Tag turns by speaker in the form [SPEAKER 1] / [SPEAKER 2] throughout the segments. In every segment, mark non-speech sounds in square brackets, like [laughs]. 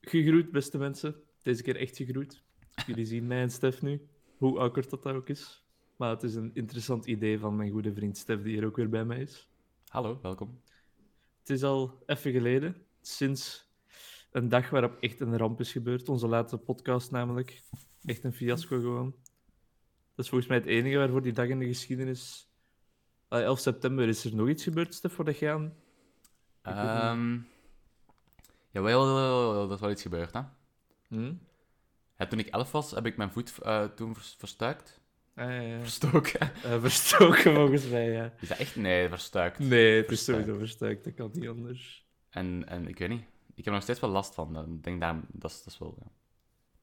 [SPEAKER 1] gegroet, beste mensen. Deze keer echt gegroet. Jullie zien mij en Stef nu, hoe awkward dat, dat ook is. Maar het is een interessant idee van mijn goede vriend Stef, die hier ook weer bij mij is.
[SPEAKER 2] Hallo, welkom.
[SPEAKER 1] Het is al even geleden, sinds een dag waarop echt een ramp is gebeurd. Onze laatste podcast namelijk. Echt een fiasco gewoon. Dat is volgens mij het enige waarvoor die dag in de geschiedenis... Ah, 11 september, is er nog iets gebeurd, Stef, voordat jij aan... weet niet.
[SPEAKER 2] Ehm jawel, dat is wel iets gebeurd, hè?
[SPEAKER 1] Hm?
[SPEAKER 2] Ja, toen ik elf was, heb ik mijn voet eh, toen vers- verstuikt.
[SPEAKER 1] Ah, ja, ja.
[SPEAKER 2] Verstoken.
[SPEAKER 1] Eh, verstoken volgens mij, ja.
[SPEAKER 2] [laughs] Is dat echt? Nee, verstuikt.
[SPEAKER 1] Nee, het is
[SPEAKER 2] Verstuikt.
[SPEAKER 1] sowieso verstuikt, dat kan niet anders.
[SPEAKER 2] En, en ik weet niet. Ik heb er nog steeds wel last van. eh, Ik denk daar, dat, is, dat is wel... Ja.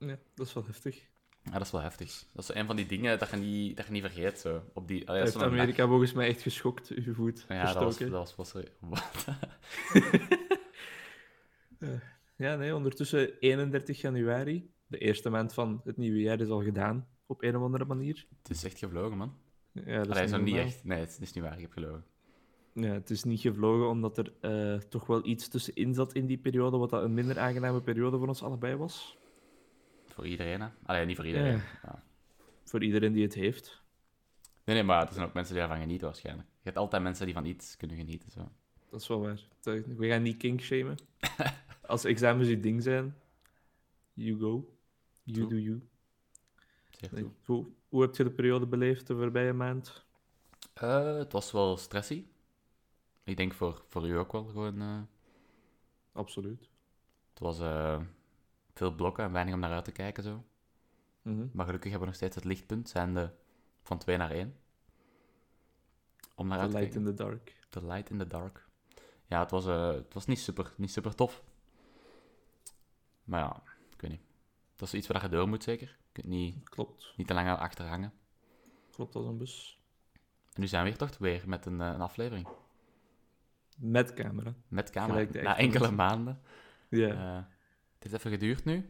[SPEAKER 1] Ja, dat is wel heftig.
[SPEAKER 2] Ja, dat is wel heftig. Dat is een van die dingen dat je niet, dat je niet vergeet, zo. Op die...
[SPEAKER 1] Hij
[SPEAKER 2] allee, dat
[SPEAKER 1] heeft
[SPEAKER 2] is zo'n dag.
[SPEAKER 1] Amerika volgens mij echt geschokt, uw voet
[SPEAKER 2] Ja, dat was...
[SPEAKER 1] verstoken.
[SPEAKER 2] Dat was, was er- [laughs] Wat?
[SPEAKER 1] Ja, nee, ondertussen 31 januari, de eerste maand van het nieuwe jaar, is al gedaan, op een of andere manier.
[SPEAKER 2] Het is echt gevlogen, man.
[SPEAKER 1] Ja, dat
[SPEAKER 2] Allee,
[SPEAKER 1] is
[SPEAKER 2] zo
[SPEAKER 1] niet
[SPEAKER 2] niet
[SPEAKER 1] normaal.
[SPEAKER 2] echt. Nee, het is, het is niet waar. Ik heb gelogen.
[SPEAKER 1] Ja, het is niet gevlogen, omdat er eh, toch wel iets tussenin zat in die periode, wat dat een minder aangename periode voor ons allebei was.
[SPEAKER 2] Voor iedereen, hè? Allee, niet voor iedereen. Ja.
[SPEAKER 1] Voor iedereen die het heeft.
[SPEAKER 2] Nee, nee, maar er zijn ook mensen die daarvan genieten waarschijnlijk. Je hebt altijd mensen die van iets kunnen genieten. Zo.
[SPEAKER 1] Dat is wel waar. We gaan niet
[SPEAKER 2] [laughs]
[SPEAKER 1] kinkshamen. Als examens je ding zijn, you go. You
[SPEAKER 2] True.
[SPEAKER 1] do you.
[SPEAKER 2] Zeer
[SPEAKER 1] Nee,
[SPEAKER 2] toe.
[SPEAKER 1] Hoe, hoe heb je de periode beleefd de voorbije maand?
[SPEAKER 2] Eh, het was wel stressy. Ik denk voor, voor u ook wel gewoon. eh,
[SPEAKER 1] Absoluut.
[SPEAKER 2] het was eh, veel blokken en weinig om naar uit te kijken. Zo.
[SPEAKER 1] Mhm.
[SPEAKER 2] Maar gelukkig hebben we nog steeds het lichtpunt, zijnde van 2 naar 1. Om naar
[SPEAKER 1] The
[SPEAKER 2] uit te
[SPEAKER 1] light
[SPEAKER 2] kijken.
[SPEAKER 1] in the dark.
[SPEAKER 2] The light in the dark. Ja, het was, eh, het was niet, super, niet super tof. Maar ja, ik weet niet. Dat is iets waar je door moet zeker. Je kunt niet,
[SPEAKER 1] Klopt.
[SPEAKER 2] niet te lang achterhangen.
[SPEAKER 1] Klopt als een bus.
[SPEAKER 2] En nu zijn we hier toch weer met een, eh, een aflevering.
[SPEAKER 1] Met camera.
[SPEAKER 2] Met
[SPEAKER 1] Gelijk de
[SPEAKER 2] camera. Na
[SPEAKER 1] echte
[SPEAKER 2] enkele
[SPEAKER 1] mensen.
[SPEAKER 2] maanden.
[SPEAKER 1] Ja.
[SPEAKER 2] Eh, het heeft even geduurd nu.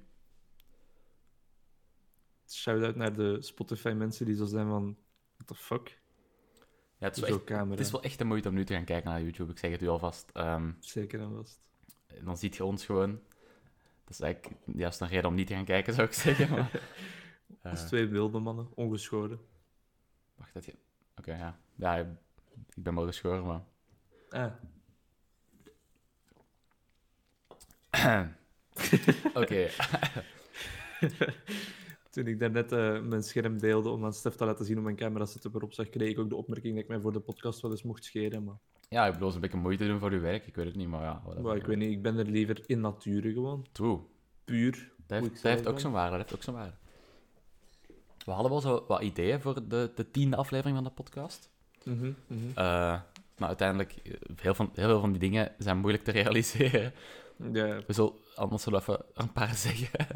[SPEAKER 1] Shout-out naar de Spotify-mensen die zo zijn van... What the fuck?
[SPEAKER 2] Ja, het, is wel
[SPEAKER 1] Zo'n
[SPEAKER 2] echt-
[SPEAKER 1] camera.
[SPEAKER 2] het is wel echt de moeite om nu te gaan kijken naar YouTube. Ik zeg het u alvast. Ehm,
[SPEAKER 1] Zeker en vast.
[SPEAKER 2] dan ziet je ons gewoon. Dat is eigenlijk juist een reden om niet te gaan kijken, zou ik zeggen.
[SPEAKER 1] [laughs]
[SPEAKER 2] Maar, eh,
[SPEAKER 1] Als twee wilde mannen, ongeschoren.
[SPEAKER 2] wacht, dat je... Oké, ja. Ja, ik ben wel geschoren,
[SPEAKER 1] [laughs]
[SPEAKER 2] maar...
[SPEAKER 1] Ah,
[SPEAKER 2] Oké,
[SPEAKER 1] toen ik daarnet eh, mijn scherm deelde om aan Stef te laten zien hoe mijn camera setup erop zag, kreeg ik ook de opmerking dat ik mij voor de podcast wel eens mocht scheren. Maar,
[SPEAKER 2] ja, ik bedoel, het is een beetje moeite doen voor uw werk. Ik weet het niet, maar ja. whatever.
[SPEAKER 1] maar ik weet niet, ik ben er liever in nature gewoon.
[SPEAKER 2] True.
[SPEAKER 1] Puur. Moet
[SPEAKER 2] Dat heeft,
[SPEAKER 1] ik
[SPEAKER 2] dat heeft
[SPEAKER 1] zelf
[SPEAKER 2] ook
[SPEAKER 1] doen?
[SPEAKER 2] zijn waarde, dat heeft ook zijn waarde. We hadden wel zo wat ideeën voor de, de tiende aflevering van de podcast.
[SPEAKER 1] Mhm, mhm.
[SPEAKER 2] Eh, maar uiteindelijk, eh, heel, van, heel veel van die dingen zijn moeilijk te realiseren. [laughs]
[SPEAKER 1] Ja,
[SPEAKER 2] We zullen, anders zullen we even een paar [laughs] zeggen.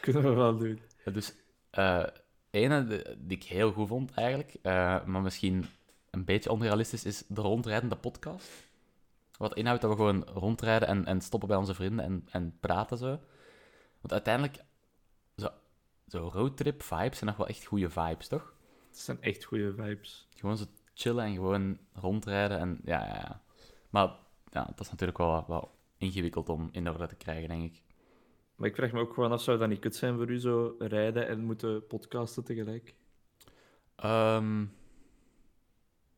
[SPEAKER 1] kunnen we wel doen.
[SPEAKER 2] Dus, eh ene de- die ik heel goed vond eigenlijk, eh, maar misschien een beetje onrealistisch, is de rondrijdende podcast. Wat inhoudt dat we gewoon rondrijden en, en stoppen bij onze vrienden en, en praten zo. Want uiteindelijk, zo, zo roadtrip vibes zijn nog wel echt goede vibes, toch?
[SPEAKER 1] Het zijn echt goede vibes.
[SPEAKER 2] Gewoon zo chillen en gewoon rondrijden en ja, ja, ja. Maar ja, dat is natuurlijk wel, wat- wat ingewikkeld om in orde te krijgen, denk ik.
[SPEAKER 1] Maar ik vraag me ook gewoon af, zou dat niet kut zijn voor u, zo rijden en moeten podcasten tegelijk?
[SPEAKER 2] Ehm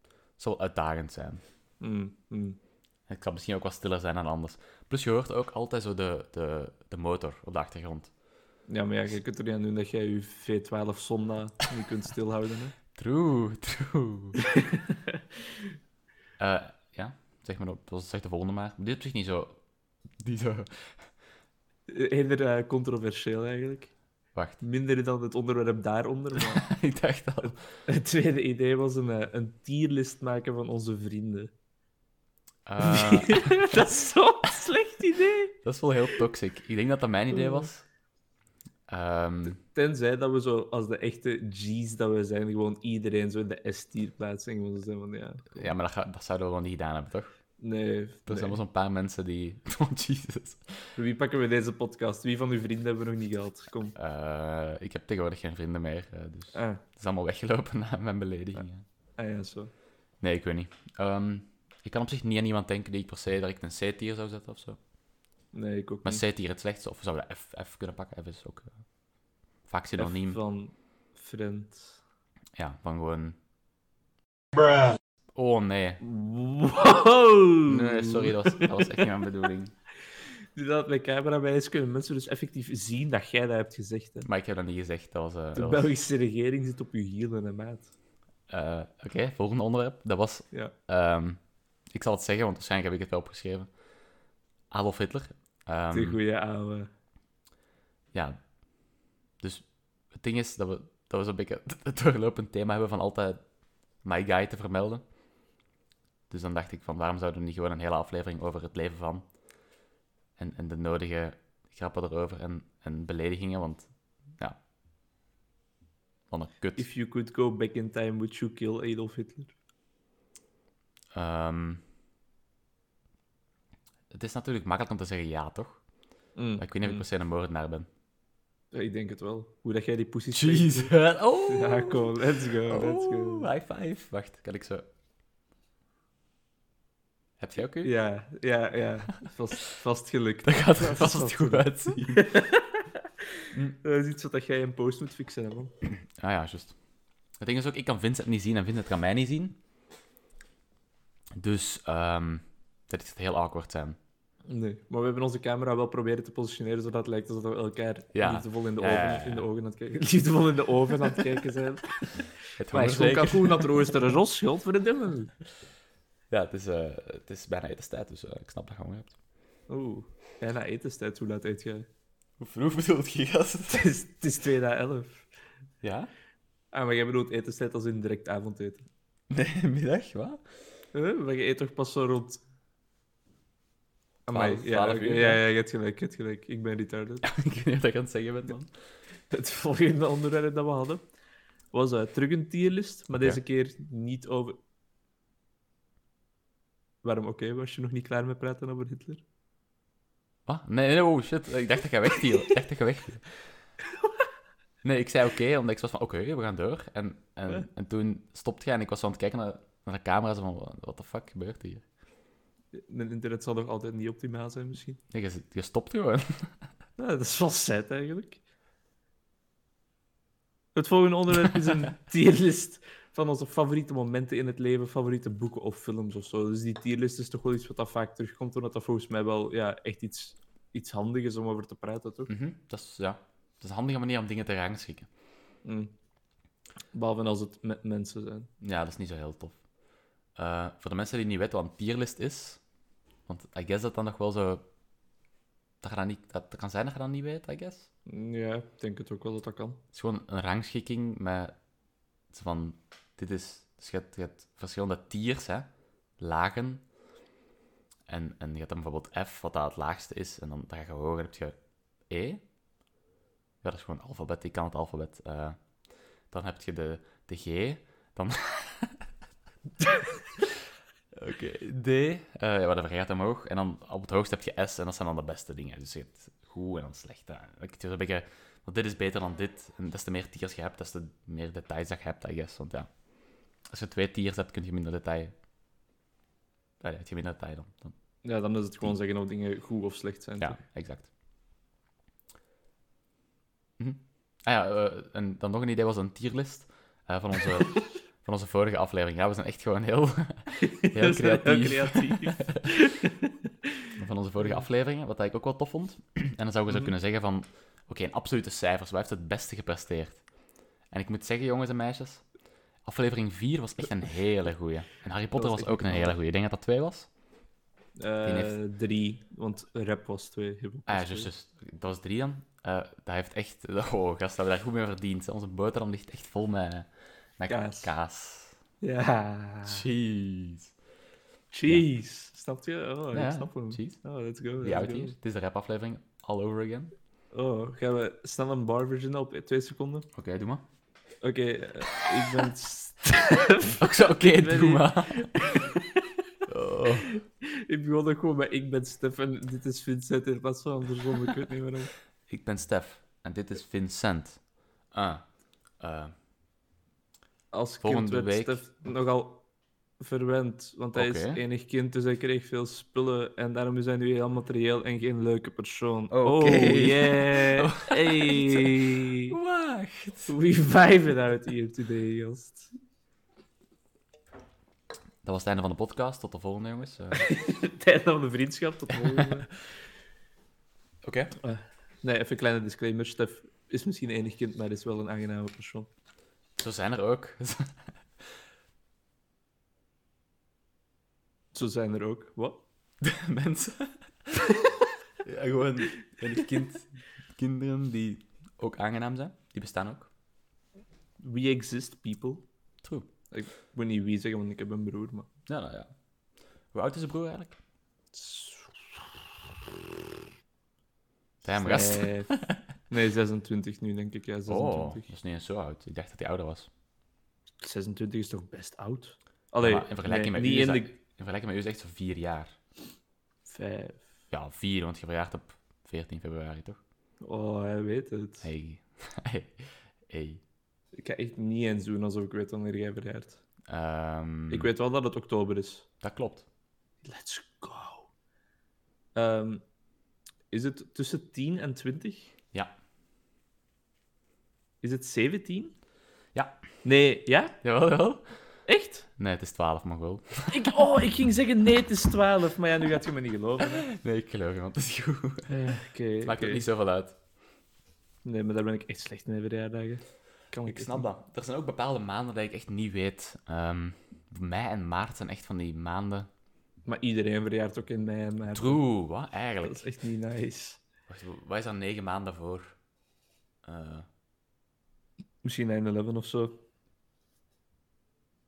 [SPEAKER 2] het zal wel uitdagend zijn.
[SPEAKER 1] Mm, mm.
[SPEAKER 2] Het kan misschien ook wat stiller zijn dan anders. Plus, je hoort ook altijd zo de, de, de motor op de achtergrond.
[SPEAKER 1] Ja, maar ja, je kunt er niet aan doen dat jij je V12 Sonda niet kunt stilhouden. Hè?
[SPEAKER 2] True, true. [laughs] Eh, ja, zeg maar, op- dat is echt de volgende maar. Dit is op zich niet zo... Die zo...
[SPEAKER 1] [laughs] Eerder eh, controversieel eigenlijk.
[SPEAKER 2] Wacht,
[SPEAKER 1] Minder dan het onderwerp daaronder, maar
[SPEAKER 2] [laughs] ik dacht al.
[SPEAKER 1] [laughs] het tweede idee was een, eh, een tierlist maken van onze vrienden. Ah.
[SPEAKER 2] Eh,
[SPEAKER 1] [laughs] dat is zo'n slecht idee!
[SPEAKER 2] dat is wel heel toxic. Ik denk dat dat mijn idee was. Ehm,
[SPEAKER 1] Tenzij dat we zo, als de echte G's dat we zijn, gewoon iedereen zo in de S-tier plaatsen. en Gewoon zo zijn van, ja...
[SPEAKER 2] ja, maar dat, ga- dat zouden we wel niet gedaan hebben, toch?
[SPEAKER 1] Nee.
[SPEAKER 2] Er
[SPEAKER 1] nee.
[SPEAKER 2] zijn wel zo'n paar mensen die... [laughs] Oh, Jesus.
[SPEAKER 1] Voor wie pakken we deze podcast? Wie van uw vrienden hebben we nog niet gehad? Kom.
[SPEAKER 2] Eh, ik heb tegenwoordig geen vrienden meer, eh, dus...
[SPEAKER 1] Ah,
[SPEAKER 2] Het is allemaal weggelopen na mijn beledigingen.
[SPEAKER 1] ah ja, zo.
[SPEAKER 2] Nee, ik weet niet. Ehm, ik kan op zich niet aan iemand denken die ik per se direct een C-tier zou zetten of zo.
[SPEAKER 1] Nee, ik ook
[SPEAKER 2] Maar
[SPEAKER 1] niet.
[SPEAKER 2] C hier het slechtste, of zouden we F, F kunnen pakken? F is ook eh, vaak synoniem.
[SPEAKER 1] F van friend.
[SPEAKER 2] Ja, van gewoon... Oh nee.
[SPEAKER 1] Wow!
[SPEAKER 2] Nee, sorry, [laughs] dat was, dat was echt niet mijn bedoeling.
[SPEAKER 1] Nu dat het met camera bij is, kunnen mensen dus effectief zien dat jij dat hebt gezegd. Hè.
[SPEAKER 2] Maar ik heb dat niet gezegd. Dat was... eh,
[SPEAKER 1] De
[SPEAKER 2] dat was-
[SPEAKER 1] Belgische regering zit op je hielen, hè, maat.
[SPEAKER 2] eh, Oké, volgende onderwerp. Dat was...
[SPEAKER 1] Ja.
[SPEAKER 2] ehm, ik zal het zeggen, want waarschijnlijk heb ik het wel opgeschreven. Adolf Hitler. Ehm,
[SPEAKER 1] De goede ouwe.
[SPEAKER 2] ja. Dus het ding is dat we, dat we zo'n beetje [laughs] het doorlopend thema hebben van altijd My Guy te vermelden. Dus dan dacht ik van, waarom zouden we niet gewoon een hele aflevering over het leven van en, en de nodige grappen erover en, en beledigingen, want ja, wat een kut.
[SPEAKER 1] If you could go back in time, would you kill Adolf Hitler?
[SPEAKER 2] Ehm, het is natuurlijk makkelijk om te zeggen ja, toch?
[SPEAKER 1] Mm,
[SPEAKER 2] Maar ik weet niet of ik
[SPEAKER 1] mm.
[SPEAKER 2] per se een moordenaar ben.
[SPEAKER 1] Ja, ik denk het wel. Hoe dat jij die positie...
[SPEAKER 2] [laughs] Jesus! Oh!
[SPEAKER 1] Ja, kom, let's go, let's go.
[SPEAKER 2] Oh, high five. Wacht, kan ik zo... Heb jij ook u?
[SPEAKER 1] Ja, ja, ja. [laughs] Vast, vast gelukt. [laughs]
[SPEAKER 2] [laughs] Dat gaat er
[SPEAKER 1] Dat
[SPEAKER 2] vast
[SPEAKER 1] is
[SPEAKER 2] goed
[SPEAKER 1] wel
[SPEAKER 2] uitzien.
[SPEAKER 1] Mm. Dat is iets wat dat jij in post moet fixen, hè, man.
[SPEAKER 2] Ah ja, juist. Het ding is ook, ik kan Vincent niet zien en Vincent kan mij niet zien. Dus, ehm dat is het heel awkward zijn.
[SPEAKER 1] Nee, maar we hebben onze camera wel proberen te positioneren zodat het lijkt alsof we elkaar
[SPEAKER 2] Ja.
[SPEAKER 1] liefdevol in de,
[SPEAKER 2] Ja,
[SPEAKER 1] ogen,
[SPEAKER 2] ja, ja.
[SPEAKER 1] In de ogen aan het [laughs] kijken Liefdevol in de oven aan het kijken [laughs] zijn.
[SPEAKER 2] Het
[SPEAKER 1] maar is gewoon
[SPEAKER 2] hongerzweken.
[SPEAKER 1] kalkoen dat roosteren ros, schuld voor de [laughs] dimmel.
[SPEAKER 2] Ja, het is, eh, het is bijna etenstijd, dus eh, ik snap dat je honger hebt.
[SPEAKER 1] Oeh, bijna etenstijd, hoe laat eet jij?
[SPEAKER 2] Hoe vroeg bedoelt je, gast?
[SPEAKER 1] Het is, het is 2 na 11.
[SPEAKER 2] Ja?
[SPEAKER 1] Ah, maar jij bedoelt etenstijd als in direct avondeten.
[SPEAKER 2] Nee, [laughs] middag, wat?
[SPEAKER 1] Huh? Maar je eet toch pas zo rond...
[SPEAKER 2] Twaalf-
[SPEAKER 1] ja,
[SPEAKER 2] twaalf
[SPEAKER 1] oké,
[SPEAKER 2] uur,
[SPEAKER 1] ja,
[SPEAKER 2] hè?
[SPEAKER 1] ja, je hebt gelijk, je hebt gelijk. Ik ben retarded.
[SPEAKER 2] ik weet niet wat ik aan het zeggen ben, man.
[SPEAKER 1] [laughs] Het volgende onderwerp dat we hadden was eh, terug een tierlist, maar
[SPEAKER 2] Oké.
[SPEAKER 1] deze keer niet over. Waarom oké? was je nog niet klaar met praten over Hitler?
[SPEAKER 2] Wat? Nee, nee, oh shit. Ik dacht dat je wegviel. Ik dacht dat je [laughs] wegviel. Nee, ik zei oké, omdat ik was van oké, we gaan door. En,
[SPEAKER 1] Ja.
[SPEAKER 2] en, en toen stopte jij en ik was zo aan het kijken naar, naar de camera. Zo van, wat de fuck gebeurt hier?
[SPEAKER 1] Het Eh, internet zal nog altijd niet optimaal zijn, misschien.
[SPEAKER 2] Nee, je, je stopt gewoon. [laughs]
[SPEAKER 1] Nou, dat is wel sad eigenlijk. Het volgende onderwerp is [laughs] een tierlist van onze favoriete momenten in het leven, favoriete boeken of films of zo. Dus die tierlist is toch wel iets wat dat vaak terugkomt, omdat dat volgens mij wel ja, echt iets, iets handig is om over te praten, toch?
[SPEAKER 2] Mhm, dat, is, ja, dat is een handige manier om dingen te rangschikken.
[SPEAKER 1] Mm. Behalve als het met mensen zijn.
[SPEAKER 2] Ja, dat is niet zo heel tof. Eh, voor de mensen die niet weten wat een tierlist is, want I guess dat dan nog wel zo... Dat, je dat, niet, dat kan zijn dat je dat niet weet, I guess.
[SPEAKER 1] Ja, ik denk het ook wel dat dat kan.
[SPEAKER 2] Het is gewoon een rangschikking met het is van dit is dus je hebt, je hebt verschillende tiers, hè, lagen. En, en je hebt dan bijvoorbeeld F, wat daar het laagste is, en dan, dan ga je hoger, dan heb je E. Ja, dat is gewoon alfabet, ik kan het alfabet. eh. dan heb je de, de G, dan... [laughs] Oké, D, eh, ja, maar dan vergeet hem omhoog. En dan op het hoogst heb je S, en dat zijn dan de beste dingen. Dus je hebt goed en dan slecht. hè. Ik- Het is een beetje want dit is beter dan dit. En des te meer tiers je hebt, des te meer details dat je hebt, I guess. Want ja, als je twee tiers hebt, kun je minder detail... Allee, heb je minder detail dan. dan-
[SPEAKER 1] Ja, dan is het gewoon zeggen of dingen goed of slecht zijn. [laughs]
[SPEAKER 2] Ja,
[SPEAKER 1] toch?
[SPEAKER 2] exact. Mhm. Ah ja, eh, en dan nog een idee was een tierlist eh, van, onze, van onze vorige aflevering. Ja, we zijn echt gewoon heel,
[SPEAKER 1] [laughs]
[SPEAKER 2] heel
[SPEAKER 1] Dat is
[SPEAKER 2] creatief.
[SPEAKER 1] [laughs] creatief.
[SPEAKER 2] van onze vorige afleveringen, wat ik ook wel tof vond. En dan zou je zo
[SPEAKER 1] Mhm.
[SPEAKER 2] kunnen zeggen van, oké, in absolute cijfers, waar heeft het beste gepresteerd? En ik moet zeggen, jongens en meisjes, aflevering 4 was echt een hele goeie. En Harry Potter
[SPEAKER 1] was
[SPEAKER 2] was,
[SPEAKER 1] echt
[SPEAKER 2] ook een hele goeie. Ik denk dat dat 2 was.
[SPEAKER 1] Eh,
[SPEAKER 2] Die heeft-
[SPEAKER 1] Drie, want rap was twee. hip-hop was
[SPEAKER 2] Ah, ja,
[SPEAKER 1] twee.
[SPEAKER 2] juist, juist. dat was 3 dan. Eh, dat heeft echt, [laughs] oh gast, dat hebben we daar goed mee verdiend. hè. Onze boterham ligt echt vol met, met
[SPEAKER 1] Kaas.
[SPEAKER 2] kaas. Ah.
[SPEAKER 1] Ja.
[SPEAKER 2] Cheese.
[SPEAKER 1] Cheese. Snap je? Oh,
[SPEAKER 2] Ja,
[SPEAKER 1] ik snap hem.
[SPEAKER 2] cheese.
[SPEAKER 1] Oh, let's go.
[SPEAKER 2] Die
[SPEAKER 1] let's
[SPEAKER 2] uit
[SPEAKER 1] go.
[SPEAKER 2] hier. Het is de rapaflevering, all over again.
[SPEAKER 1] Oh, gaan we snel een bar verzinnen op twee seconden?
[SPEAKER 2] Oké, doe maar.
[SPEAKER 1] Oké, eh, ik
[SPEAKER 2] [laughs]
[SPEAKER 1] ben...
[SPEAKER 2] Ik zou [laughs] oké,
[SPEAKER 1] weet
[SPEAKER 2] doe
[SPEAKER 1] niet.
[SPEAKER 2] maar. [laughs] Oh.
[SPEAKER 1] ik begon ook gewoon met ik ben Stef en dit is Vincent in plaats van andersom. Ik weet niet waarom.
[SPEAKER 2] Ik ben Stef en dit is Vincent. Ah, eh,
[SPEAKER 1] als
[SPEAKER 2] Volgende
[SPEAKER 1] kind werd
[SPEAKER 2] week.
[SPEAKER 1] Stef nogal verwend, want hij is
[SPEAKER 2] Oké.
[SPEAKER 1] enig kind, dus hij kreeg veel spullen en daarom is hij nu heel materieel en geen leuke persoon.
[SPEAKER 2] Oké. [laughs]
[SPEAKER 1] Oh, yeah! Hey!
[SPEAKER 2] Wacht.
[SPEAKER 1] We vibe it out here today, gast.
[SPEAKER 2] Dat was het einde van de podcast. Tot de volgende, jongens. Eh,
[SPEAKER 1] Tijd van de vriendschap, tot de volgende.
[SPEAKER 2] [laughs] Oké.
[SPEAKER 1] Nee, even een kleine disclaimer. Stef is misschien enig kind, maar is wel een aangename persoon.
[SPEAKER 2] Zo zijn er ook. [laughs]
[SPEAKER 1] Zo zijn er ook. Wat? [laughs]
[SPEAKER 2] Mensen. ja, gewoon enig kind. Kinderen die ook aangenaam zijn. Die bestaan ook.
[SPEAKER 1] We exist, people.
[SPEAKER 2] True.
[SPEAKER 1] Ik moet niet wie zeggen, want ik heb een broer, maar...
[SPEAKER 2] Ja, nou ja. Hoe oud is de broer eigenlijk? Damn, gast.
[SPEAKER 1] Stef. Nee, 26 nu, denk ik. Ja,
[SPEAKER 2] [laughs] Oh, dat
[SPEAKER 1] 26.
[SPEAKER 2] is niet eens zo oud. Ik dacht dat hij ouder was.
[SPEAKER 1] 26 is toch best oud? Allee,
[SPEAKER 2] Ja, maar in vergelijking
[SPEAKER 1] nee,
[SPEAKER 2] met u
[SPEAKER 1] niet
[SPEAKER 2] is
[SPEAKER 1] in
[SPEAKER 2] dat-
[SPEAKER 1] de...
[SPEAKER 2] In vergelijking met u is het echt zo vier jaar.
[SPEAKER 1] Vijf.
[SPEAKER 2] Ja, vier, want je verjaart op 14 februari, toch?
[SPEAKER 1] Oh, hij weet het.
[SPEAKER 2] Hey. [laughs] hey. Hey.
[SPEAKER 1] Ik ga echt niet eens doen alsof ik weet wanneer jij verjaart.
[SPEAKER 2] Ehm,
[SPEAKER 1] Ik weet wel dat het oktober is.
[SPEAKER 2] Dat klopt.
[SPEAKER 1] Let's go. Ehm, is het tussen 10 en 20?
[SPEAKER 2] Ja.
[SPEAKER 1] Is het 17?
[SPEAKER 2] Ja.
[SPEAKER 1] Nee, ja?
[SPEAKER 2] Jawel, jawel.
[SPEAKER 1] Echt?
[SPEAKER 2] Nee, het is 12, maar wel.
[SPEAKER 1] Ik, oh, ik ging zeggen nee, het is 12. Maar ja, nu gaat je me niet geloven. hè.
[SPEAKER 2] Nee, ik geloof je, want het is goed.
[SPEAKER 1] Eh, Oké.
[SPEAKER 2] Maakt
[SPEAKER 1] oké.
[SPEAKER 2] het niet zoveel uit.
[SPEAKER 1] Nee, maar daar ben ik echt slecht mee verjaardagen. Kan
[SPEAKER 2] Ik
[SPEAKER 1] echt
[SPEAKER 2] snap
[SPEAKER 1] niet.
[SPEAKER 2] dat. Er zijn ook bepaalde maanden dat ik echt niet weet. Ehm, mei en maart zijn echt van die maanden.
[SPEAKER 1] Maar iedereen verjaart ook in mei en maart.
[SPEAKER 2] True, wat
[SPEAKER 1] Dat
[SPEAKER 2] eigenlijk?
[SPEAKER 1] is echt niet nice.
[SPEAKER 2] Wacht, wat is daar negen maanden voor? Eh,
[SPEAKER 1] Misschien 9-11 of zo.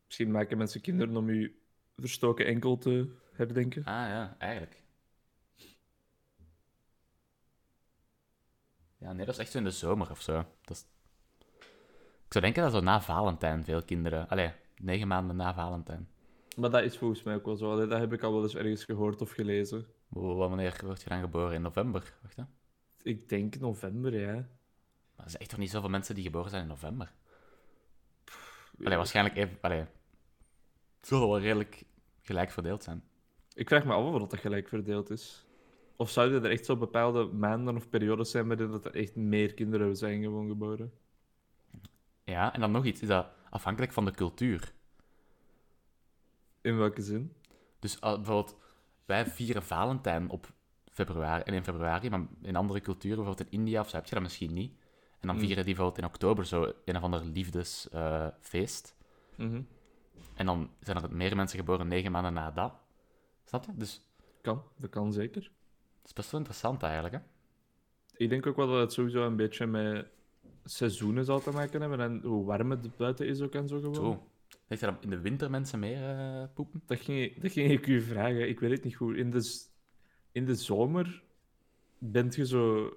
[SPEAKER 1] Misschien maken mensen kinderen om je verstoken enkel te herdenken.
[SPEAKER 2] ah ja, eigenlijk. Ja, nee, dat is echt zo in de zomer of zo. Dat is... Ik zou denken dat zo na Valentijn veel kinderen. Allee, negen maanden na Valentijn.
[SPEAKER 1] Maar dat is volgens mij ook wel zo. Allee, Dat heb ik al wel eens ergens gehoord of gelezen.
[SPEAKER 2] Wa- Wanneer word je dan geboren? In november? Wacht, hè?
[SPEAKER 1] Ik denk november, ja.
[SPEAKER 2] Maar er zijn echt toch niet zoveel mensen die geboren zijn in november? Allee, waarschijnlijk even... Allee. Het zal wel redelijk gelijk verdeeld zijn.
[SPEAKER 1] Ik vraag me af of dat gelijk verdeeld is. Of zouden er echt zo bepaalde maanden of periodes zijn waarin dat er echt meer kinderen zijn gewoon geboren?
[SPEAKER 2] Ja, en dan nog iets. Is dat afhankelijk van de cultuur?
[SPEAKER 1] In welke zin?
[SPEAKER 2] Dus ah, bijvoorbeeld, wij vieren Valentijn op februari en in februari, maar in andere culturen, bijvoorbeeld in India of zo, heb je dat misschien niet. En dan
[SPEAKER 1] Mm.
[SPEAKER 2] vieren die bijvoorbeeld in oktober zo een of ander liefdesfeest.
[SPEAKER 1] Mhm.
[SPEAKER 2] en dan zijn er meer mensen geboren negen maanden na dat. Snap je? Dus
[SPEAKER 1] Kan, dat kan zeker.
[SPEAKER 2] het is best wel interessant eigenlijk, hè?
[SPEAKER 1] Ik denk ook wel dat het sowieso een beetje met seizoenen zal te maken hebben en hoe warm het buiten is ook en zo gewoon.
[SPEAKER 2] Zo. Denk je dat in de winter mensen meer eh, poepen?
[SPEAKER 1] Dat ging, dat ging ik u vragen. Ik weet het niet goed. In de, z- in de zomer bent je zo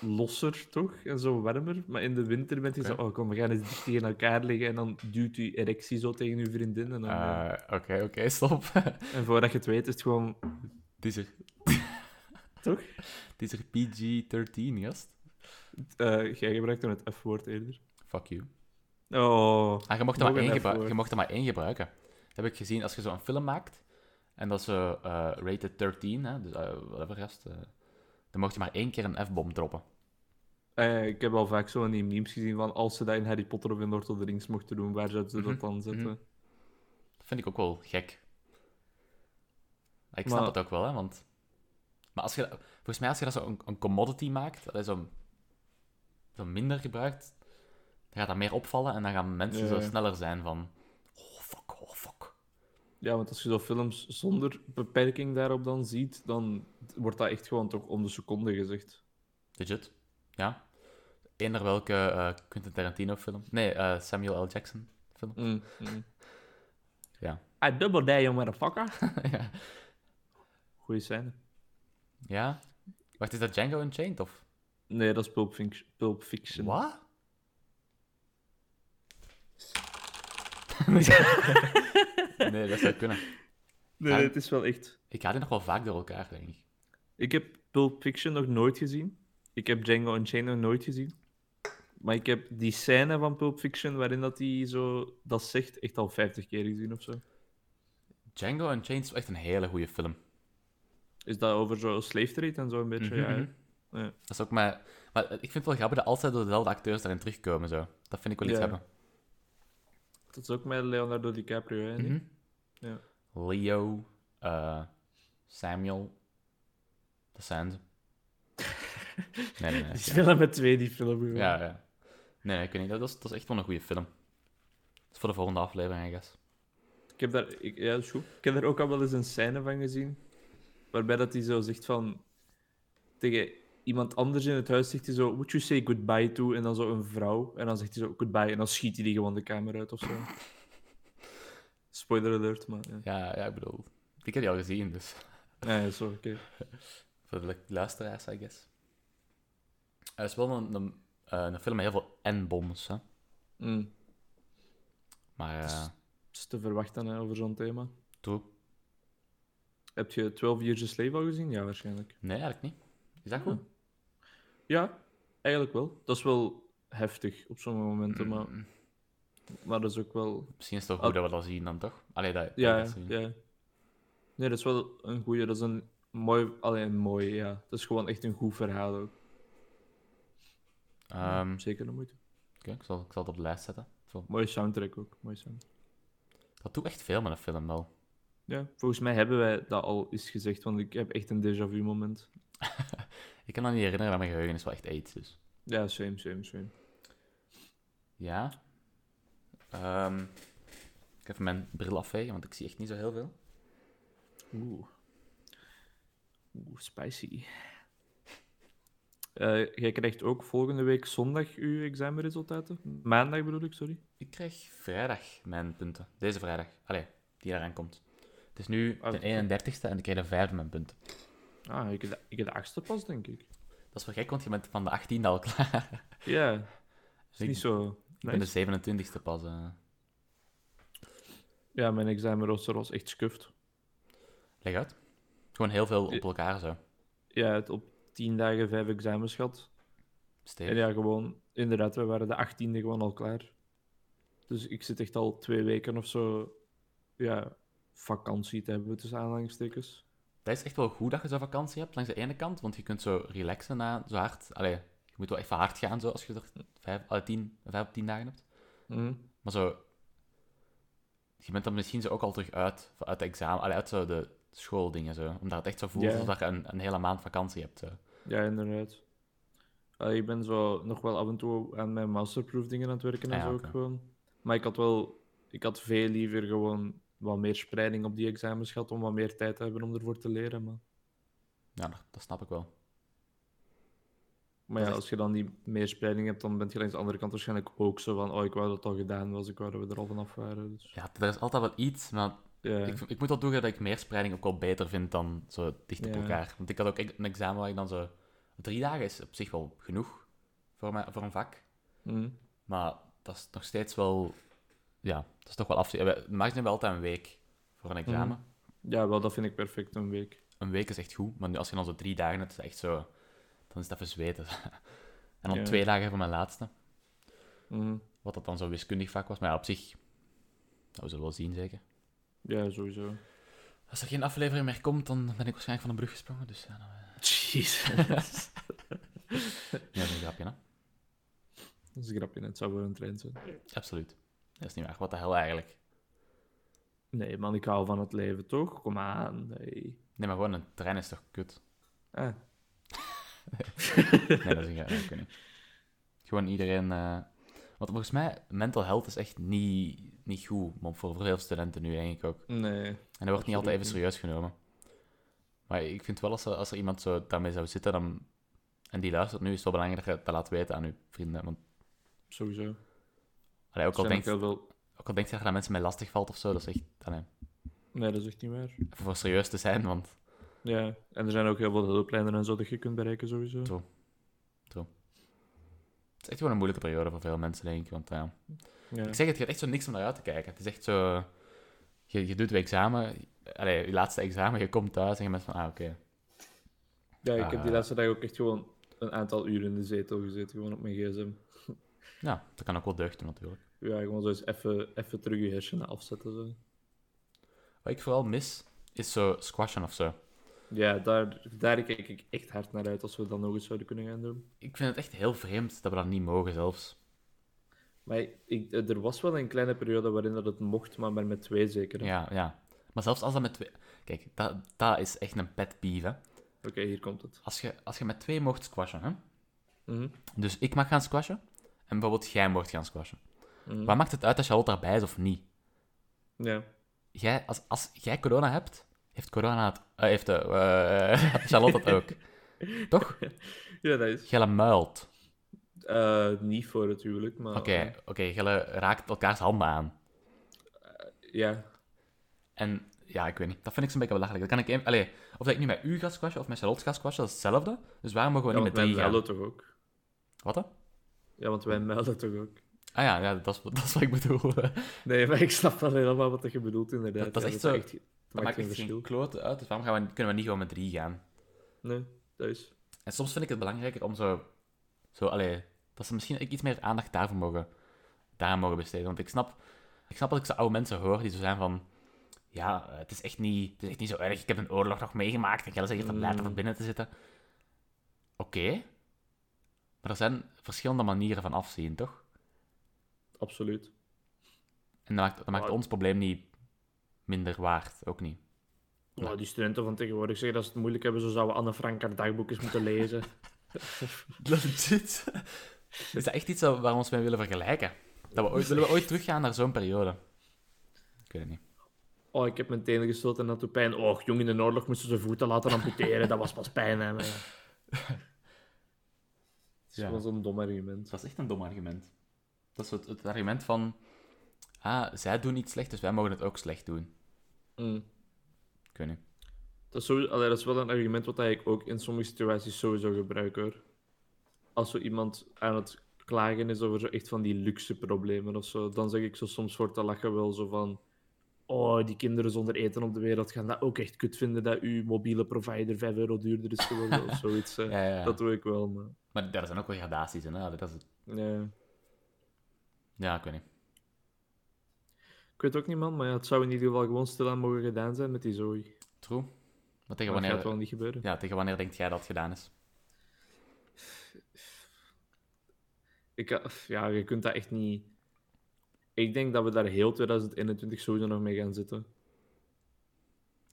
[SPEAKER 1] losser, toch? En zo warmer. Maar in de winter bent je
[SPEAKER 2] Oké.
[SPEAKER 1] zo... Oh, kom, we gaan eens dicht tegen elkaar liggen. En dan duwt je erectie zo tegen je vriendin. En, dan, eh,
[SPEAKER 2] Eh, Oké, oké, [laughs] stop.
[SPEAKER 1] en voordat je het weet, is het gewoon...
[SPEAKER 2] het, is er,
[SPEAKER 1] Toch?
[SPEAKER 2] het is er PG-13, gast.
[SPEAKER 1] eh jij gebruikte het F-woord eerder.
[SPEAKER 2] Fuck you.
[SPEAKER 1] Oh.
[SPEAKER 2] Ah, je, mocht er maar
[SPEAKER 1] Nog een
[SPEAKER 2] één
[SPEAKER 1] F-woord.
[SPEAKER 2] gebru- je mocht er maar één gebruiken. Dat heb ik gezien als je zo'n film maakt. En dat is eh, eh, rated 13, hè, dus eh, whatever, gast. eh, dan mocht je maar één keer een F-bom droppen.
[SPEAKER 1] Eh, ik heb al vaak zo van die memes gezien van... Als ze dat in Harry Potter of in Lord of the Rings mochten doen, waar zouden ze dat
[SPEAKER 2] Mhm,
[SPEAKER 1] dan zetten?
[SPEAKER 2] mhm. Dat vind ik ook wel gek. Maar ik
[SPEAKER 1] Maar-
[SPEAKER 2] snap het ook wel, hè, want... Maar als je, volgens mij als je dat zo een, een commodity maakt, dat is zo, zo minder gebruikt, dan gaat dat meer opvallen en dan gaan mensen
[SPEAKER 1] Ja,
[SPEAKER 2] zo
[SPEAKER 1] ja.
[SPEAKER 2] sneller zijn van... Oh, fuck, oh, fuck.
[SPEAKER 1] Ja, want als je zo films zonder beperking daarop dan ziet, dan wordt dat echt gewoon toch om de seconde gezegd.
[SPEAKER 2] Legit. Ja. Eender welke eh, Quentin Tarantino film. Nee, eh, Samuel L. Jackson film.
[SPEAKER 1] Mm,
[SPEAKER 2] Ja.
[SPEAKER 1] I double Ah, die, you motherfucker.
[SPEAKER 2] [laughs] ja.
[SPEAKER 1] Goeie scène.
[SPEAKER 2] ja. Wacht, is dat Django Unchained of?
[SPEAKER 1] Nee, dat is Pulp, Finc- Pulp Fiction.
[SPEAKER 2] [laughs] Wat? nee, dat zou kunnen.
[SPEAKER 1] Nee,
[SPEAKER 2] Ah.
[SPEAKER 1] nee, het is wel echt...
[SPEAKER 2] Ik haal die nog wel vaak door elkaar, denk ik.
[SPEAKER 1] Ik heb Pulp Fiction nog nooit gezien. Ik heb Django Unchained nog nooit gezien. Maar ik heb die scène van Pulp Fiction waarin dat hij zo dat zegt echt al 50 keer gezien of zo.
[SPEAKER 2] Django Unchained is echt een hele goede film.
[SPEAKER 1] Is dat over zo slave trade en zo een beetje? ja,
[SPEAKER 2] Mhm.
[SPEAKER 1] hè? Ja.
[SPEAKER 2] Dat is ook maar... Maar ik vind het wel grappig dat altijd door dezelfde acteurs daarin terugkomen, zo. Dat vind ik wel iets
[SPEAKER 1] Ja.
[SPEAKER 2] hebben.
[SPEAKER 1] Dat is ook met Leonardo DiCaprio, hè? niet?
[SPEAKER 2] Mhm.
[SPEAKER 1] Ja.
[SPEAKER 2] Leo, eh, Samuel, dat zijn ze. Nee, nee, nee.
[SPEAKER 1] Die
[SPEAKER 2] Ja,
[SPEAKER 1] spelen met twee, die film. gewoon.
[SPEAKER 2] ja. ja. Nee, nee, ik weet niet. Dat is, dat is echt wel een goede film. Dat is voor de volgende aflevering, I guess.
[SPEAKER 1] Ik heb daar, ik, ja, dat is goed. Ik heb daar ook al wel eens een scène van gezien. Waarbij dat hij zo zegt van. Tegen iemand anders in het huis zegt hij zo. Would you say goodbye to? En dan zo een vrouw. En dan zegt hij zo goodbye. En dan schiet hij die gewoon de kamer uit of [laughs] zo. Spoiler alert, maar. Ja,
[SPEAKER 2] Ja, ja, ik bedoel... Ik heb die al gezien, dus...
[SPEAKER 1] nee, sorry. oké.
[SPEAKER 2] Voor de luisteraars, I guess. Er is wel een, een, eh, een film met heel veel N-bombs, hè.
[SPEAKER 1] Mm.
[SPEAKER 2] Maar, eh
[SPEAKER 1] Dat is te verwachten hè, over zo'n thema.
[SPEAKER 2] true.
[SPEAKER 1] Heb je 12 Years a Slave al gezien? Ja, waarschijnlijk.
[SPEAKER 2] Nee, eigenlijk niet. Is dat goed?
[SPEAKER 1] Ja, eigenlijk wel. Dat is wel heftig op sommige momenten, maar,
[SPEAKER 2] Mm,
[SPEAKER 1] maar dat is ook wel
[SPEAKER 2] Misschien is het toch
[SPEAKER 1] Al-
[SPEAKER 2] goed dat we dat zien dan, toch? Allee, dat...
[SPEAKER 1] Ja,
[SPEAKER 2] dat
[SPEAKER 1] ja,
[SPEAKER 2] zien.
[SPEAKER 1] ja. Nee, dat is wel een goeie. Dat is een mooi... Alleen mooi, ja. Dat is gewoon echt een goed verhaal ook.
[SPEAKER 2] Ehm,
[SPEAKER 1] Zeker de moeite.
[SPEAKER 2] Oké, ik, zal, ik zal het op de lijst zetten. Zo.
[SPEAKER 1] Mooie soundtrack ook. Mooie sound.
[SPEAKER 2] Dat doet echt veel met een film wel.
[SPEAKER 1] Ja, volgens mij hebben wij dat al eens gezegd, want ik heb echt een déjà vu moment.
[SPEAKER 2] Ik kan me niet herinneren, dat mijn geheugen is wel echt aids. Dus.
[SPEAKER 1] Ja, same, same, same.
[SPEAKER 2] Ja. Ehm, ik even mijn bril afvegen, want ik zie echt niet zo heel veel.
[SPEAKER 1] Oeh. Oeh, spicy. Eh, jij krijgt ook volgende week zondag uw examenresultaten. Maandag bedoel ik, sorry.
[SPEAKER 2] Ik krijg vrijdag mijn punten. Deze vrijdag. Allee, die eraan komt. Het is nu
[SPEAKER 1] Ah,
[SPEAKER 2] de
[SPEAKER 1] oké.
[SPEAKER 2] 31ste en ik krijg de vijfde mijn punten.
[SPEAKER 1] Ah, ik heb de, ik heb de achtste pas, denk ik.
[SPEAKER 2] Dat is wel gek, want je bent van de 18e al klaar.
[SPEAKER 1] Ja, is
[SPEAKER 2] Ik-
[SPEAKER 1] niet zo...
[SPEAKER 2] Ik ben
[SPEAKER 1] nice.
[SPEAKER 2] de 27ste pas. eh.
[SPEAKER 1] Ja, mijn examenrooster was echt scuffed.
[SPEAKER 2] Leg uit. Gewoon heel veel
[SPEAKER 1] Ja.
[SPEAKER 2] op elkaar zo.
[SPEAKER 1] ja, het op tien dagen vijf examens gehad. En
[SPEAKER 2] Stevig.
[SPEAKER 1] ja, gewoon, inderdaad, we waren de 18e gewoon al klaar. Dus ik zit echt al twee weken of zo, ja, vakantie te hebben tussen aanhalingstekens.
[SPEAKER 2] Dat is echt wel goed dat je zo'n vakantie hebt, langs de ene kant, want je kunt zo relaxen na zo hard. Allee, je moet wel even hard gaan zo, als je er vijf, allee, tien, vijf op tien dagen hebt.
[SPEAKER 1] Mhm.
[SPEAKER 2] Maar zo, je bent dan misschien zo ook al terug uit, uit de examen, allee, uit zo de schooldingen zo. Omdat het echt zo voelt
[SPEAKER 1] Ja.
[SPEAKER 2] alsof dat je een, een hele maand vakantie hebt. Zo.
[SPEAKER 1] Ja, inderdaad. Allee, ik ben zo nog wel af en toe aan mijn masterproof dingen aan het werken en
[SPEAKER 2] Ah ja,
[SPEAKER 1] zo
[SPEAKER 2] oké.
[SPEAKER 1] ook gewoon. Maar ik had wel, ik had veel liever gewoon wat meer spreiding op die examens gehad om wat meer tijd te hebben om ervoor te leren. Maar,
[SPEAKER 2] Ja, dat, dat snap ik wel.
[SPEAKER 1] maar
[SPEAKER 2] Dat
[SPEAKER 1] ja,
[SPEAKER 2] is-
[SPEAKER 1] als je dan die meer spreiding hebt, dan ben je langs de andere kant waarschijnlijk ook zo van, oh, ik wou dat het al gedaan was, ik wou dat we er al vanaf waren. Dus,
[SPEAKER 2] Ja, er is altijd wel iets, maar
[SPEAKER 1] ja.
[SPEAKER 2] ik, ik moet wel toegeven dat ik meer spreiding ook wel beter vind dan zo dicht op
[SPEAKER 1] Ja.
[SPEAKER 2] elkaar. Want ik had ook e- een examen waar ik dan zo... Drie dagen is op zich wel genoeg voor, mijn, voor een vak.
[SPEAKER 1] Mhm.
[SPEAKER 2] Maar dat is nog steeds wel... Ja, dat is toch wel afzien. We maken nu wel altijd een week voor een
[SPEAKER 1] Mhm.
[SPEAKER 2] examen.
[SPEAKER 1] Ja, wel, dat vind ik perfect, een week.
[SPEAKER 2] Een week is echt goed, maar nu, als je dan zo drie dagen hebt, is het echt zo... Dan is dat verzweten. [laughs] en dan
[SPEAKER 1] Ja.
[SPEAKER 2] twee dagen voor mijn laatste.
[SPEAKER 1] Mhm.
[SPEAKER 2] Wat dat dan zo'n wiskundig vak was. Maar ja, op zich... Dat we zullen wel zien, zeker.
[SPEAKER 1] Ja, sowieso.
[SPEAKER 2] Als er geen aflevering meer komt, dan ben ik waarschijnlijk van de brug gesprongen. Dus ja, dan, eh,
[SPEAKER 1] Jezus.
[SPEAKER 2] ja, dat is een grapje, hè?
[SPEAKER 1] [laughs] dat is een grapje, het zou wel een trend zijn.
[SPEAKER 2] Absoluut. Dat is niet waar. Wat de hel eigenlijk?
[SPEAKER 1] Nee, man, ik hou van het leven, toch? Kom aan, nee.
[SPEAKER 2] Nee, maar gewoon een trein is toch kut?
[SPEAKER 1] Ah,
[SPEAKER 2] Nee, dat is niet. Dat kan niet. Gewoon iedereen. eh, Want volgens mij, mental health is echt niet, niet goed. Maar voor veel studenten nu, denk ik ook.
[SPEAKER 1] nee.
[SPEAKER 2] En dat wordt niet
[SPEAKER 1] Absoluut
[SPEAKER 2] altijd even serieus genomen. Maar ik vind wel als er, als er iemand zo daarmee zou zitten dan, en die luistert nu, is het wel belangrijk dat je dat laat weten aan je vrienden. Want
[SPEAKER 1] Sowieso.
[SPEAKER 2] allee, ook, al
[SPEAKER 1] Zijn
[SPEAKER 2] denkt,
[SPEAKER 1] ook heel veel-
[SPEAKER 2] ook al denkt je dat dat mensen mee lastig valt of zo, dat is echt. allee,
[SPEAKER 1] Nee, dat is echt niet waar.
[SPEAKER 2] even voor serieus te zijn, want
[SPEAKER 1] Ja, en er zijn ook heel veel hulplijnen en zo dat je kunt bereiken, sowieso.
[SPEAKER 2] Toch. het is echt wel een moeilijke periode voor veel mensen, denk ik. Want ja.
[SPEAKER 1] Ja.
[SPEAKER 2] Ik zeg het, je hebt echt zo niks om naar uit te kijken. Het is echt zo... Je, je doet je examen, allee, je laatste examen, je komt thuis en je bent van, ah, oké.
[SPEAKER 1] ja, ik heb die
[SPEAKER 2] Ah.
[SPEAKER 1] laatste dag ook echt gewoon een aantal uur in de zetel gezeten, gewoon op mijn gsm.
[SPEAKER 2] Ja, dat kan ook wel deugd doen, natuurlijk.
[SPEAKER 1] Ja, gewoon zo eens even, even terug je hersenen afzetten. Zo.
[SPEAKER 2] Wat ik vooral mis, is zo squashen of zo.
[SPEAKER 1] Ja, daar, daar kijk ik echt hard naar uit als we dat nog eens zouden kunnen gaan doen.
[SPEAKER 2] Ik vind het echt heel vreemd dat we dat niet mogen zelfs.
[SPEAKER 1] Maar ik, eh, er was wel een kleine periode waarin dat het mocht, maar, maar met twee zeker. hè?
[SPEAKER 2] Ja, ja. Maar zelfs als dat met twee... Kijk, dat, dat is echt een pet peeve, hè.
[SPEAKER 1] Oké, hier komt het.
[SPEAKER 2] Als je, als je met twee mocht squashen, hè.
[SPEAKER 1] Mhm.
[SPEAKER 2] Dus ik mag gaan squashen, en bijvoorbeeld jij mocht gaan squashen.
[SPEAKER 1] Mhm.
[SPEAKER 2] Wat maakt het uit als Charlotte daarbij is of niet?
[SPEAKER 1] Ja.
[SPEAKER 2] Jij, als, als jij corona hebt, heeft corona het... eh, heeft de, eh, [laughs] Charlotte het
[SPEAKER 1] [laughs]
[SPEAKER 2] ook. Toch?
[SPEAKER 1] ja, dat is
[SPEAKER 2] Jij muilt.
[SPEAKER 1] eh, niet voor het huwelijk, maar... eh,
[SPEAKER 2] Oké, oké, jij raakt elkaars handen aan.
[SPEAKER 1] Ja,
[SPEAKER 2] En ja, ik weet niet. Dat vind ik zo'n beetje belachelijk. Dat kan ik even... Allee, of dat ik nu met u ga squashen of met Charlotte ga squashen, dat is hetzelfde. Dus waarom mogen we
[SPEAKER 1] ja
[SPEAKER 2] niet
[SPEAKER 1] want
[SPEAKER 2] met
[SPEAKER 1] wij
[SPEAKER 2] drie gaan?
[SPEAKER 1] melden toch ook?
[SPEAKER 2] Wat dan?
[SPEAKER 1] Ja, want wij melden toch ook?
[SPEAKER 2] Ah ja, ja dat, is, [laughs] dat is wat ik bedoel. Dat,
[SPEAKER 1] Nee, maar ik snap wel helemaal wat je bedoelt, inderdaad.
[SPEAKER 2] Dat- dat is
[SPEAKER 1] Ja,
[SPEAKER 2] echt
[SPEAKER 1] dat
[SPEAKER 2] zo-
[SPEAKER 1] dat
[SPEAKER 2] maakt echt geen klote uit. Dus waarom gaan we, kunnen we niet gewoon met drie gaan?
[SPEAKER 1] Nee, dat is...
[SPEAKER 2] En soms vind ik het belangrijker om zo... zo allee, dat ze misschien iets meer aandacht daarvoor mogen, daaraan mogen besteden. Want ik snap, ik snap dat ik zo oude mensen hoor die zo zijn van... Ja, eh, het is, echt niet, het is echt niet zo erg. Ik heb een oorlog nog meegemaakt. En jij zegt dat later
[SPEAKER 1] Mm.
[SPEAKER 2] van binnen te zitten. Oké. Maar er zijn verschillende manieren van afzien, toch?
[SPEAKER 1] Absoluut.
[SPEAKER 2] En dat maakt, dat maakt
[SPEAKER 1] Maar-
[SPEAKER 2] ons probleem niet minder waard. Ook niet.
[SPEAKER 1] Nou, die studenten van tegenwoordig zeggen dat ze het moeilijk hebben, zo zouden Anne Frank haar dagboek eens moeten lezen.
[SPEAKER 2] Legit. Is dat echt iets waar we ons mee willen vergelijken? Dat we ooit, willen we ooit teruggaan naar zo'n periode? Ik weet het niet.
[SPEAKER 1] Oh, ik heb mijn tenen gestoten en dat doet pijn. Och, jong in de oorlog moesten ze voeten laten amputeren, dat was pas pijn, hè. maar ja. Het is
[SPEAKER 2] Ja.
[SPEAKER 1] gewoon zo'n dom argument.
[SPEAKER 2] Dat is echt een dom argument. Dat is het, het argument van... Ah, zij doen iets slecht, dus wij mogen het ook slecht doen.
[SPEAKER 1] Mm.
[SPEAKER 2] Ik weet niet.
[SPEAKER 1] Dat, is sowieso, allee, dat is wel een argument wat ik ook in sommige situaties sowieso gebruik, hoor. Als zo iemand aan het klagen is over zo echt van die luxe problemen of zo, dan zeg ik zo soms voor te lachen wel zo van... Oh, die kinderen zonder eten op de wereld gaan dat ook echt kut vinden dat uw mobiele provider 5 euro duurder is geworden
[SPEAKER 2] [laughs]
[SPEAKER 1] of zoiets. hè.
[SPEAKER 2] Ja, ja, ja.
[SPEAKER 1] Dat doe ik wel, maar...
[SPEAKER 2] Maar daar zijn ook wel gradaties in. Hè? Dat is het-
[SPEAKER 1] Ja.
[SPEAKER 2] Ja, ik weet niet.
[SPEAKER 1] Ik weet ook niet, man, maar ja, het zou in ieder geval gewoon stilaan mogen gedaan zijn met die zooi.
[SPEAKER 2] True. Maar tegen
[SPEAKER 1] Maar Dat gaat
[SPEAKER 2] wanneer,
[SPEAKER 1] wel niet gebeuren.
[SPEAKER 2] ja, tegen wanneer denkt jij dat het gedaan is?
[SPEAKER 1] Ik, ha- ja, je kunt dat echt niet. Ik denk dat we daar heel 2021 sowieso nog mee gaan zitten.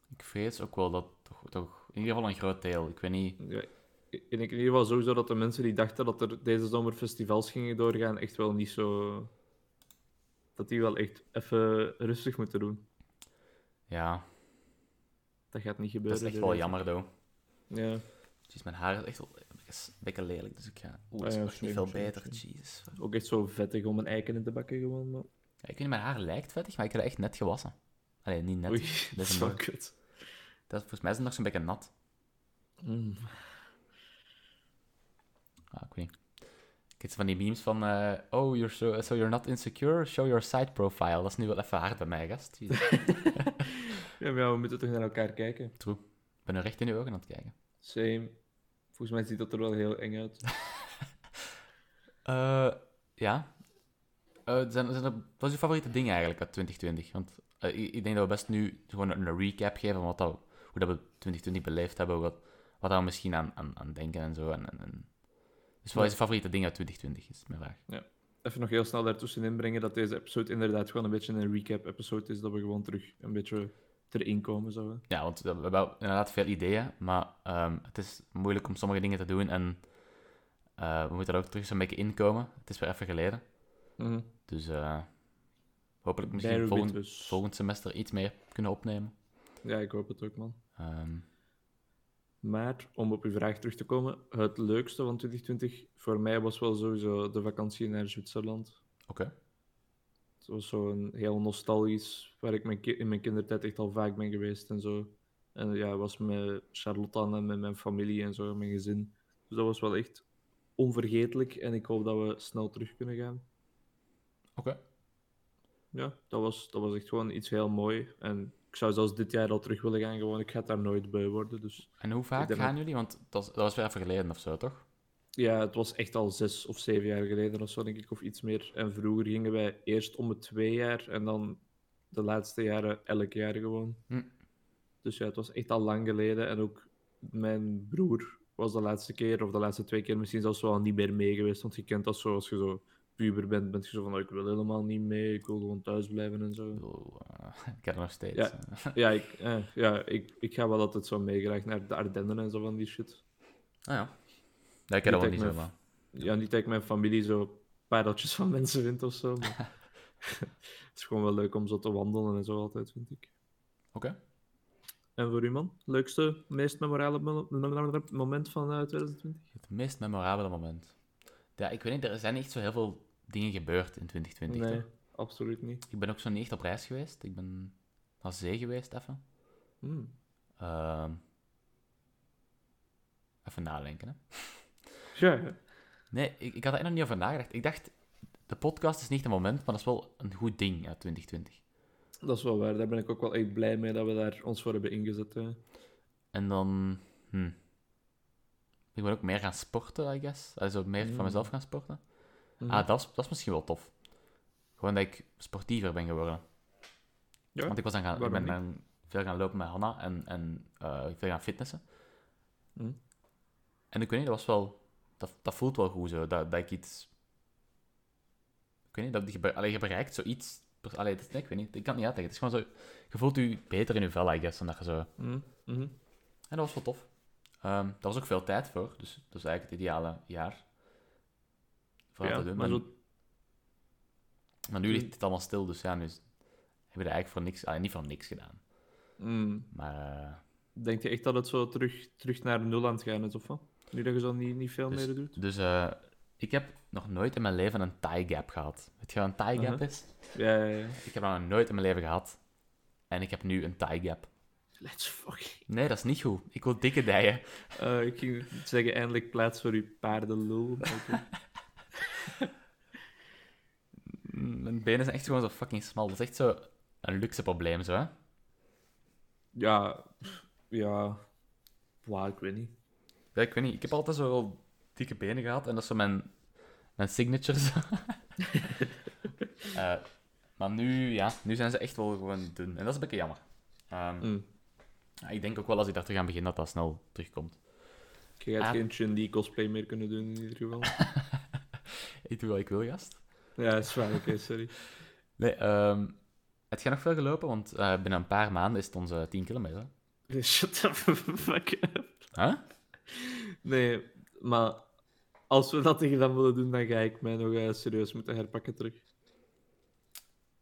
[SPEAKER 2] Ik vrees ook wel dat... Toch, toch, in ieder geval een groot deel. Ik weet niet...
[SPEAKER 1] Ja, ik ik denk in ieder geval sowieso dat de mensen die dachten dat er deze zomer festivals gingen doorgaan, echt wel niet zo. Dat die wel echt even rustig moeten doen.
[SPEAKER 2] Ja,
[SPEAKER 1] Dat gaat niet
[SPEAKER 2] dat
[SPEAKER 1] gebeuren.
[SPEAKER 2] is echt
[SPEAKER 1] denk
[SPEAKER 2] wel
[SPEAKER 1] ik.
[SPEAKER 2] jammer, though.
[SPEAKER 1] Ja. Ah
[SPEAKER 2] Jeez, mijn haar is echt wel een beetje- een beetje lelijk, dus ik ga... Oeh,
[SPEAKER 1] Ah
[SPEAKER 2] het is
[SPEAKER 1] ja,
[SPEAKER 2] nog
[SPEAKER 1] sorry,
[SPEAKER 2] niet veel
[SPEAKER 1] sorry,
[SPEAKER 2] beter,
[SPEAKER 1] sorry.
[SPEAKER 2] jezus. Ja,
[SPEAKER 1] Ook echt zo vettig om een eiken in te bakken gewoon. Maar...
[SPEAKER 2] ik weet niet, mijn haar lijkt vettig, maar ik heb het echt net gewassen. Allee, niet net.
[SPEAKER 1] Oei,
[SPEAKER 2] [laughs] een
[SPEAKER 1] dat is [laughs] wel
[SPEAKER 2] mooi.
[SPEAKER 1] kut.
[SPEAKER 2] Dat, is- volgens mij is het nog zo'n beetje nat.
[SPEAKER 1] Mm.
[SPEAKER 2] Ah, ik weet niet. Ik heb zo van die memes van... eh, oh, you're so, so you're not insecure? Show your side profile. Dat is nu wel even hard bij mij, gast. Jezus.
[SPEAKER 1] Ja, maar ja, we moeten toch naar elkaar kijken.
[SPEAKER 2] ik ben nu recht in je ogen aan het kijken.
[SPEAKER 1] Same. Volgens mij ziet dat er wel heel eng uit.
[SPEAKER 2] Eh, ja. Eh, zijn, zijn er, wat is je favoriete ding eigenlijk uit 2020? Want eh, ik, ik denk dat we best nu gewoon een recap geven van wat dat, hoe dat we 2020 beleefd hebben, wat, wat daar misschien aan, aan, aan denken en zo. En, en, en- Dus wat is je favoriete ding uit 2020, is mijn vraag.
[SPEAKER 1] even nog heel snel daartussen inbrengen dat deze episode inderdaad gewoon een beetje een recap-episode is. Dat we gewoon terug een beetje erin komen. Zo. hè.
[SPEAKER 2] Ja, want we hebben wel inderdaad veel ideeën, maar ehm, het is moeilijk om sommige dingen te doen en eh, we moeten er ook terug zo'n beetje inkomen. Het is weer even geleden, dus eh, hopelijk misschien
[SPEAKER 1] Bear with
[SPEAKER 2] volgend,
[SPEAKER 1] us.
[SPEAKER 2] volgend semester iets meer kunnen opnemen.
[SPEAKER 1] dus. Ja, ik hoop het ook, man.
[SPEAKER 2] Ehm,
[SPEAKER 1] Maar om op uw vraag terug te komen, het leukste van 2020 voor mij was wel sowieso de vakantie naar Zwitserland.
[SPEAKER 2] Oké.
[SPEAKER 1] Het was zo'n heel nostalgisch, waar ik mijn ki- in mijn kindertijd echt al vaak ben geweest en zo. En ja, was met Charlotte en met mijn familie en zo, mijn gezin. Dus dat was wel echt onvergetelijk en ik hoop dat we snel terug kunnen gaan.
[SPEAKER 2] Oké.
[SPEAKER 1] Ja, dat was, dat was echt gewoon iets heel mooi. En ik zou zelfs dit jaar al terug willen gaan, gewoon. Ik ga daar nooit bij worden, dus...
[SPEAKER 2] En hoe
[SPEAKER 1] Ik
[SPEAKER 2] vaak
[SPEAKER 1] denk
[SPEAKER 2] gaan
[SPEAKER 1] ook-
[SPEAKER 2] jullie? Want dat was, dat was weer even geleden of zo, toch?
[SPEAKER 1] Ja, het was echt al zes of zeven jaar geleden of zo, denk ik, of iets meer. En vroeger gingen wij eerst om het twee jaar en dan de laatste jaren elk jaar gewoon.
[SPEAKER 2] Hm.
[SPEAKER 1] Dus ja, het was echt al lang geleden. En ook mijn broer was de laatste keer, of de laatste twee keer misschien zelfs wel niet meer mee geweest. Want je kent dat zo, als je zo puber bent, ben je zo van, "Oh, ik wil helemaal niet mee, ik wil gewoon thuis blijven en zo.
[SPEAKER 2] Ik bedoel, eh, [laughs] ik heb er nog steeds.
[SPEAKER 1] Ja. Ja, ik, eh, ja, ik, ik ga wel altijd zo meegerecht naar de Ardennen en zo van die shit.
[SPEAKER 2] Ah ja. Ja, ik heb dat wel
[SPEAKER 1] denk
[SPEAKER 2] niet
[SPEAKER 1] me-
[SPEAKER 2] zomaar.
[SPEAKER 1] Ja, niet dat ik mijn familie zo pareltjes van mensen vind of zo, maar...
[SPEAKER 2] [laughs]
[SPEAKER 1] Het is gewoon wel leuk om zo te wandelen en zo altijd, vind ik.
[SPEAKER 2] Oké.
[SPEAKER 1] En voor u, man? Leukste, meest memorabele mo- mo- moment van eh, 2020?
[SPEAKER 2] Het meest memorabele moment. Ja, ik weet niet, er zijn niet zo heel veel dingen gebeurd in 2020.
[SPEAKER 1] Nee,
[SPEAKER 2] toch?
[SPEAKER 1] absoluut niet.
[SPEAKER 2] Ik ben ook zo niet echt op reis geweest. Ik ben naar zee geweest even.
[SPEAKER 1] Hm.
[SPEAKER 2] Ehm, even nadenken, hè.
[SPEAKER 1] Ja, ja.
[SPEAKER 2] Nee, ik, ik had er nog niet over nagedacht. Ik dacht, de podcast is niet een moment, maar dat is wel een goed ding uit 2020.
[SPEAKER 1] dat is wel waar. Daar ben ik ook wel echt blij mee dat we daar ons voor hebben ingezet.
[SPEAKER 2] Ah,
[SPEAKER 1] hè.
[SPEAKER 2] En dan... Hm, ik ben ook meer gaan sporten, I guess. Also meer van
[SPEAKER 1] Mm.
[SPEAKER 2] mezelf gaan sporten.
[SPEAKER 1] Mhm.
[SPEAKER 2] Ah, dat is, dat is misschien wel tof. Gewoon dat ik sportiever ben geworden.
[SPEAKER 1] Ja,
[SPEAKER 2] Want ik, was dan gaan, ik ben
[SPEAKER 1] waarom
[SPEAKER 2] dan veel gaan lopen met Hanna en, en eh, veel gaan fitnessen.
[SPEAKER 1] Hm.
[SPEAKER 2] En ik weet niet, dat was wel... Dat, dat voelt wel goed zo, dat, dat ik iets... Ik weet niet, dat je, be- allee, je bereikt zoiets... pers- Allee, dat, nee, ik weet niet, ik kan het niet uitleggen. Het is gewoon zo... Je voelt je beter in je vel, I guess, dan dat je zo...
[SPEAKER 1] Mhm, mhm.
[SPEAKER 2] En dat was wel tof. Ehm daar was ook veel tijd voor, dus dat is eigenlijk het ideale jaar. Voor
[SPEAKER 1] Ja,
[SPEAKER 2] dat te doen.
[SPEAKER 1] maar
[SPEAKER 2] Maar,
[SPEAKER 1] zo-
[SPEAKER 2] maar nu ligt het allemaal stil, dus ja, nu is- hebben we er eigenlijk voor niks... Allee, niet voor niks gedaan.
[SPEAKER 1] Mm.
[SPEAKER 2] Maar... eh,
[SPEAKER 1] Denk je echt dat het zo terug, terug naar nul aan het gaan is, of wat? Nu dat je zo niet, niet veel
[SPEAKER 2] Dus-
[SPEAKER 1] meer doet?
[SPEAKER 2] Dus eh, ik heb nog nooit in mijn leven een tie gap gehad. Weet je wat een tie gap
[SPEAKER 1] Mhm.
[SPEAKER 2] is?
[SPEAKER 1] Ja, ja, ja.
[SPEAKER 2] Ik heb dat nog nooit in mijn leven gehad. En ik heb nu een tie gap.
[SPEAKER 1] Let's fucking...
[SPEAKER 2] Nee, dat is niet goed. Ik wil dikke dijen.
[SPEAKER 1] Eh, ik ging zeggen, eindelijk plaats voor uw paardenlul. [laughs] maar oké.
[SPEAKER 2] Mm, Mijn benen zijn echt gewoon zo fucking smal. Dat is echt zo een luxe probleem, zo hè.
[SPEAKER 1] ja, pff, ja... Wauw, ik weet niet.
[SPEAKER 2] Ja, ik weet niet. Ik heb altijd zo wel dikke benen gehad. En dat is zo mijn, mijn signatures. [laughs] Eh, maar nu, ja, nu zijn ze echt wel gewoon dun. En dat is een beetje jammer. Ehm,
[SPEAKER 1] Mm.
[SPEAKER 2] ja, Ik denk ook wel als ik daar te gaan beginnen, dat dat snel terugkomt.
[SPEAKER 1] Je gaat
[SPEAKER 2] Ah.
[SPEAKER 1] geen Chun-Li cosplay meer kunnen doen, in ieder [laughs] geval.
[SPEAKER 2] Ik doe wat ik wil, gast.
[SPEAKER 1] ja, is waar, oké, sorry.
[SPEAKER 2] Nee, ehm, het gaat nog veel gelopen, want eh, binnen een paar maanden is het onze 10 kilometer.
[SPEAKER 1] Dus Shut the fuck up.
[SPEAKER 2] Huh?
[SPEAKER 1] Nee, maar als we dat tegen dan willen doen, dan ga ik mij nog eh, serieus moeten herpakken terug.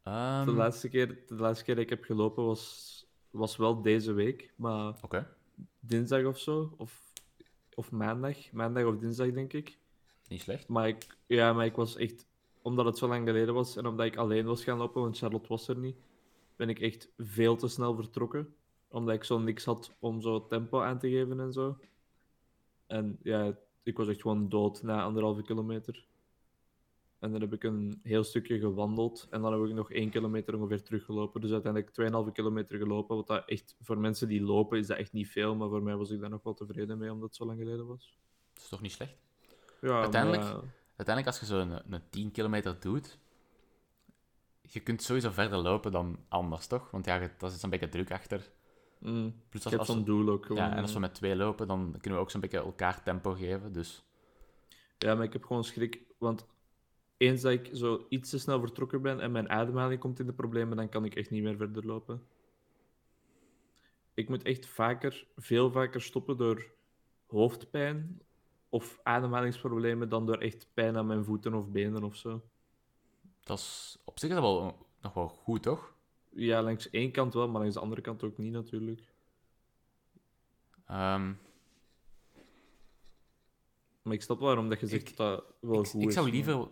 [SPEAKER 2] Ehm,
[SPEAKER 1] De, laatste keer, de laatste keer dat ik heb gelopen was, was wel deze week, maar
[SPEAKER 2] Oké.
[SPEAKER 1] dinsdag of zo, of, of maandag, maandag of dinsdag denk ik.
[SPEAKER 2] Niet slecht.
[SPEAKER 1] Maar ik, ja, maar ik was echt, omdat het zo lang geleden was en omdat ik alleen was gaan lopen, want Charlotte was er niet, ben ik echt veel te snel vertrokken. Omdat ik zo niks had om zo tempo aan te geven en zo. En ja, ik was echt gewoon dood na anderhalve kilometer. En dan heb ik een heel stukje gewandeld en dan heb ik nog één kilometer ongeveer teruggelopen. Dus uiteindelijk 2,5 kilometer gelopen. Wat dat echt, voor mensen die lopen is dat echt niet veel, maar voor mij was ik daar nog wel tevreden mee omdat het zo lang geleden was.
[SPEAKER 2] Dat is toch niet slecht?
[SPEAKER 1] Ja,
[SPEAKER 2] Uiteindelijk-
[SPEAKER 1] maar ja.
[SPEAKER 2] Uiteindelijk, als je zo'n een 10 kilometer doet, je kunt sowieso verder lopen dan anders, toch? Want ja, je- dat is een beetje druk achter.
[SPEAKER 1] Mm. Ik
[SPEAKER 2] Plus als,
[SPEAKER 1] heb
[SPEAKER 2] als,
[SPEAKER 1] zo'n doel ook gewoon. eh.
[SPEAKER 2] ja, en als we met twee lopen, dan kunnen we ook zo'n beetje elkaar tempo geven. Dus
[SPEAKER 1] Ja, maar ik heb gewoon schrik. Want eens dat ik zo iets te snel vertrokken ben en mijn ademhaling komt in de problemen, dan kan ik echt niet meer verder lopen. Ik moet echt vaker, veel vaker stoppen door hoofdpijn of ademhalingsproblemen dan door echt pijn aan mijn voeten of benen of zo.
[SPEAKER 2] dat is, op zich is dat wel eh, nog wel goed, toch?
[SPEAKER 1] Ja, langs één kant wel, maar langs de andere kant ook niet natuurlijk.
[SPEAKER 2] Ehm,
[SPEAKER 1] Maar ik snap wel waarom dat je zegt
[SPEAKER 2] Ik-
[SPEAKER 1] dat dat wel
[SPEAKER 2] ik,
[SPEAKER 1] goed
[SPEAKER 2] ik
[SPEAKER 1] is,
[SPEAKER 2] zou
[SPEAKER 1] maar-
[SPEAKER 2] liever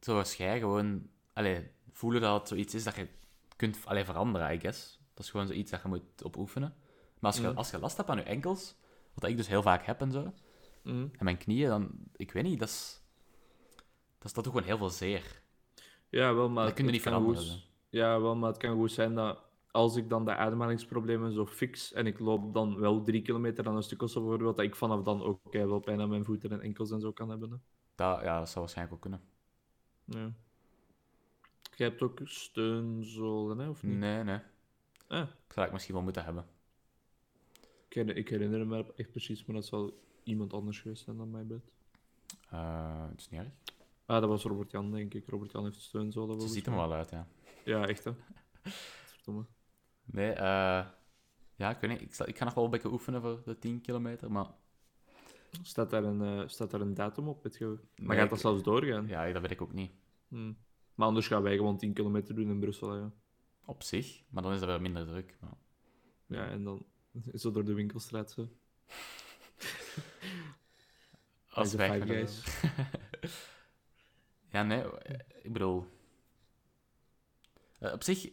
[SPEAKER 2] zoals jij gewoon allee, voelen dat het zoiets is dat je kunt allee, veranderen, I guess. Dat is gewoon zoiets dat je moet op oefenen. Maar als je,
[SPEAKER 1] Mm.
[SPEAKER 2] als je last hebt aan je enkels, wat ik dus heel vaak heb en zo,
[SPEAKER 1] Mhm.
[SPEAKER 2] en mijn knieën, dan, ik weet niet, dat is, dat is dat doet gewoon heel veel zeer.
[SPEAKER 1] Ja, wel, maar...
[SPEAKER 2] dat kun je
[SPEAKER 1] het
[SPEAKER 2] niet
[SPEAKER 1] kan goed
[SPEAKER 2] veranderen.
[SPEAKER 1] z-
[SPEAKER 2] zo.
[SPEAKER 1] Ja, wel, maar het kan goed zijn dat als ik dan de ademhalingsproblemen zo fix en ik loop dan wel drie kilometer aan een stuk of zo bijvoorbeeld, dat ik vanaf dan ook wel pijn aan mijn voeten en enkels en zo kan hebben. hè.
[SPEAKER 2] Dat, ja, dat zou waarschijnlijk ook kunnen.
[SPEAKER 1] Ja. Ik Jij hebt ook steunzolen, hè? Of niet?
[SPEAKER 2] Nee, nee.
[SPEAKER 1] Hm. Ah,
[SPEAKER 2] Ik zou het misschien wel moeten hebben.
[SPEAKER 1] ik, herinner, ik herinner me echt precies, maar dat zal iemand anders geweest zijn dan mijn bed.
[SPEAKER 2] Eh, het is niet erg.
[SPEAKER 1] Ah, dat was Robert Jan, denk ik. Robert Jan heeft steunzolen.
[SPEAKER 2] Ze
[SPEAKER 1] volgens
[SPEAKER 2] ziet er
[SPEAKER 1] mij.
[SPEAKER 2] wel uit, ja.
[SPEAKER 1] Ja, echt hè. [laughs] Verdomme.
[SPEAKER 2] Nee, eh ja, ik weet niet. Ik, zal- ik ga nog wel een beetje oefenen voor de 10 kilometer, maar...
[SPEAKER 1] Staat daar een, eh, staat daar een datum op? Weet je? wel? Maar
[SPEAKER 2] Nee,
[SPEAKER 1] gaat dat
[SPEAKER 2] ik-
[SPEAKER 1] zelfs doorgaan?
[SPEAKER 2] Ja, dat weet ik ook niet.
[SPEAKER 1] Hm. Maar anders gaan wij gewoon 10 kilometer doen in Brussel. hè, Ja.
[SPEAKER 2] Op zich, maar dan is dat wel minder druk. Maar...
[SPEAKER 1] ja, en dan zo door de winkelstraat. Zo.
[SPEAKER 2] Als
[SPEAKER 1] de
[SPEAKER 2] wij
[SPEAKER 1] Five
[SPEAKER 2] gaan doen.
[SPEAKER 1] Guys.
[SPEAKER 2] Ja, nee, eh, ik bedoel... eh, op zich,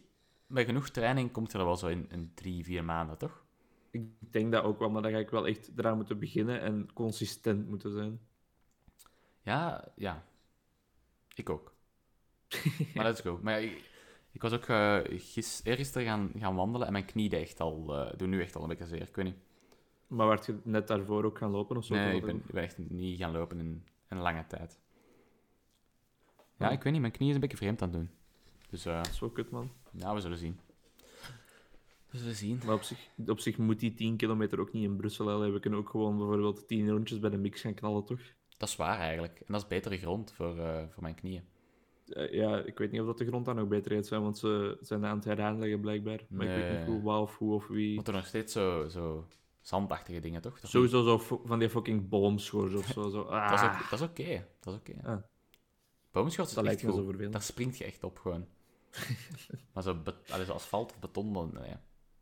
[SPEAKER 2] bij genoeg training komt je er wel zo in, in drie, vier maanden, toch?
[SPEAKER 1] Ik denk dat ook wel, maar dan ga ik wel echt eraan moeten beginnen en consistent moeten zijn.
[SPEAKER 2] Ja, ja. Ik [laughs] ook. Maar let's go. Maar ja, ik, ik was ook eh gis, eergisteren gaan, gaan wandelen en mijn knie deed echt al, eh doen nu echt al een beetje zeer. Ik weet niet.
[SPEAKER 1] Maar werd je net daarvoor ook gaan lopen of zo?
[SPEAKER 2] nee,
[SPEAKER 1] Of
[SPEAKER 2] ik ben,
[SPEAKER 1] wat?
[SPEAKER 2] ik ben echt niet gaan lopen in een lange tijd. Ja,
[SPEAKER 1] Ja.
[SPEAKER 2] ik weet niet. Mijn knie is een beetje vreemd aan het doen. Dus eh,
[SPEAKER 1] Dat is wel kut, man.
[SPEAKER 2] ja, we zullen zien. We zullen zien.
[SPEAKER 1] Maar op zich, op zich moet die 10 kilometer ook niet in Brussel hebben. We kunnen ook gewoon bijvoorbeeld 10 rondjes bij de mix gaan knallen, toch?
[SPEAKER 2] Dat is waar eigenlijk. En dat is betere grond voor, eh, voor mijn knieën.
[SPEAKER 1] Eh, ja, ik weet niet of dat de grond daar nog beter gaat zijn, want ze zijn dat aan het heraanleggen blijkbaar. Maar ik weet
[SPEAKER 2] Nee.
[SPEAKER 1] niet hoe, waar of hoe of wie.
[SPEAKER 2] Want er nog steeds zo, zo zandachtige dingen, toch? Dat,
[SPEAKER 1] Sowieso zo fo- van die fucking boomschors of zo. zo. Ah,
[SPEAKER 2] [laughs] dat is ook- dat is oké. Dat is oké.
[SPEAKER 1] Ah.
[SPEAKER 2] Boomschors is
[SPEAKER 1] dat
[SPEAKER 2] echt
[SPEAKER 1] lijkt me
[SPEAKER 2] goed.
[SPEAKER 1] zo vervelend.
[SPEAKER 2] Daar springt je echt
[SPEAKER 1] [laughs]
[SPEAKER 2] op gewoon. maar zo, be- allee, zo asfalt of beton, dan, nou nee.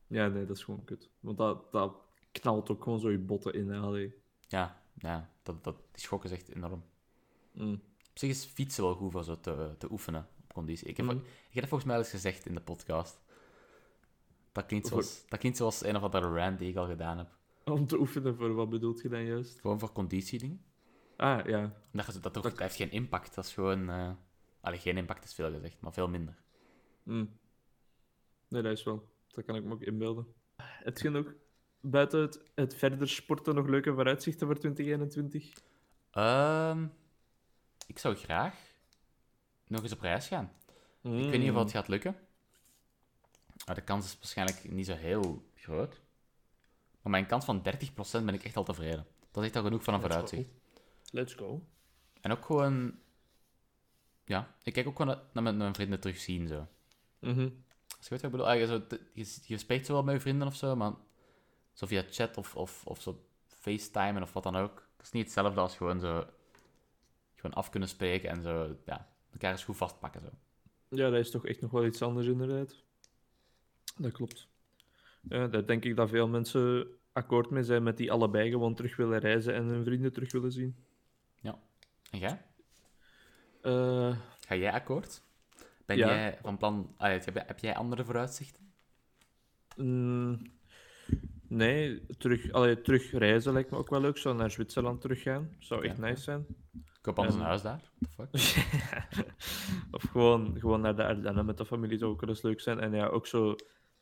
[SPEAKER 1] Ja, nee, dat is gewoon kut. Want dat, dat knalt ook gewoon zo je botten in. hè, allee.
[SPEAKER 2] ja, ja dat, dat, die schok is echt enorm.
[SPEAKER 1] Mm.
[SPEAKER 2] Op zich is fietsen wel goed voor zo te, te oefenen op conditie. Ik heb,
[SPEAKER 1] Mm.
[SPEAKER 2] ik heb dat volgens mij al eens gezegd in de podcast. Dat klinkt,
[SPEAKER 1] Voor-
[SPEAKER 2] zoals, dat klinkt zoals een of andere rant die ik al gedaan heb.
[SPEAKER 1] Om te oefenen voor wat bedoelt je dan juist?
[SPEAKER 2] Gewoon voor conditiedingen.
[SPEAKER 1] Ah, ja.
[SPEAKER 2] Dat, dat, dat, dat heeft geen impact. Dat is gewoon... eh allee, geen impact is veel gezegd, maar veel minder.
[SPEAKER 1] Mm. Nee, dat is wel. Dat kan ik me ook inbeelden. Het ging ook buiten het, het verder sporten nog leuke vooruitzichten voor 2021.
[SPEAKER 2] Ehm, ik zou graag nog eens op reis gaan. Ik weet niet of
[SPEAKER 1] Mm.
[SPEAKER 2] het gaat lukken. Maar de kans is waarschijnlijk niet zo heel groot. Maar mijn kans van 30% ben ik echt al tevreden. Dat is echt al genoeg van een
[SPEAKER 1] Let's go.
[SPEAKER 2] vooruitzicht.
[SPEAKER 1] Let's go.
[SPEAKER 2] En ook gewoon... Ja, ik kijk ook gewoon naar- naar mijn, mijn vrienden terugzien, zo.
[SPEAKER 1] Mhm.
[SPEAKER 2] Als je weet wat ik bedoel, Ah, je, zo, te- je, je spreekt zo wel met je vrienden of zo, maar... Zo via chat of, of, of zo facetimen of wat dan ook. Dat is niet hetzelfde als gewoon zo... Gewoon af kunnen spreken en zo, ja... Elkaar eens goed vastpakken, zo.
[SPEAKER 1] Ja, dat is toch echt nog wel iets anders, inderdaad. Dat klopt. Ja, daar denk ik dat veel mensen akkoord mee zijn met die allebei gewoon terug willen reizen en hun vrienden terug willen zien.
[SPEAKER 2] En jij?
[SPEAKER 1] Eh,
[SPEAKER 2] Ga jij akkoord? Ben
[SPEAKER 1] Ja.
[SPEAKER 2] jij van plan... ah, heb, jij, heb jij andere vooruitzichten?
[SPEAKER 1] mm, nee, terug, allee, terug reizen lijkt me ook wel leuk. Zou naar Zwitserland teruggaan, zou echt
[SPEAKER 2] Ja.
[SPEAKER 1] nice zijn.
[SPEAKER 2] Ik koop anders
[SPEAKER 1] Ehm.
[SPEAKER 2] een huis daar. The fuck?
[SPEAKER 1] [laughs] of gewoon, gewoon naar de Ardennen met de familie zou ook wel eens leuk zijn. En ja, ook zo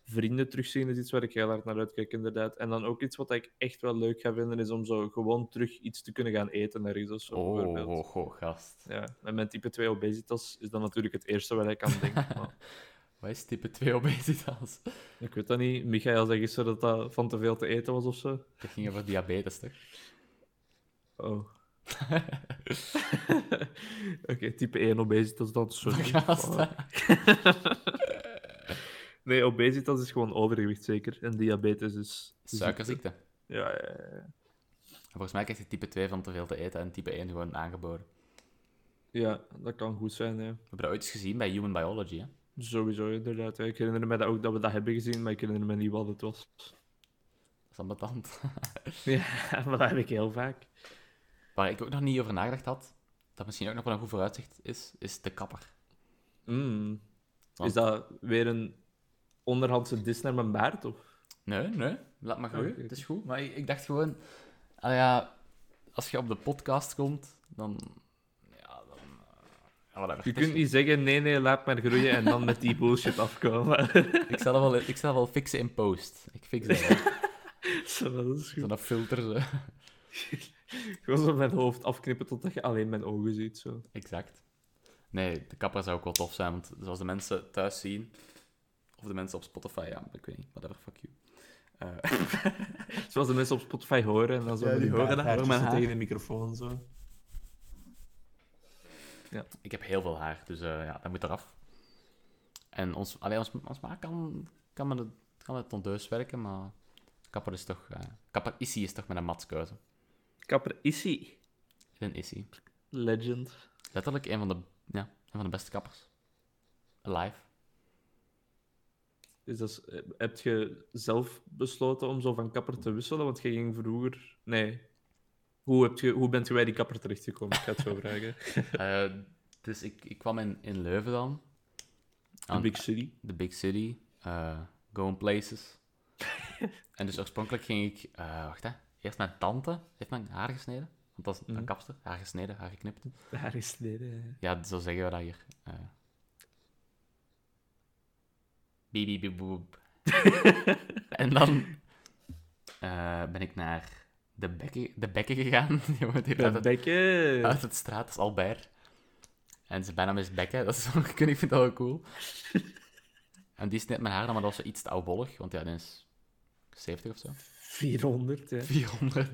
[SPEAKER 1] vrienden terugzien is iets waar ik heel hard naar uitkijk, inderdaad. En dan ook iets wat ik echt wel leuk ga vinden, is om zo gewoon terug iets te kunnen gaan eten ergens of zo,
[SPEAKER 2] Oh,
[SPEAKER 1] bijvoorbeeld.
[SPEAKER 2] oh, oh, gast.
[SPEAKER 1] Ja, en met type 2 obesitas is dat natuurlijk het eerste waar ik aan
[SPEAKER 2] [laughs]
[SPEAKER 1] denk. Maar
[SPEAKER 2] Wat is type 2 obesitas? [laughs]
[SPEAKER 1] ik weet dat niet. Michael zei gisteren dat dat van te veel te eten was of zo.
[SPEAKER 2] Dat ging over diabetes, toch?
[SPEAKER 1] Dus Oh. [laughs] Oké, type 1 obesitas dan. Sorry.
[SPEAKER 2] Gast,
[SPEAKER 1] Fuck. [laughs] Nee, obesitas is gewoon overgewicht, zeker. En diabetes is...
[SPEAKER 2] Suikerziekte. En
[SPEAKER 1] Ja, ja, ja.
[SPEAKER 2] volgens mij krijgt je type 2 van te veel te eten en type 1 gewoon aangeboren.
[SPEAKER 1] ja, dat kan goed zijn, ja.
[SPEAKER 2] We hebben dat ooit eens gezien bij Human Biology, hè?
[SPEAKER 1] Sowieso, inderdaad. ja. Ik herinner me dat ook dat we dat hebben gezien, maar ik herinner me niet wat het was.
[SPEAKER 2] Dat is ambetant.
[SPEAKER 1] Ja, [laughs] maar dat heb ik heel vaak.
[SPEAKER 2] Waar ik ook nog niet over nagedacht had, dat misschien ook nog wel een goed vooruitzicht is, is de kapper.
[SPEAKER 1] Mm.
[SPEAKER 2] Want-
[SPEAKER 1] Is dat weer een onderhandse dis naar mijn baard? Of?
[SPEAKER 2] Nee, nee. Laat maar groeien.
[SPEAKER 1] Oké.
[SPEAKER 2] Het is goed. Maar ik, ik dacht gewoon... Ah ja, als je op de podcast komt, dan... Ja, dan... eh, ja, whatever.
[SPEAKER 1] Je [laughs] kunt niet zeggen, nee, nee, laat maar groeien en dan met die bullshit afkomen. [laughs]
[SPEAKER 2] Ik zal dat wel, ik zal dat wel fixen in post. Ik fix dat wel.
[SPEAKER 1] Zo, dat is goed.
[SPEAKER 2] Zo'n filter, zo.
[SPEAKER 1] Gewoon zo mijn hoofd afknippen totdat je alleen mijn ogen ziet. Zo.
[SPEAKER 2] Exact. Nee, de kapper zou ook wel tof zijn, want zoals de mensen thuis zien, of de mensen op Spotify, ja, ik weet niet, whatever, fuck you. Eh,
[SPEAKER 1] Zoals de mensen op Spotify horen en dan zo
[SPEAKER 3] Ja,
[SPEAKER 1] met
[SPEAKER 3] die
[SPEAKER 1] die horen dat.
[SPEAKER 3] baardhaartjes
[SPEAKER 1] horen mijn
[SPEAKER 3] zo
[SPEAKER 1] haar.
[SPEAKER 3] tegen de microfoon zo.
[SPEAKER 2] ik heb heel veel haar, dus eh, ja, dat moet eraf. En ons, allee, ons, ons maak kan, kan, met het, kan met het ondeus werken, maar kapper is toch, eh, kapper Issy is toch met een matskeuze.
[SPEAKER 1] Kapper Issy.
[SPEAKER 2] Een Issy.
[SPEAKER 1] Legend.
[SPEAKER 2] Letterlijk een van de, ja, een van de beste kappers. Alive. [laughs]
[SPEAKER 1] Dus dat is, eh, heb je zelf besloten om zo van kapper te wisselen? Want je ging vroeger. Nee. Hoe, heb je, hoe bent je bij die kapper terechtgekomen? Ik ga het zo [laughs] vragen.
[SPEAKER 2] Eh, dus ik, ik kwam in, in Leuven dan.
[SPEAKER 1] The
[SPEAKER 2] Aan-
[SPEAKER 1] Big City.
[SPEAKER 2] The Big City, eh, Going Places. en dus oorspronkelijk ging ik, eh, wacht hè, eerst mijn tante heeft mijn haar gesneden. Want dat is een
[SPEAKER 1] Mhm.
[SPEAKER 2] kapster, haar gesneden, haar geknipt.
[SPEAKER 1] Daar is eh. leden.
[SPEAKER 2] Ja, zo zeggen we dat hier. eh. Bibi boep,
[SPEAKER 1] [laughs]
[SPEAKER 2] boep. En dan eh, ben ik naar de bekken, de bekken gegaan. [laughs] Je moet hier uit
[SPEAKER 1] De
[SPEAKER 2] het,
[SPEAKER 1] bekken.
[SPEAKER 2] uit het straat, dat is Albert. En zijn bijnaam is Bekken, dat is zo, ik vind dat wel [laughs]
[SPEAKER 1] [laughs]
[SPEAKER 2] cool. En die sneed mijn haar, dan, maar dat was zo iets te oudbollig, want ja, die is 70 of
[SPEAKER 1] [laughs]
[SPEAKER 2] zo.
[SPEAKER 1] 400, ja.
[SPEAKER 2] 400.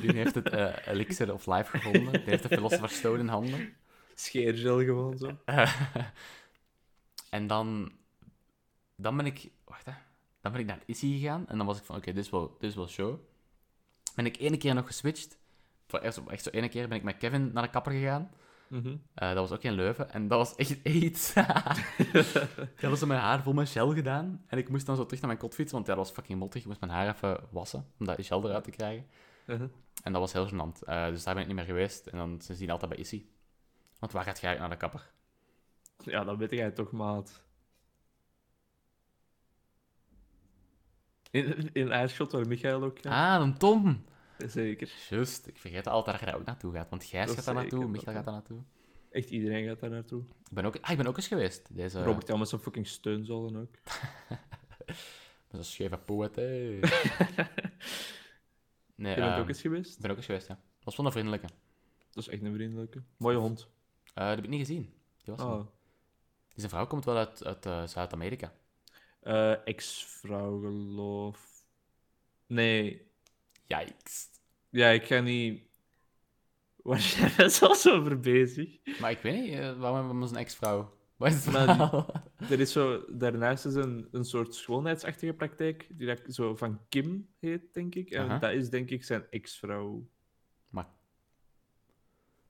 [SPEAKER 2] Die heeft het eh, elixir of life gevonden. Die heeft de Philosopher's Stone in handen.
[SPEAKER 1] Scheergel gewoon zo.
[SPEAKER 2] Eh, [laughs] en dan, dan ben ik, wacht hè, dan ben ik naar Issy gegaan en dan was ik van, oké, dit is wel, dit is wel show. Ben ik ene keer nog geswitcht. Voor echt, zo- echt zo ene keer ben ik met Kevin naar de kapper gegaan.
[SPEAKER 1] Mhm.
[SPEAKER 2] Eh, dat was ook in Leuven en dat was echt aids. ik had zo mijn haar vol met gel gedaan en ik moest dan zo terug naar mijn kotfiets, want ja, dat was fucking mottig. Ik moest mijn haar even wassen om dat gel eruit te krijgen.
[SPEAKER 1] Mhm.
[SPEAKER 2] En dat was heel gênant. Eh, dus daar ben ik niet meer geweest en dan sindsdien altijd bij Issy. Want waar gaat je eigenlijk naar de kapper?
[SPEAKER 1] Ja, dat weet jij toch, maat. In, in Aarschot, waar Michael ook gaat.
[SPEAKER 2] Ah, dan Tom!
[SPEAKER 1] Zeker.
[SPEAKER 2] Juist, ik vergeet altijd dat je daar ook naartoe gaat. Want Gijs
[SPEAKER 1] Dat
[SPEAKER 2] gaat daar naartoe,
[SPEAKER 1] zeker,
[SPEAKER 2] Michael
[SPEAKER 1] dat-
[SPEAKER 2] gaat daar naartoe.
[SPEAKER 1] Echt iedereen gaat daar naartoe.
[SPEAKER 2] Ik ben ook, ah, ik ben ook eens geweest. Deze
[SPEAKER 1] Robert Jan met zijn fucking steunzollen ook.
[SPEAKER 2] met zo'n scheve poet, hé. nee,
[SPEAKER 1] Je bent
[SPEAKER 2] ehm,
[SPEAKER 1] ook eens geweest?
[SPEAKER 2] ik ben ook eens geweest, ja. Dat was wel een vriendelijke.
[SPEAKER 1] Dat is echt een vriendelijke. Mooie hond.
[SPEAKER 2] Eh, die heb ik niet gezien. Die was er niet.
[SPEAKER 1] Oh.
[SPEAKER 2] Die zijn vrouw komt wel uit, uit eh, Zuid-Amerika.
[SPEAKER 1] Eh, Ex-vrouw, geloof. Nee.
[SPEAKER 2] Yikes.
[SPEAKER 1] Ja, ik ga niet... [laughs] Waar zijn we zelfs over bezig?
[SPEAKER 2] Maar ik weet niet, eh, waarom hebben we onze ex-vrouw? Wat is het
[SPEAKER 1] Maar die-
[SPEAKER 2] verhaal?
[SPEAKER 1] Er is zo, daarnaast is een, een soort schoonheidsachtige praktijk, die dat zo van Kim heet, denk ik. En
[SPEAKER 2] Aha.
[SPEAKER 1] dat is denk ik zijn ex-vrouw.
[SPEAKER 2] [laughs]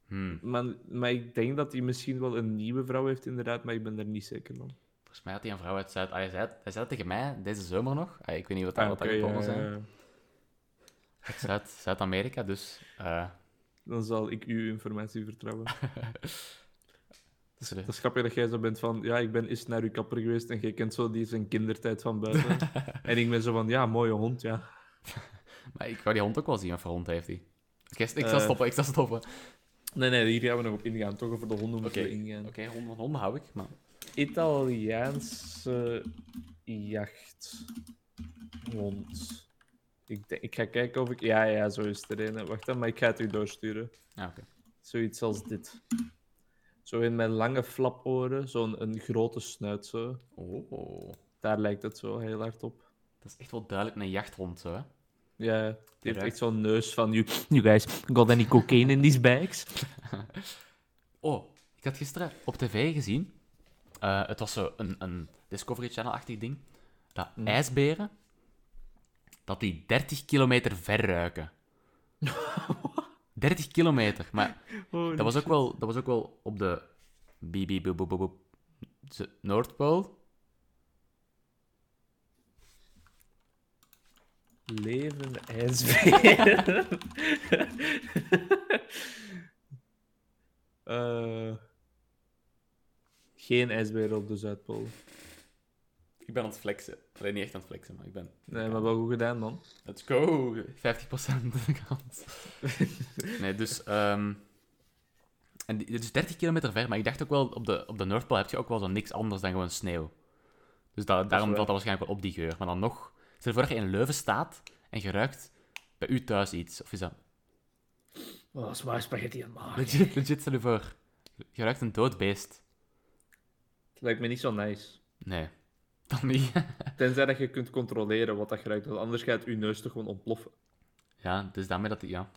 [SPEAKER 2] Hmm,
[SPEAKER 1] Maar, maar ik denk dat hij misschien wel een nieuwe vrouw heeft, inderdaad, maar ik ben daar niet zeker van.
[SPEAKER 2] volgens mij had hij een vrouw uit Zuid... ah, Hij zei, hij zei dat tegen mij deze zomer nog. Ah, ik weet niet wat dat, wat dat
[SPEAKER 1] oké, eh,
[SPEAKER 2] gekomen
[SPEAKER 1] ja,
[SPEAKER 2] zijn.
[SPEAKER 1] ja.
[SPEAKER 2] Uit Zuid- Zuid-Amerika, dus... eh,
[SPEAKER 1] Dan zal ik uw informatie vertrouwen. [laughs]
[SPEAKER 2] dus de-
[SPEAKER 1] Dat is grappig dat jij zo bent van, ja, ik ben eens naar uw kapper geweest en jij kent zo die zijn kindertijd van [laughs] buiten. en ik ben zo van, ja, mooie hond, ja.
[SPEAKER 2] Maar ik wou die hond ook wel zien, wat voor hond heeft hij? Ik, ik zal
[SPEAKER 1] Eh,
[SPEAKER 2] stoppen, ik zal stoppen. Oké,
[SPEAKER 1] Nee, nee, hier gaan we nog op ingaan. Toch over de honden moeten
[SPEAKER 2] Oké.
[SPEAKER 1] we ingaan.
[SPEAKER 2] honden, van honden hou ik, maar...
[SPEAKER 1] Italiaanse jachthond. Ik, denk- ik ga kijken of ik... Ja, ja, zo is het er een. Wacht dan, maar ik ga het u doorsturen.
[SPEAKER 2] Ja, Ah, oké.
[SPEAKER 1] Zoiets als dit. Zo in mijn lange flaporen, zo'n een grote snuit zo.
[SPEAKER 2] Oh,
[SPEAKER 1] Daar lijkt het zo heel hard op.
[SPEAKER 2] dat is echt wel duidelijk een jachthond, zo, hè?
[SPEAKER 1] Ja, die heeft
[SPEAKER 2] Direct.
[SPEAKER 1] echt zo'n neus van... You, you guys got any cocaine in these bags?
[SPEAKER 2] Oh, ik had gisteren op tv gezien... eh, het was zo een, een Discovery Channel-achtig ding. Dat ijsberen... Dat die 30 kilometer ver [laughs] ruiken. 30 kilometer, maar... Dat was ook wel, dat was ook wel op de BB boop, boop, boop, boop, Z- Noordpool.
[SPEAKER 1] Levende ijsberen. [laughs] Eh, geen ijsberen op de Zuidpool.
[SPEAKER 2] Ik ben aan het flexen. Alleen niet echt aan het flexen, maar ik ben...
[SPEAKER 1] Nee, maar wel goed gedaan, man.
[SPEAKER 2] Let's go! 50% de [laughs] kans. nee, dus... ehm, en die- dit is 30 kilometer ver, maar ik dacht ook wel... Op de, op de Noordpool heb je ook wel zo niks anders dan gewoon sneeuw. Dus da- daarom
[SPEAKER 1] waar.
[SPEAKER 2] valt dat waarschijnlijk wel op die geur. Maar dan nog... Stel je voor dat je in Leuven staat en je ruikt bij u thuis iets. Of is dat...
[SPEAKER 1] Oh, zwaar spaghetti aan
[SPEAKER 2] Legit, legit, stel je voor. Je ruikt een dood beest.
[SPEAKER 1] Het lijkt me niet zo nice.
[SPEAKER 2] Nee, dan niet.
[SPEAKER 1] Tenzij dat je kunt controleren wat dat je ruikt, want anders gaat je neus toch gewoon ontploffen.
[SPEAKER 2] ja, dus daarmee dat ik, ja.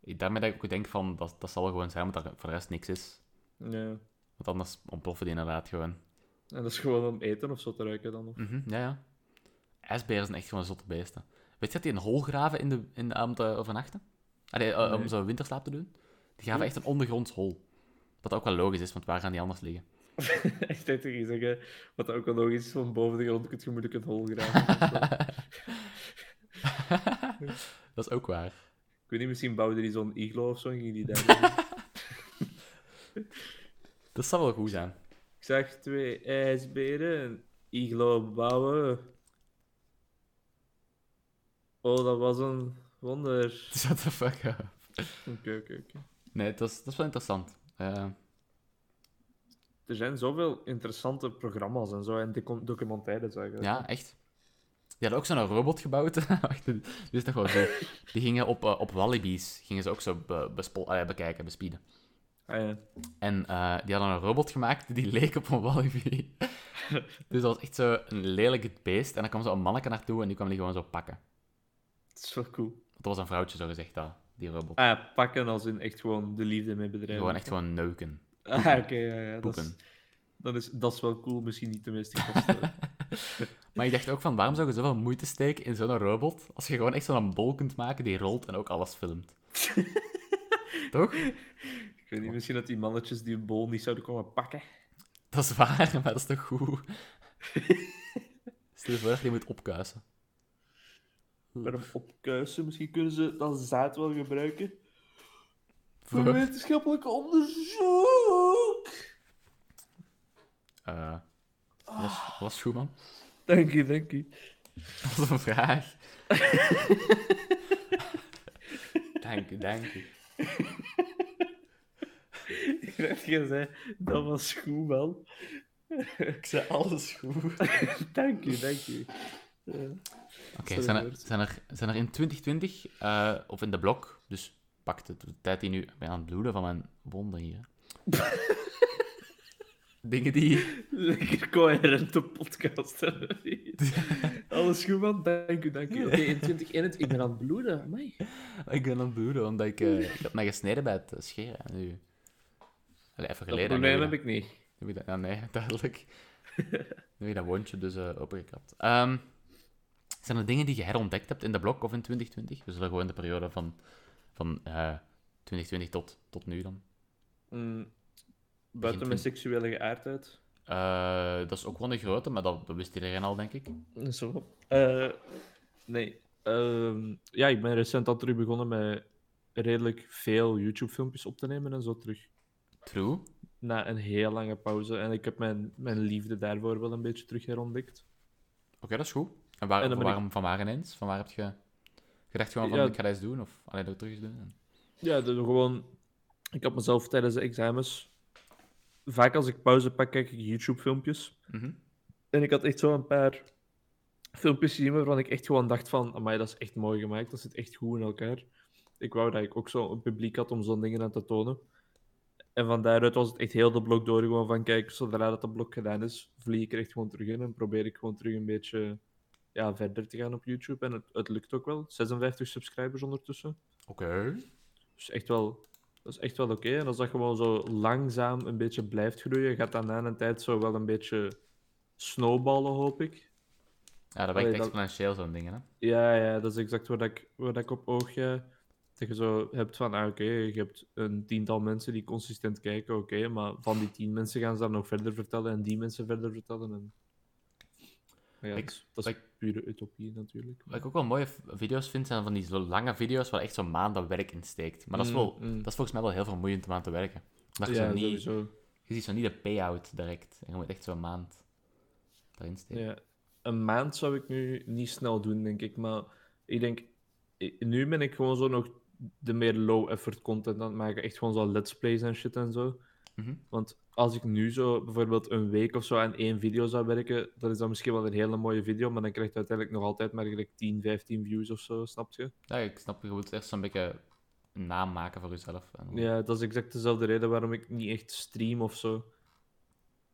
[SPEAKER 2] Ik- Daarmee dat ik ook denk van, dat, dat zal wel gewoon zijn, omdat er voor de rest niks is.
[SPEAKER 1] Ja.
[SPEAKER 2] Want anders ontploffen die inderdaad gewoon.
[SPEAKER 1] En dat is gewoon om eten of zo te ruiken dan. Of...
[SPEAKER 2] Mhm, ja, ja. IJsberen zijn echt gewoon zotte beesten. Weet je dat die een hol graven in de, in, om te overnachten? Allee, eh, om
[SPEAKER 1] Nee.
[SPEAKER 2] zo'n winterslaap te doen? Die graven
[SPEAKER 1] Oeh.
[SPEAKER 2] echt een ondergronds hol. Wat ook wel logisch is, want waar gaan die anders [laughs] liggen?
[SPEAKER 1] [laughs] Ik denk toch iets zeggen, wat dat ook wel logisch is, van boven de grond kun je moeilijk een hol graven. of zo. [laughs]
[SPEAKER 2] Dat is ook waar.
[SPEAKER 1] Ik weet niet, misschien bouwde die zo'n iglo of zo en ging die daar.
[SPEAKER 2] Dat zou wel goed zijn.
[SPEAKER 1] ik zag twee ijsberen, een iglo bouwen. Oh, dat was een wonder.
[SPEAKER 2] Shut the fuck up.
[SPEAKER 1] Oké, oké, oké.
[SPEAKER 2] Nee, dat is, dat is wel interessant. Eh,
[SPEAKER 1] Er zijn zoveel interessante programma's en zo en docu- documentaires eigenlijk.
[SPEAKER 2] ja, echt. Die hadden ook zo'n robot gebouwd. [laughs] Wacht, dit dit is toch wel zo. Die gingen op, eh, op wallabies gingen ze ook zo be, bespo- eh, bekijken, bespieden.
[SPEAKER 1] Ah, ja.
[SPEAKER 2] En eh, die hadden een robot gemaakt die [laughs] leek op een wallaby. [laughs] dus dat was echt zo een lelijk beest. En dan kwam zo'n manneke naartoe en die kwam die gewoon zo pakken.
[SPEAKER 1] Dat is wel cool.
[SPEAKER 2] Dat was een vrouwtje, zo gezegd, dat, die robot.
[SPEAKER 1] Ah, ja, pakken als in echt gewoon de liefde mee bedrijven.
[SPEAKER 2] Gewoon echt gewoon neuken.
[SPEAKER 1] Ah, oké, ja, ja. Dat is,
[SPEAKER 2] Poepen.
[SPEAKER 1] dat, is, dat is wel cool, misschien niet de meest
[SPEAKER 2] [laughs]
[SPEAKER 1] gepaste.
[SPEAKER 2] Maar ik dacht ook van, waarom zou je zoveel moeite steken in zo'n robot, als je gewoon echt zo'n bol kunt maken die rolt en ook alles filmt? Toch?
[SPEAKER 1] ik weet niet, misschien dat die mannetjes die bol niet zouden komen pakken.
[SPEAKER 2] Dat is waar, maar dat is toch goed? Stel je voor dat je die moet opkuisen.
[SPEAKER 1] Met een opkuisen, misschien kunnen ze dat zaad wel gebruiken. Voor
[SPEAKER 2] Voor-
[SPEAKER 1] wetenschappelijk onderzoek!
[SPEAKER 2] Eh, dat was, dat was goed, man. [laughs]
[SPEAKER 1] Dank je, dank je. [laughs]
[SPEAKER 2] Dat was een [laughs] vraag. dank u, dank u.
[SPEAKER 1] Ik dacht, jij zei, dat was goed, man. [laughs]
[SPEAKER 2] Ik zei alles goed.
[SPEAKER 1] Dank je, dank je. Ja.
[SPEAKER 2] Oké,
[SPEAKER 1] Sorry,
[SPEAKER 2] zijn, er,
[SPEAKER 1] Bert.
[SPEAKER 2] zijn, er, zijn er in 2020, eh, of in de blok, dus pak de de tijd die nu ik ben aan het bloeden van mijn wonden [laughs] hier. Dingen die.
[SPEAKER 1] Lekker coherente podcast. [laughs] hebben we hier. Alles goed, man. Dank u, dank u. Oké, in 2021, ik ben aan het bloeden. Amai.
[SPEAKER 2] Ik ben aan het bloeden, omdat ik, eh, ik had mij gesneden bij het eh, scheren. En nu. Allee, even
[SPEAKER 1] Dat
[SPEAKER 2] geleden. en
[SPEAKER 1] probleem
[SPEAKER 2] nu-
[SPEAKER 1] heb ik niet.
[SPEAKER 2] Nu heb ik dat- ja, nee, [laughs] duidelijk. nu heb ik dat wondje dus eh opengekrapt. Ehm, zijn er dingen die je herontdekt hebt in de blok of in 2020? We zullen gewoon de periode van, van eh, 2020 tot, tot nu dan.
[SPEAKER 1] Mm,
[SPEAKER 2] Begin
[SPEAKER 1] buiten
[SPEAKER 2] toen.
[SPEAKER 1] mijn seksuele geaardheid.
[SPEAKER 2] Eh, dat is ook wel een grote, maar dat, dat wist iedereen al, denk ik.
[SPEAKER 1] Zo. Eh, nee. Ehm, ja, ik ben recent al terug begonnen met redelijk veel YouTube-filmpjes op te nemen en zo terug.
[SPEAKER 2] True.
[SPEAKER 1] Na een heel lange pauze. En ik heb mijn, mijn liefde daarvoor wel een beetje terug herontdekt.
[SPEAKER 2] Oké, dat is goed. En, waar,
[SPEAKER 1] En dan ben
[SPEAKER 2] waarom van waar ineens? Van waar heb je gedacht gewoon van,
[SPEAKER 1] Ja.
[SPEAKER 2] ik ga dat eens doen? Of alleen dat terug eens Mhm. doen?
[SPEAKER 1] Ja, dus gewoon. Ik had mezelf tijdens de examens. Vaak als ik pauze pak, kijk ik YouTube-filmpjes.
[SPEAKER 2] Mhm.
[SPEAKER 1] En ik had echt zo een paar filmpjes gezien waarvan ik echt gewoon dacht: van, amai, dat is echt mooi gemaakt. Dat zit echt goed in elkaar. Ik wou dat ik ook zo'n publiek had om zo'n dingen aan te tonen. En van daaruit was het echt heel de blok door. Gewoon van: kijk, zodra dat de blok gedaan is, vlieg ik er echt gewoon terug in. En probeer ik gewoon terug een beetje ja, verder te gaan op YouTube. En het, het lukt ook wel. 56 subscribers ondertussen.
[SPEAKER 2] Oké.
[SPEAKER 1] Dus echt wel, dat is echt wel oké. En als dat gewoon zo langzaam een beetje blijft groeien, gaat dat na een tijd zo wel een beetje snowballen, hoop ik.
[SPEAKER 2] Ja, dat
[SPEAKER 1] Allee,
[SPEAKER 2] werkt
[SPEAKER 1] dat-
[SPEAKER 2] exponentieel, zo'n dingen, hè.
[SPEAKER 1] Ja, ja, dat is exact waar dat ik, waar dat ik op oog ga. Dat je zo hebt van, ah, oké, je hebt een tiental mensen die consistent kijken, oké, maar van die tien mensen gaan ze dan nog verder vertellen en die mensen verder vertellen. En... Maar Ja,
[SPEAKER 2] Ik-
[SPEAKER 1] dat is- dat is
[SPEAKER 2] ik-
[SPEAKER 1] pure utopie natuurlijk.
[SPEAKER 2] Wat ik ook wel mooie v- video's vind, zijn van die zo lange video's waar echt zo'n maanden werk in steekt. Maar dat is,
[SPEAKER 1] Mm,
[SPEAKER 2] wel,
[SPEAKER 1] mm.
[SPEAKER 2] dat is volgens mij wel heel vermoeiend om aan te werken. Omdat je,
[SPEAKER 1] ja,
[SPEAKER 2] zo niet,
[SPEAKER 1] sowieso.
[SPEAKER 2] je ziet zo niet de payout direct. En je moet echt zo'n maand daarin steken.
[SPEAKER 1] Ja, een maand zou ik nu niet snel doen, denk ik. Maar ik denk, i- nu ben ik gewoon zo nog de meer low-effort content aan het maken. Echt gewoon zo let's plays en shit en zo.
[SPEAKER 2] Mhm.
[SPEAKER 1] Want als ik nu zo bijvoorbeeld een week of zo aan één video zou werken, dan is dat misschien wel een hele mooie video, maar dan krijgt het uiteindelijk nog altijd maar gelijk 10, 15 views of zo, snap je?
[SPEAKER 2] Ja, ik snap, je moet eerst zo'n beetje naam maken voor jezelf. En dan-
[SPEAKER 1] Ja, dat is exact dezelfde reden waarom ik niet echt stream of zo.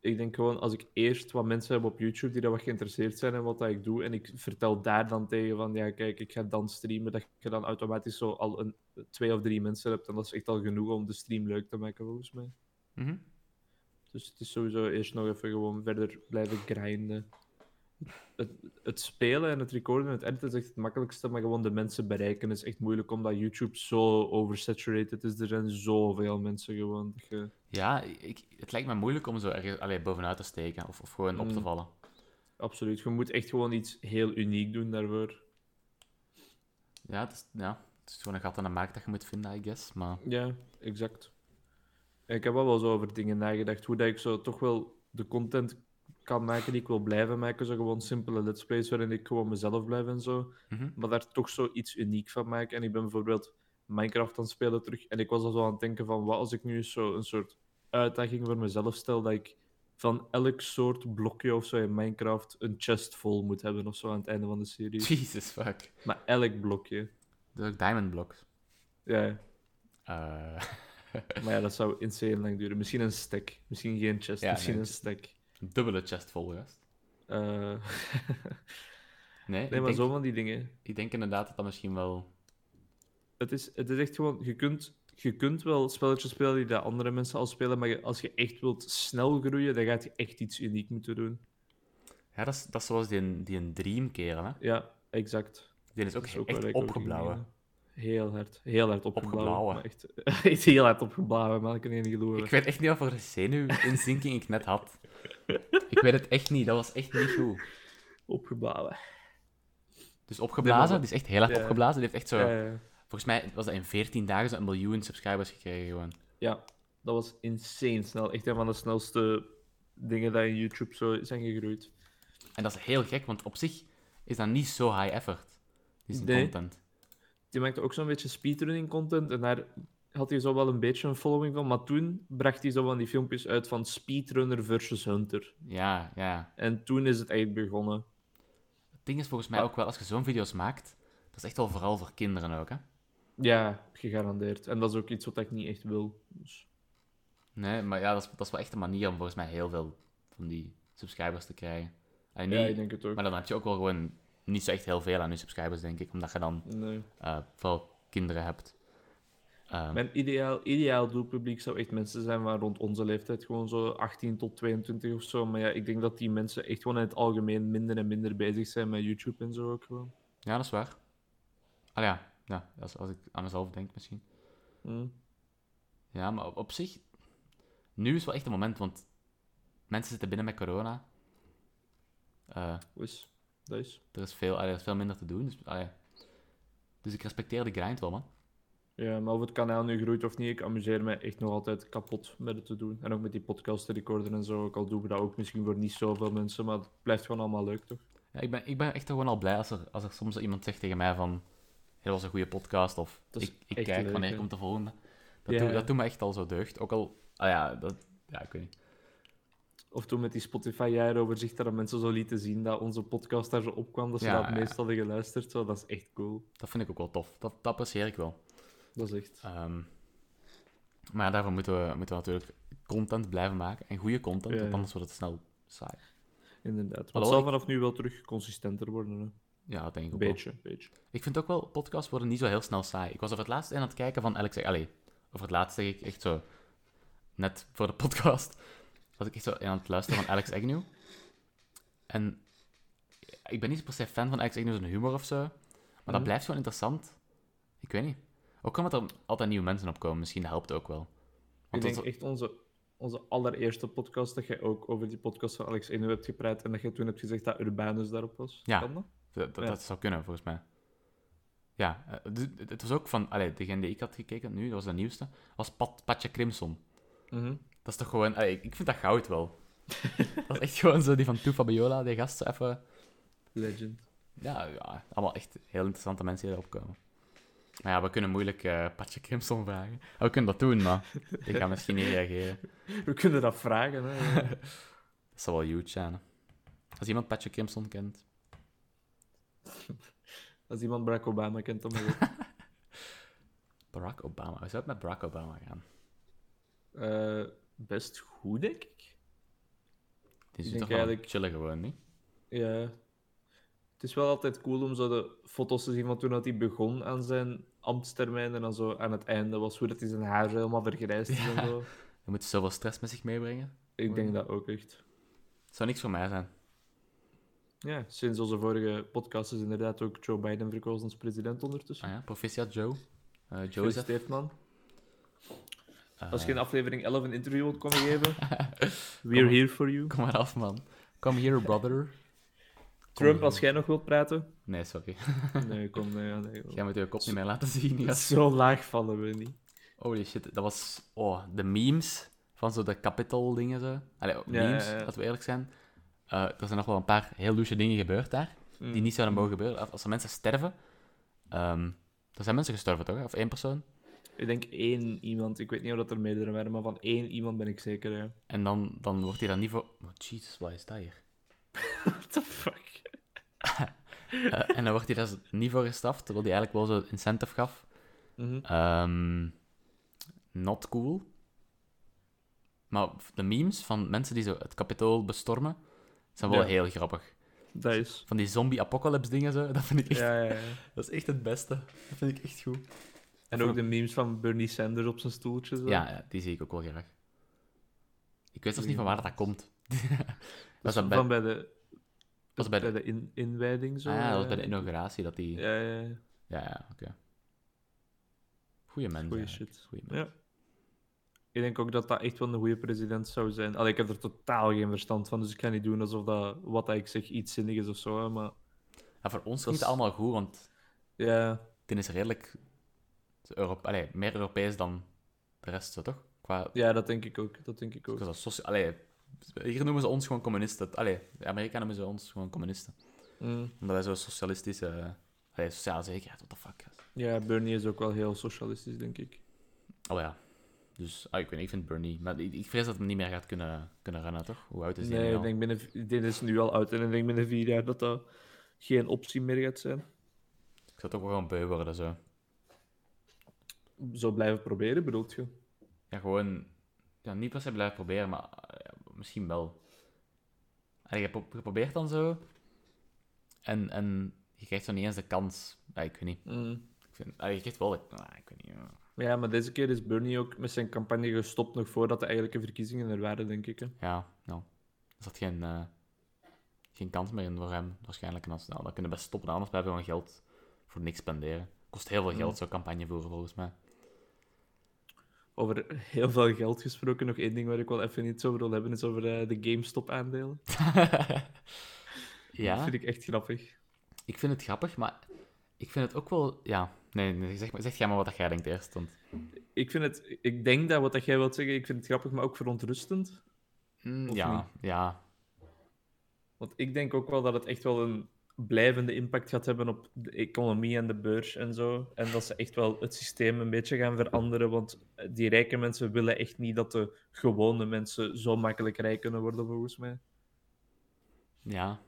[SPEAKER 1] Ik denk gewoon, als ik eerst wat mensen heb op YouTube die daar wat geïnteresseerd zijn in wat dat ik doe, en ik vertel daar dan tegen van, ja kijk, ik ga dan streamen, dat je dan automatisch zo al een, twee of drie mensen hebt. En dat is echt al genoeg om de stream leuk te maken, volgens mij.
[SPEAKER 2] Mhm.
[SPEAKER 1] Dus het is sowieso eerst nog even gewoon verder blijven grinden. Het, het spelen en het recorden en het editen is echt het makkelijkste, maar gewoon de mensen bereiken is echt moeilijk omdat YouTube zo oversaturated is. Er zijn zoveel mensen gewoon. dat je-
[SPEAKER 2] Ja, ik, het lijkt me moeilijk om zo ergens allee, bovenuit te steken of, of gewoon op te
[SPEAKER 1] Mm.
[SPEAKER 2] vallen.
[SPEAKER 1] absoluut, je moet echt gewoon iets heel uniek doen daarvoor.
[SPEAKER 2] Ja het, is, ja, het is gewoon een gat in de markt dat je moet vinden, I guess. Maar [laughs]
[SPEAKER 1] Ja, exact. Ik heb wel wel zo over dingen nagedacht, hoe dat ik zo toch wel de content kan maken die ik wil blijven maken. Zo gewoon simpele let's plays waarin ik gewoon mezelf blijf en zo.
[SPEAKER 2] Mhm.
[SPEAKER 1] maar daar toch zoiets uniek van maken. En ik ben bijvoorbeeld Minecraft aan het spelen terug. En ik was al zo aan het denken van, wat als ik nu eens zo een soort uitdaging voor mezelf stel, dat ik van elk soort blokje of zo in Minecraft een chest vol moet hebben of zo aan het einde van de serie.
[SPEAKER 2] Jesus fuck.
[SPEAKER 1] Maar elk blokje.
[SPEAKER 2] Dus ook Diamond Blocks.
[SPEAKER 1] Ja,
[SPEAKER 2] Eh, [laughs]
[SPEAKER 1] maar ja, dat zou insane lang duren. Misschien een stack. Misschien geen chest,
[SPEAKER 2] Ja,
[SPEAKER 1] misschien
[SPEAKER 2] nee.
[SPEAKER 1] een stack.
[SPEAKER 2] een dubbele chest vol, juist.
[SPEAKER 1] Eh, [laughs]
[SPEAKER 2] Nee,
[SPEAKER 1] nee,
[SPEAKER 2] ik,
[SPEAKER 1] maar
[SPEAKER 2] denk,
[SPEAKER 1] zo van die dingen.
[SPEAKER 2] ik denk inderdaad dat dat misschien wel...
[SPEAKER 1] Het is, het is echt gewoon, je kunt, je kunt wel spelletjes spelen die dat andere mensen al spelen, maar je- als je echt wilt snel groeien, dan gaat je echt iets uniek moeten doen.
[SPEAKER 2] Ja, dat is, dat is zoals die, die een Dream kerel, hè.
[SPEAKER 1] Ja, exact.
[SPEAKER 2] Die is ook,
[SPEAKER 1] Dat is ook
[SPEAKER 2] echt
[SPEAKER 1] waar ik over ging
[SPEAKER 2] opgeblauwen.
[SPEAKER 1] beginnen. Heel hard. Heel hard opgeblauwen.
[SPEAKER 2] Opgeblauwen.
[SPEAKER 1] maar Echt, [laughs] echt heel hard opgeblauwen, maar ik kan niet geloven.
[SPEAKER 2] Ik weet echt niet wat voor een zenuwinzinking ik net
[SPEAKER 1] [laughs]
[SPEAKER 2] had. Ik weet het echt niet, dat was echt niet goed.
[SPEAKER 1] Opgeblauwen. Nee,
[SPEAKER 2] Dus
[SPEAKER 1] maar
[SPEAKER 2] opgeblazen,
[SPEAKER 1] dat-
[SPEAKER 2] die is echt heel hard
[SPEAKER 1] Ja.
[SPEAKER 2] opgeblazen. Die heeft echt zo...
[SPEAKER 1] Ja, ja, ja.
[SPEAKER 2] Volgens mij was dat in 14 dagen zo een miljoen subscribers gekregen gewoon.
[SPEAKER 1] Ja, dat was insane snel. Echt een van de snelste dingen die in YouTube zo zijn gegroeid.
[SPEAKER 2] En dat is heel gek, want op zich is dat niet zo high effort. Die zijn
[SPEAKER 1] Nee.
[SPEAKER 2] content.
[SPEAKER 1] die maakte ook zo'n beetje speedrunning content. En daar had hij zo wel een beetje een following van. Maar toen bracht hij zo van die filmpjes uit van speedrunner versus hunter.
[SPEAKER 2] Ja, ja.
[SPEAKER 1] En toen is het echt begonnen.
[SPEAKER 2] Het ding is volgens mij ook wel, als je zo'n video's maakt, dat is echt wel vooral voor kinderen ook, hè?
[SPEAKER 1] Ja, gegarandeerd. En dat is ook iets wat ik niet echt wil. Dus,
[SPEAKER 2] Nee, maar ja, dat is, dat is wel echt een manier om volgens mij heel veel van die subscribers te krijgen. Allee, nu-
[SPEAKER 1] ja, ik denk het ook.
[SPEAKER 2] Maar dan heb je ook wel gewoon niet zo echt heel veel aan je subscribers, denk ik. Omdat je dan
[SPEAKER 1] Nee.
[SPEAKER 2] eh, vooral kinderen hebt. Eh,
[SPEAKER 1] Mijn ideaal, ideaal doelpubliek zou echt mensen zijn van rond onze leeftijd. Gewoon zo 18 tot 22 of zo. Maar ja, ik denk dat die mensen echt gewoon in het algemeen minder en minder bezig zijn met YouTube en zo ook gewoon.
[SPEAKER 2] Ja, dat is waar. Ah ja, ja als, als ik aan mezelf denk misschien.
[SPEAKER 1] Hm.
[SPEAKER 2] Ja, maar op, op zich, nu is wel echt het moment, want mensen zitten binnen met corona. Eh,
[SPEAKER 1] Dus, dat is.
[SPEAKER 2] er, is veel, allee, er is veel minder te doen. Dus, allee. dus ik respecteer de grind wel, man.
[SPEAKER 1] Ja, maar of het kanaal nu groeit of niet, ik amuseer me echt nog altijd kapot met het te doen. En ook met die podcast te recorden en zo. Ook al doen we dat ook misschien voor niet zoveel mensen, maar het blijft gewoon allemaal leuk, toch?
[SPEAKER 2] Ja, ik, ben, ik ben echt gewoon al blij als er, als er soms iemand zegt tegen mij van... Het was een goede podcast, of
[SPEAKER 1] Dat is
[SPEAKER 2] ik, ik
[SPEAKER 1] echt
[SPEAKER 2] kijk
[SPEAKER 1] leuk,
[SPEAKER 2] wanneer
[SPEAKER 1] hè?
[SPEAKER 2] komt de volgende. Dat,
[SPEAKER 1] Ja.
[SPEAKER 2] doet- dat doet me echt al zo deugd. Ook al, ah ja, dat, ja, ik weet niet.
[SPEAKER 1] Of toen met die Spotify-jaaroverzicht, dat mensen zo lieten zien dat onze podcast daar zo opkwam, dat ze
[SPEAKER 2] Ja,
[SPEAKER 1] daar
[SPEAKER 2] ja,
[SPEAKER 1] het
[SPEAKER 2] ja.
[SPEAKER 1] meest hadden geluisterd. Zo, dat is echt cool.
[SPEAKER 2] Dat vind ik ook wel tof. Dat, dat apprecieer ik wel.
[SPEAKER 1] Dat is echt...
[SPEAKER 2] Ehm, maar ja, daarvoor moeten we, moeten we natuurlijk content blijven maken. En goede content,
[SPEAKER 1] Ja,
[SPEAKER 2] want
[SPEAKER 1] ja.
[SPEAKER 2] anders wordt het snel saai.
[SPEAKER 1] Inderdaad. Maar het
[SPEAKER 2] Hallo,
[SPEAKER 1] zal
[SPEAKER 2] ik-
[SPEAKER 1] vanaf nu wel terug consistenter worden, hè.
[SPEAKER 2] Ja, dat denk ik
[SPEAKER 1] Een
[SPEAKER 2] ook wel.
[SPEAKER 1] beetje, een beetje.
[SPEAKER 2] Ik vind ook wel, podcasts worden niet zo heel snel saai. Ik was over het laatst in aan het kijken van Alex... Allee, over het laatst zeg ik echt zo... Net voor de podcast was ik echt zo in aan het luisteren van Alex Agnew. En ik ben niet per se fan van Alex Agnew zijn humor of zo. Maar dat
[SPEAKER 1] Mhm.
[SPEAKER 2] blijft gewoon interessant. Ik weet niet. Ook omdat er altijd nieuwe mensen opkomen. Misschien helpt ook wel.
[SPEAKER 1] Ik
[SPEAKER 2] Want
[SPEAKER 1] denk
[SPEAKER 2] dat-
[SPEAKER 1] echt onze, onze allereerste podcast, dat jij ook over die podcast van Alex Eno hebt gepraat en dat jij toen hebt gezegd dat Urbanus daarop was.
[SPEAKER 2] Ja.
[SPEAKER 1] Kan dat?
[SPEAKER 2] Dat, dat,
[SPEAKER 1] Ja.
[SPEAKER 2] dat zou kunnen, volgens mij. Ja, eh, dus het- het was ook van... Allee, degene die ik had gekeken nu, dat was de nieuwste, was Pat, Patje Crimson.
[SPEAKER 1] Mhm.
[SPEAKER 2] Dat is toch gewoon... allee, ik- ik vind dat goud wel. [laughs] dat is echt gewoon zo die van Toe Fabiola, die gast zo even...
[SPEAKER 1] Legend.
[SPEAKER 2] Ja, ja, allemaal echt heel interessante mensen die erop komen. Maar ja, we kunnen moeilijk eh, Patje Crimson vragen. Ah, We kunnen dat doen, maar die gaan misschien niet reageren.
[SPEAKER 1] [laughs] We kunnen dat vragen, hè. [laughs]
[SPEAKER 2] Dat zou wel huge zijn. hè. Als iemand Patje Crimson kent.
[SPEAKER 1] Als iemand Barack Obama kent, dan wel.
[SPEAKER 2] Barack Obama. We zouden met Barack Obama gaan.
[SPEAKER 1] Eh, best goed, denk ik.
[SPEAKER 2] Die is
[SPEAKER 1] denk
[SPEAKER 2] toch wel
[SPEAKER 1] eigenlijk-
[SPEAKER 2] chillen gewoon, niet?
[SPEAKER 1] Ja. Het is wel altijd cool om zo de foto's te zien van toen dat hij begon aan zijn ambtstermijn en dan zo aan het einde was, hoe dat hij zijn haar zo helemaal vergrijsd is en
[SPEAKER 2] Ja.
[SPEAKER 1] zo.
[SPEAKER 2] Hij moet zoveel stress met zich meebrengen.
[SPEAKER 1] Ik denk dat ook echt.
[SPEAKER 2] Het zou niks voor mij zijn.
[SPEAKER 1] Ja, sinds onze vorige podcast is inderdaad ook Joe Biden verkozen als president ondertussen.
[SPEAKER 2] Ah ja, proficiat Joe. Eh Joseph.
[SPEAKER 1] Gefeliciteerd, man. Als
[SPEAKER 2] Eh,
[SPEAKER 1] je in aflevering 11 een interview wilt
[SPEAKER 2] [laughs]
[SPEAKER 1] komen geven, we're
[SPEAKER 2] maar.
[SPEAKER 1] here for you.
[SPEAKER 2] Eh, Kom maar af, man. Come here, brother.
[SPEAKER 1] Trump,
[SPEAKER 2] hier.
[SPEAKER 1] als jij nog wilt
[SPEAKER 2] [laughs]
[SPEAKER 1] praten.
[SPEAKER 2] Nee, sorry.
[SPEAKER 1] Nee, kom, nee, ja, nee. joh.
[SPEAKER 2] Jij moet je kop niet meer laten [laughs] zien. ja.
[SPEAKER 1] Zo laag vallen we niet.
[SPEAKER 2] Holy shit, dat was... Oh, de memes van zo de capital dingen zo. Allee, oh,
[SPEAKER 1] Ja, ja,
[SPEAKER 2] memes,
[SPEAKER 1] ja.
[SPEAKER 2] laten we eerlijk zijn. Eh, er zijn nog wel een paar heel douche dingen gebeurd daar,
[SPEAKER 1] Hmm. Mm.
[SPEAKER 2] die niet zouden mogen gebeuren. Als- Als er mensen sterven... ehm er zijn mensen gestorven, toch? Of één persoon?
[SPEAKER 1] Ik denk één iemand. Ik weet niet of dat er meerdere waren, maar van één iemand ben ik zeker. Ja.
[SPEAKER 2] En dan, dan wordt hij dan niet voor... Oh, Jesus, wat is dat hier?
[SPEAKER 1] What the fuck?
[SPEAKER 2] Eh, en dan wordt hij daar niet voor gestraft, terwijl hij eigenlijk wel zo'n incentive gaf.
[SPEAKER 1] Mhm.
[SPEAKER 2] Ehm, not cool. Maar de memes van mensen die zo het kapitool bestormen, zijn wel
[SPEAKER 1] Ja.
[SPEAKER 2] heel grappig.
[SPEAKER 1] Dat is.
[SPEAKER 2] Van die zombie-apocalypse-dingen, zo, [laughs] dat vind ik echt,
[SPEAKER 1] Ja, ja, ja.
[SPEAKER 2] dat is echt het beste. Dat vind ik echt goed.
[SPEAKER 1] En ook de memes van Bernie Sanders op zijn stoeltje. Zo.
[SPEAKER 2] Ja, ja, die zie ik ook wel graag. Ik weet zelfs niet van waar dat komt. [laughs] was dat
[SPEAKER 1] Dus
[SPEAKER 2] bij,
[SPEAKER 1] van bij de,
[SPEAKER 2] was bij de-
[SPEAKER 1] in- inwijding. Zo,
[SPEAKER 2] ah, ja, dat was bij de
[SPEAKER 1] ja.
[SPEAKER 2] inauguratie dat die... Ja,
[SPEAKER 1] eh, Ja, ja, ja.
[SPEAKER 2] ja, oké. Goeie mensen.
[SPEAKER 1] Goeie
[SPEAKER 2] eigenlijk.
[SPEAKER 1] shit.
[SPEAKER 2] Goeie mensen.
[SPEAKER 1] Ja. Ik denk ook dat dat echt wel een goede president zou zijn. Allee, ik heb er totaal geen verstand van, dus ik kan niet doen alsof dat, wat dat ik zeg iets zinnig is of zo. hè, Maar
[SPEAKER 2] Ja, voor
[SPEAKER 1] Dat
[SPEAKER 2] ons klinkt
[SPEAKER 1] is-
[SPEAKER 2] het allemaal goed, want
[SPEAKER 1] ja,
[SPEAKER 2] Dit is redelijk Europe allee, meer Europees dan de rest, zo, toch? Qua,
[SPEAKER 1] ja, dat denk ik ook. Dat denk ik ook.
[SPEAKER 2] qua socia- allee, hier noemen ze ons gewoon communisten. Allee, de Amerikanen noemen ze ons gewoon communisten.
[SPEAKER 1] Mm.
[SPEAKER 2] Omdat wij zo socialistische... eh, Allee, sociale zekerheid, what the fuck.
[SPEAKER 1] Ja, Bernie is ook wel heel socialistisch, denk ik.
[SPEAKER 2] Oh ja. Dus, ah, ik weet niet, ik vind Bernie... Maar ik, ik vrees dat hij niet meer gaat kunnen, kunnen rennen, toch? Hoe oud is hij
[SPEAKER 1] nee,
[SPEAKER 2] nu
[SPEAKER 1] ik
[SPEAKER 2] al?
[SPEAKER 1] denk binnen, v- dit is nu al uit en ik denk binnen vier jaar dat dat geen optie meer gaat zijn.
[SPEAKER 2] Ik zou toch wel gewoon beu worden, zo.
[SPEAKER 1] Zo blijven proberen, bedoelt je?
[SPEAKER 2] Ja, gewoon... Ja, niet per se blijven proberen, maar eh, ja, misschien wel. En je pro- je probeert dan zo... En, en je krijgt zo niet eens de kans. Ja, ik weet niet. Ik vind, ah, je krijgt wel... de- ah, ik weet niet. ja.
[SPEAKER 1] Ja, maar deze keer is Bernie ook met zijn campagne gestopt nog voordat de eigenlijke verkiezingen er waren, denk ik. Hè.
[SPEAKER 2] Ja, nou. Er zat geen, eh, geen kans meer in voor hem, waarschijnlijk. En als, nou, dan kunnen we best stoppen, anders blijven we gewoon geld voor niks spenderen. Kost heel veel
[SPEAKER 1] Mm.
[SPEAKER 2] geld, zo'n campagne voeren, volgens
[SPEAKER 1] [laughs]
[SPEAKER 2] mij.
[SPEAKER 1] Over heel veel geld gesproken, nog één ding waar ik wel even iets over wil hebben, is over eh, de GameStop-aandelen. Dat
[SPEAKER 2] ja,
[SPEAKER 1] vind ik echt grappig.
[SPEAKER 2] ik vind het grappig, maar ik vind het ook wel... Ja, nee, nee, zeg, maar, zeg jij maar wat dat jij denkt eerst. Want...
[SPEAKER 1] Ik, vind het, ik denk dat wat dat jij wilt zeggen, ik vind het grappig, maar ook verontrustend.
[SPEAKER 2] Mm,
[SPEAKER 1] Of
[SPEAKER 2] ja, ja,
[SPEAKER 1] Want ik denk ook wel dat het echt wel een blijvende impact gaat hebben op de economie en de beurs en zo. En dat ze echt wel het systeem een beetje gaan veranderen. Want eh, die rijke mensen willen echt niet dat de gewone mensen zo makkelijk rijk kunnen worden, volgens mij.
[SPEAKER 2] ja.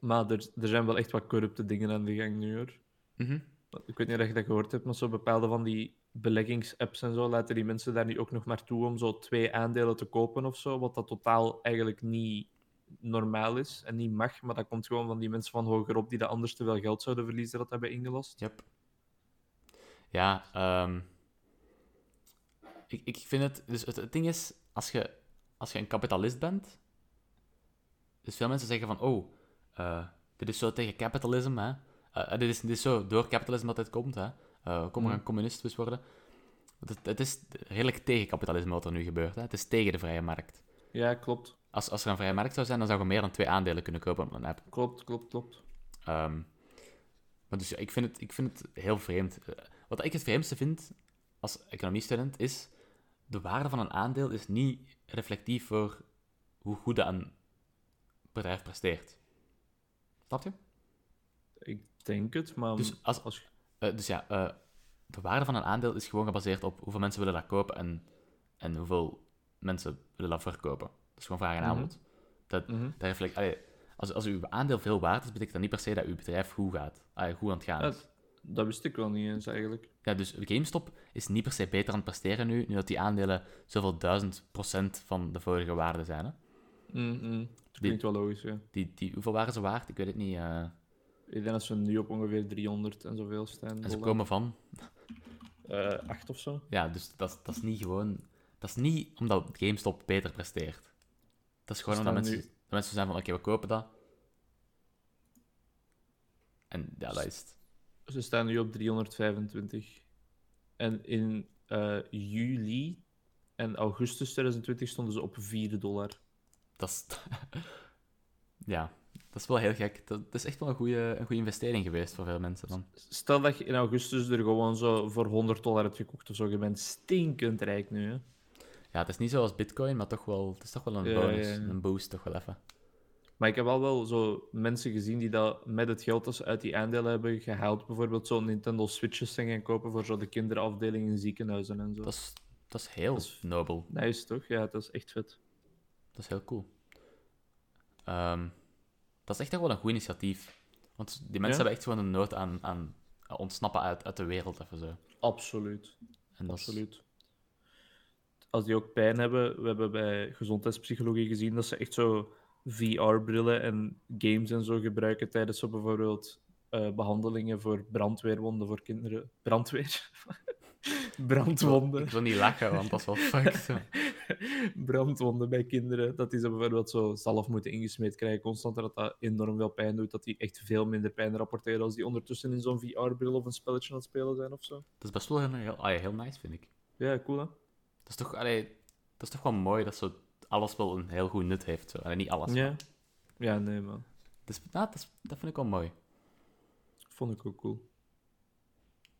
[SPEAKER 1] Maar er, er zijn wel echt wat corrupte dingen aan de gang nu, hoor.
[SPEAKER 2] Mhm.
[SPEAKER 1] Want Ik weet niet of je dat gehoord hebt, maar zo bepaalde van die beleggingsapps en zo laten die mensen daar nu ook nog maar toe om zo twee aandelen te kopen of zo, wat dat totaal eigenlijk niet normaal is en niet mag, maar dat komt gewoon van die mensen van hogerop die dat anders te veel geld zouden verliezen dat hebben ingelast.
[SPEAKER 2] Yep. Ja, ehm, ik, ik vind het... Dus het, het ding is, als je, als je een kapitalist bent... Dus veel mensen zeggen van, oh, eh, dit is zo tegen kapitalisme, hè. Eh, eh, dit, is, dit is zo door kapitalisme dat dit komt, hè. Eh kom maar
[SPEAKER 1] Mhm.
[SPEAKER 2] een communist dus worden. Want Het, het is redelijk tegen kapitalisme wat er nu gebeurt, hè. Het is tegen de vrije markt.
[SPEAKER 1] Ja, klopt.
[SPEAKER 2] Als, als er een vrije markt zou zijn, dan zou je meer dan twee aandelen kunnen kopen op een app.
[SPEAKER 1] Klopt, klopt, klopt.
[SPEAKER 2] Ehm, maar dus ja, ik vind het, ik vind het heel vreemd. Eh, Wat ik het vreemdste vind als economiestudent is de waarde van een aandeel is niet reflectief voor hoe goed dat een bedrijf presteert. Snap je?
[SPEAKER 1] Ik denk het, maar...
[SPEAKER 2] Dus als-
[SPEAKER 1] als...
[SPEAKER 2] Eh, dus ja, eh, de waarde van een aandeel is gewoon gebaseerd op hoeveel mensen willen dat kopen en, en hoeveel mensen willen dat verkopen. Dat is gewoon vraag en
[SPEAKER 1] Mhm.
[SPEAKER 2] aanbod. Dat,
[SPEAKER 1] Mhm.
[SPEAKER 2] dat reflect, allee, als, als uw aandeel veel waard is, betekent dat niet per se dat uw bedrijf goed gaat. Allee, goed aan het gaan is.
[SPEAKER 1] Het- Dat wist ik wel niet eens eigenlijk.
[SPEAKER 2] Ja, dus GameStop is niet per se beter aan het presteren nu, nu dat die aandelen zoveel duizend procent van de vorige waarde zijn. Hè?
[SPEAKER 1] Mhm. Mm-mm. Dat klinkt wel logisch, ja.
[SPEAKER 2] Die, die, hoeveel waren ze waard? Ik weet het niet. eh.
[SPEAKER 1] Ik denk dat ze nu op ongeveer 300 en zoveel staan.
[SPEAKER 2] en ze
[SPEAKER 1] dollar.
[SPEAKER 2] komen van.
[SPEAKER 1] Eh, acht of zo.
[SPEAKER 2] Ja, dus dat, is- dat is niet gewoon... Dat is niet omdat GameStop beter presteert. Dat is gewoon
[SPEAKER 1] Ze
[SPEAKER 2] omdat
[SPEAKER 1] staan
[SPEAKER 2] mensen,
[SPEAKER 1] nu-
[SPEAKER 2] dat mensen zijn van, oké, we kopen dat. En ja, dat is het.
[SPEAKER 1] Ze staan nu op 325. En in eh, juli en augustus 2020 stonden ze op 4 dollar.
[SPEAKER 2] Dat is... [laughs] ja, dat is wel heel gek. Dat, dat is echt wel een goede, een goede investering geweest voor veel mensen dan.
[SPEAKER 1] Stel dat je in augustus er gewoon zo voor 100 dollar hebt gekocht of zo. Je bent stinkend rijk nu, hè.
[SPEAKER 2] Ja, het is niet zoals Bitcoin, maar toch wel, het is toch wel een
[SPEAKER 1] Ja,
[SPEAKER 2] bonus,
[SPEAKER 1] ja, ja.
[SPEAKER 2] een boost toch wel even.
[SPEAKER 1] Maar ik heb al wel zo mensen gezien die dat met het geld dat ze uit die aandelen hebben gehaald, bijvoorbeeld zo'n Nintendo Switches zijn gaan kopen voor zo de kinderafdeling in ziekenhuizen en zo.
[SPEAKER 2] Dat is, dat is heel
[SPEAKER 1] Dat is-
[SPEAKER 2] nobel.
[SPEAKER 1] Nice toch? Ja, dat is echt vet.
[SPEAKER 2] Dat is heel cool. Ehm, dat is echt wel een goed initiatief. Want die mensen
[SPEAKER 1] Ja?
[SPEAKER 2] hebben echt gewoon een nood aan, aan ontsnappen uit, uit de wereld even zo.
[SPEAKER 1] Absoluut.
[SPEAKER 2] En dat is-
[SPEAKER 1] Absoluut. Als die ook pijn hebben, we hebben bij gezondheidspsychologie gezien dat ze echt zo VR-brillen en games en zo gebruiken tijdens zo bijvoorbeeld eh, behandelingen voor brandweerwonden voor kinderen. Brandweer? [laughs] Brandwonden.
[SPEAKER 2] Ik wil niet lachen, want dat is wel fucked.
[SPEAKER 1] [laughs] brandwonden bij kinderen. Dat die ze bijvoorbeeld zo zalf moeten ingesmeed krijgen constant. en Dat dat enorm veel pijn doet. Dat die echt veel minder pijn rapporteren als die ondertussen in zo'n VR-bril of een spelletje aan het spelen zijn of zo.
[SPEAKER 2] Dat is best wel heel, heel, ah ja, heel nice, vind ik.
[SPEAKER 1] Ja, cool hè?
[SPEAKER 2] Dat is toch, allee, dat is toch wel mooi dat zo alles wel een heel goed nut heeft. Zo. Allee, niet alles.
[SPEAKER 1] Ja.
[SPEAKER 2] maar-
[SPEAKER 1] Ja, nee man.
[SPEAKER 2] Dus, nou, dat, is- dat vind ik wel mooi.
[SPEAKER 1] Vond ik ook cool.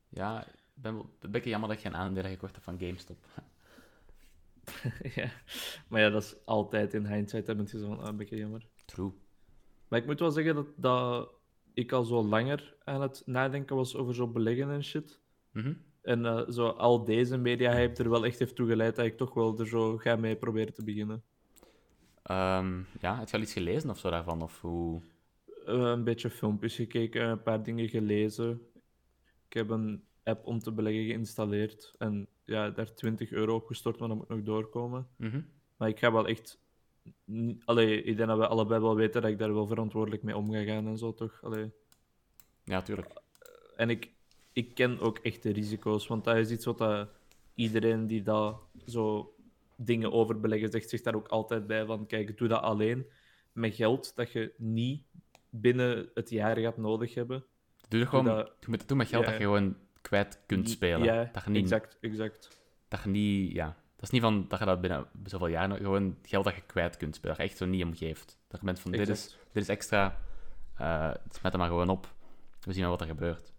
[SPEAKER 2] Ja, ik ben wel een beetje jammer dat ik geen aandelen gekocht heb van GameStop. [laughs]
[SPEAKER 1] [laughs] ja. Maar ja, dat is altijd in hindsight. Dan ben je zo van, ah, een beetje jammer.
[SPEAKER 2] True.
[SPEAKER 1] Maar ik moet wel zeggen dat, dat ik al zo langer aan het nadenken was over zo beleggen en shit.
[SPEAKER 2] Mhm.
[SPEAKER 1] En eh, zo al deze media-hype er wel echt heeft toe geleid dat ik toch wel er zo ga mee proberen te beginnen.
[SPEAKER 2] Ehm, ja, heb je al iets gelezen of zo daarvan? Of hoe...
[SPEAKER 1] Eh, een beetje filmpjes gekeken, een paar dingen gelezen. Ik heb een app om te beleggen geïnstalleerd. En ja, daar 20 euro op gestort, maar dat moet nog doorkomen.
[SPEAKER 2] Mhm.
[SPEAKER 1] Maar ik ga wel echt. ni- Allee, ik denk dat we allebei wel weten dat ik daar wel verantwoordelijk mee om ga gaan en zo toch. Allee.
[SPEAKER 2] Ja, tuurlijk.
[SPEAKER 1] En ik, ik ken ook echt de risico's, want dat is iets wat dat iedereen die dat zo dingen over beleggen zegt, zich daar ook altijd bij van. Kijk, doe dat alleen met geld dat je niet binnen het jaar gaat nodig hebben.
[SPEAKER 2] Doe dat gewoon,
[SPEAKER 1] dat-
[SPEAKER 2] je moet het doen met geld
[SPEAKER 1] Ja.
[SPEAKER 2] dat je gewoon kwijt kunt spelen.
[SPEAKER 1] Ja,
[SPEAKER 2] dat je niet,
[SPEAKER 1] exact, exact.
[SPEAKER 2] dat je niet, ja. Dat is niet van dat je dat binnen zoveel jaar nog- gewoon geld dat je kwijt kunt spelen. Dat je echt zo niet omgeeft. Dat je bent van, dit is,
[SPEAKER 1] exact.
[SPEAKER 2] dit is extra, eh smet er maar gewoon op. We zien wel wat er gebeurt.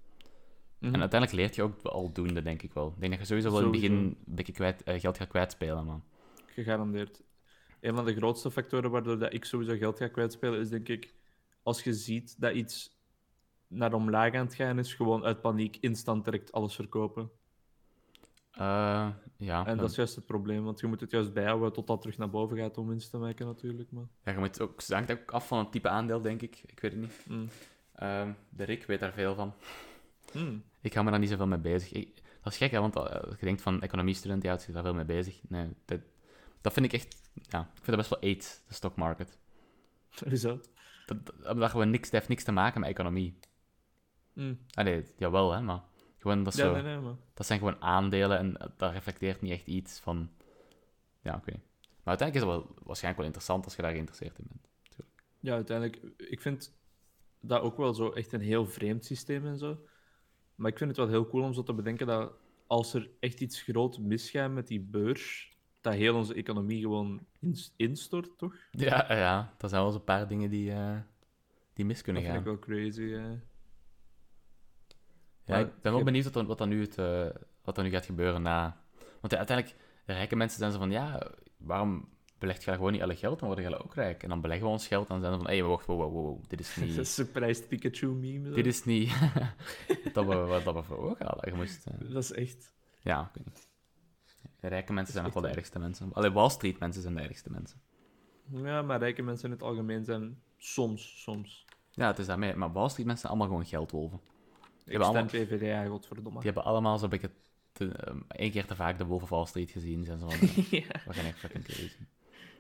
[SPEAKER 1] Mhm.
[SPEAKER 2] En uiteindelijk leert je ook al doende, denk ik wel. Ik denk dat je sowieso wel in het begin
[SPEAKER 1] Sowieso.
[SPEAKER 2] een beetje kwijt, eh, geld gaat kwijtspelen, man.
[SPEAKER 1] Gegarandeerd. Een van de grootste factoren waardoor dat ik sowieso geld ga kwijtspelen, is denk ik als je ziet dat iets naar omlaag aan het gaan is, gewoon uit paniek instant direct alles verkopen.
[SPEAKER 2] Eh, ja,
[SPEAKER 1] En
[SPEAKER 2] dan-
[SPEAKER 1] dat is juist het probleem, want je moet het juist bijhouden tot dat terug naar boven gaat om winst te maken, natuurlijk. Maar...
[SPEAKER 2] ja, je moet ook, het hangt ook af van het type aandeel, denk ik. Ik weet het niet.
[SPEAKER 1] Mm.
[SPEAKER 2] Ehm, de Rick weet daar veel van.
[SPEAKER 1] Mm.
[SPEAKER 2] Ik hou me daar niet zoveel mee bezig. Ik- dat is gek, hè, want eh, als je denkt van economiestudent, ja, houdt zich daar veel mee bezig. Nee, dat, dat vind ik echt... Ja, ik vind dat best wel eet, de stock market.
[SPEAKER 1] Zo.
[SPEAKER 2] Dat, dat, omdat gewoon niks, dat heeft niks te maken met economie.
[SPEAKER 1] Mm.
[SPEAKER 2] Ah, nee, jawel, hè, maar... Gewoon, dat, is
[SPEAKER 1] Ja,
[SPEAKER 2] zo,
[SPEAKER 1] nee, nee, maar.
[SPEAKER 2] dat zijn gewoon aandelen en eh, dat reflecteert niet echt iets van... Ja, ik weet niet. Maar uiteindelijk is dat wel waarschijnlijk wel interessant als je daar geïnteresseerd in bent.
[SPEAKER 1] Ja, uiteindelijk. Ik vind dat ook wel zo echt een heel vreemd systeem en zo. Maar ik vind het wel heel cool om zo te bedenken dat als er echt iets groot misgaat met die beurs, dat heel onze economie gewoon ins- instort, toch?
[SPEAKER 2] Ja, eh, ja, dat zijn wel eens een paar dingen die, eh, die mis kunnen
[SPEAKER 1] Dat vind ik
[SPEAKER 2] gaan.
[SPEAKER 1] wel crazy. hè.
[SPEAKER 2] Ja,
[SPEAKER 1] Maar
[SPEAKER 2] ik ben wel
[SPEAKER 1] je-
[SPEAKER 2] benieuwd wat er- wat er nu, het, eh, wat er nu gaat gebeuren na. Want ja, uiteindelijk, de rijke mensen zijn zo van, ja, waarom belegt je daar gewoon niet alle geld, dan worden jullie ook rijk. En dan beleggen we ons geld en dan zijn ze van, hé, hey, wacht, wow, wow, wow, wow,
[SPEAKER 1] [laughs]
[SPEAKER 2] dit is
[SPEAKER 1] Dat
[SPEAKER 2] niet,
[SPEAKER 1] surprised Pikachu meme. zo.
[SPEAKER 2] dit is niet [laughs] dat we, wat dat we voor ogen hadden. Je moest, eh,
[SPEAKER 1] Dat is echt.
[SPEAKER 2] ja, ik weet niet. De rijke mensen zijn nog
[SPEAKER 1] echt
[SPEAKER 2] wel de ergste mensen. Alleen Wall Street mensen zijn de ergste mensen.
[SPEAKER 1] Ja, maar rijke mensen in het algemeen zijn soms, soms.
[SPEAKER 2] Ja, het is daarmee. Maar Wall Street mensen zijn allemaal gewoon geldwolven.
[SPEAKER 1] Ik
[SPEAKER 2] allemaal-
[SPEAKER 1] stem PvdA, godverdomme.
[SPEAKER 2] Die hebben allemaal zo'n beetje te- ehm, één keer te vaak de Wolf of Wall Street gezien. Zijn ze van,
[SPEAKER 1] [laughs] ja.
[SPEAKER 2] we gaan echt fucking crazy.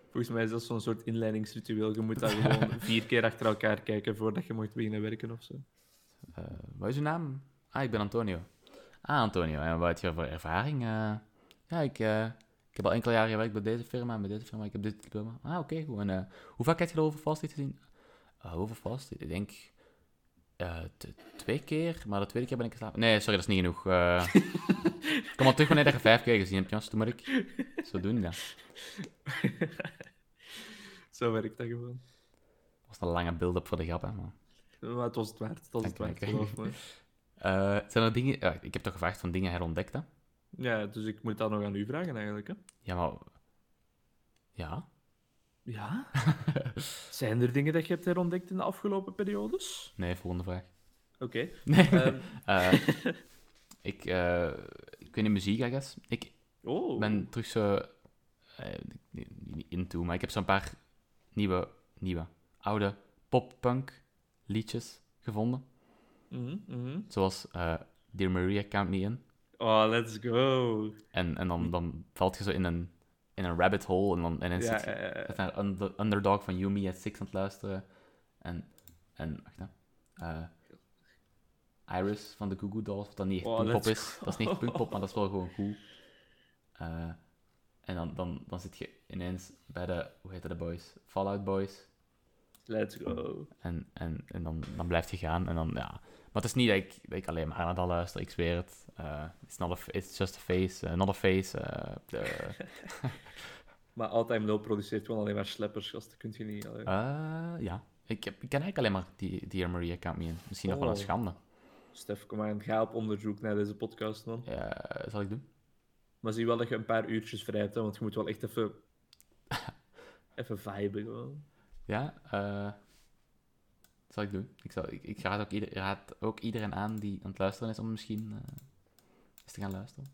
[SPEAKER 1] Volgens mij is dat zo'n soort inleidingsritueel. Je moet daar
[SPEAKER 2] [laughs]
[SPEAKER 1] gewoon vier keer achter elkaar kijken voordat je mocht beginnen werken of zo.
[SPEAKER 2] Eh, wat is uw naam? Ah, ik ben Antonio. Ah, Antonio. En wat heb je voor ervaring? Eh, ja, ik, eh, ik heb al enkele jaren gewerkt bij deze firma en bij deze firma. Ik heb dit diploma. Ah, oké, goed. En eh, hoe vaak heb je de Wolf of Wall Street gezien? Eh Wolf of Wall Street? Ik denk eh, t- twee keer, maar de tweede keer ben ik geslapen. Nee, sorry, dat is niet genoeg. Eh, [laughs] kom maar terug wanneer dat je vijf keer gezien hebt, jongens. Toen moet ik... Zo doen die dat.
[SPEAKER 1] Zo werkt dat gewoon.
[SPEAKER 2] Dat was een lange build-up voor de grap, hè, maar...
[SPEAKER 1] Maar het was het waard. Het was het waard,
[SPEAKER 2] Dank je,
[SPEAKER 1] geloof me.
[SPEAKER 2] Eh, zijn er dingen... ja, ik heb toch gevraagd van dingen herontdekt, hè?
[SPEAKER 1] Ja, dus ik moet dat nog aan u vragen eigenlijk. Hè?
[SPEAKER 2] Ja, maar... Ja? [laughs]
[SPEAKER 1] Ja? Zijn er dingen dat je hebt herontdekt in de afgelopen periodes?
[SPEAKER 2] Nee, volgende vraag.
[SPEAKER 1] Oké.
[SPEAKER 2] [laughs] Nee.
[SPEAKER 1] ehm,
[SPEAKER 2] Eh, ik, eh, ik weet niet, muziek, I guess. Ik
[SPEAKER 1] oh.
[SPEAKER 2] ben terug zo... eh, niet niet into, maar ik heb zo'n paar nieuwe, nieuwe, oude pop-punk liedjes gevonden.
[SPEAKER 1] Mhm, mhm.
[SPEAKER 2] Zoals eh, Dear Maria, Count Me In.
[SPEAKER 1] Oh, let's go.
[SPEAKER 2] En, en dan, dan valt je zo in een, in een rabbit hole en dan en dan zit
[SPEAKER 1] Ja,
[SPEAKER 2] je-
[SPEAKER 1] eh, eh,
[SPEAKER 2] Ik was naar Under- Underdog van Yumi at Six aan het luisteren. En, en wacht hè. Eh, Iris van de Goo Goo Dolls, wat dan niet echt
[SPEAKER 1] Oh,
[SPEAKER 2] punkpop
[SPEAKER 1] let's
[SPEAKER 2] is. Dat is niet echt punkpop, maar dat is wel gewoon goed. Eh, en dan, dan, dan zit je ineens bij de, hoe heet de boys? Fallout Boys.
[SPEAKER 1] let's go.
[SPEAKER 2] En, en, en dan, dan blijf je gaan. En dan, ja. Maar het is niet dat ik, dat ik alleen maar naar dat luister, ik zweer het. Eh, it's, not a, f- it's just a face, eh, not a face. eh, de-
[SPEAKER 1] Maar All Time Low produceert gewoon alleen maar sleppers, gast. Dat kun je niet... allee.
[SPEAKER 2] Eh, ja. Ik, heb, ik ken eigenlijk alleen maar die, die Maria Count Me In. Misschien nog wel een
[SPEAKER 1] Oh.
[SPEAKER 2] schande.
[SPEAKER 1] Stef, kom aan. Ga op onderzoek naar deze podcast, man.
[SPEAKER 2] Eh, zal ik doen?
[SPEAKER 1] Maar zie wel dat je een paar uurtjes vrij hebt, hè, want je moet wel echt even...
[SPEAKER 2] [laughs]
[SPEAKER 1] even viben, gewoon.
[SPEAKER 2] Ja, eh, zal ik doen. Ik, zal, ik, ik raad, ook ieder, raad ook iedereen aan die aan het luisteren is om misschien eh, eens te gaan luisteren.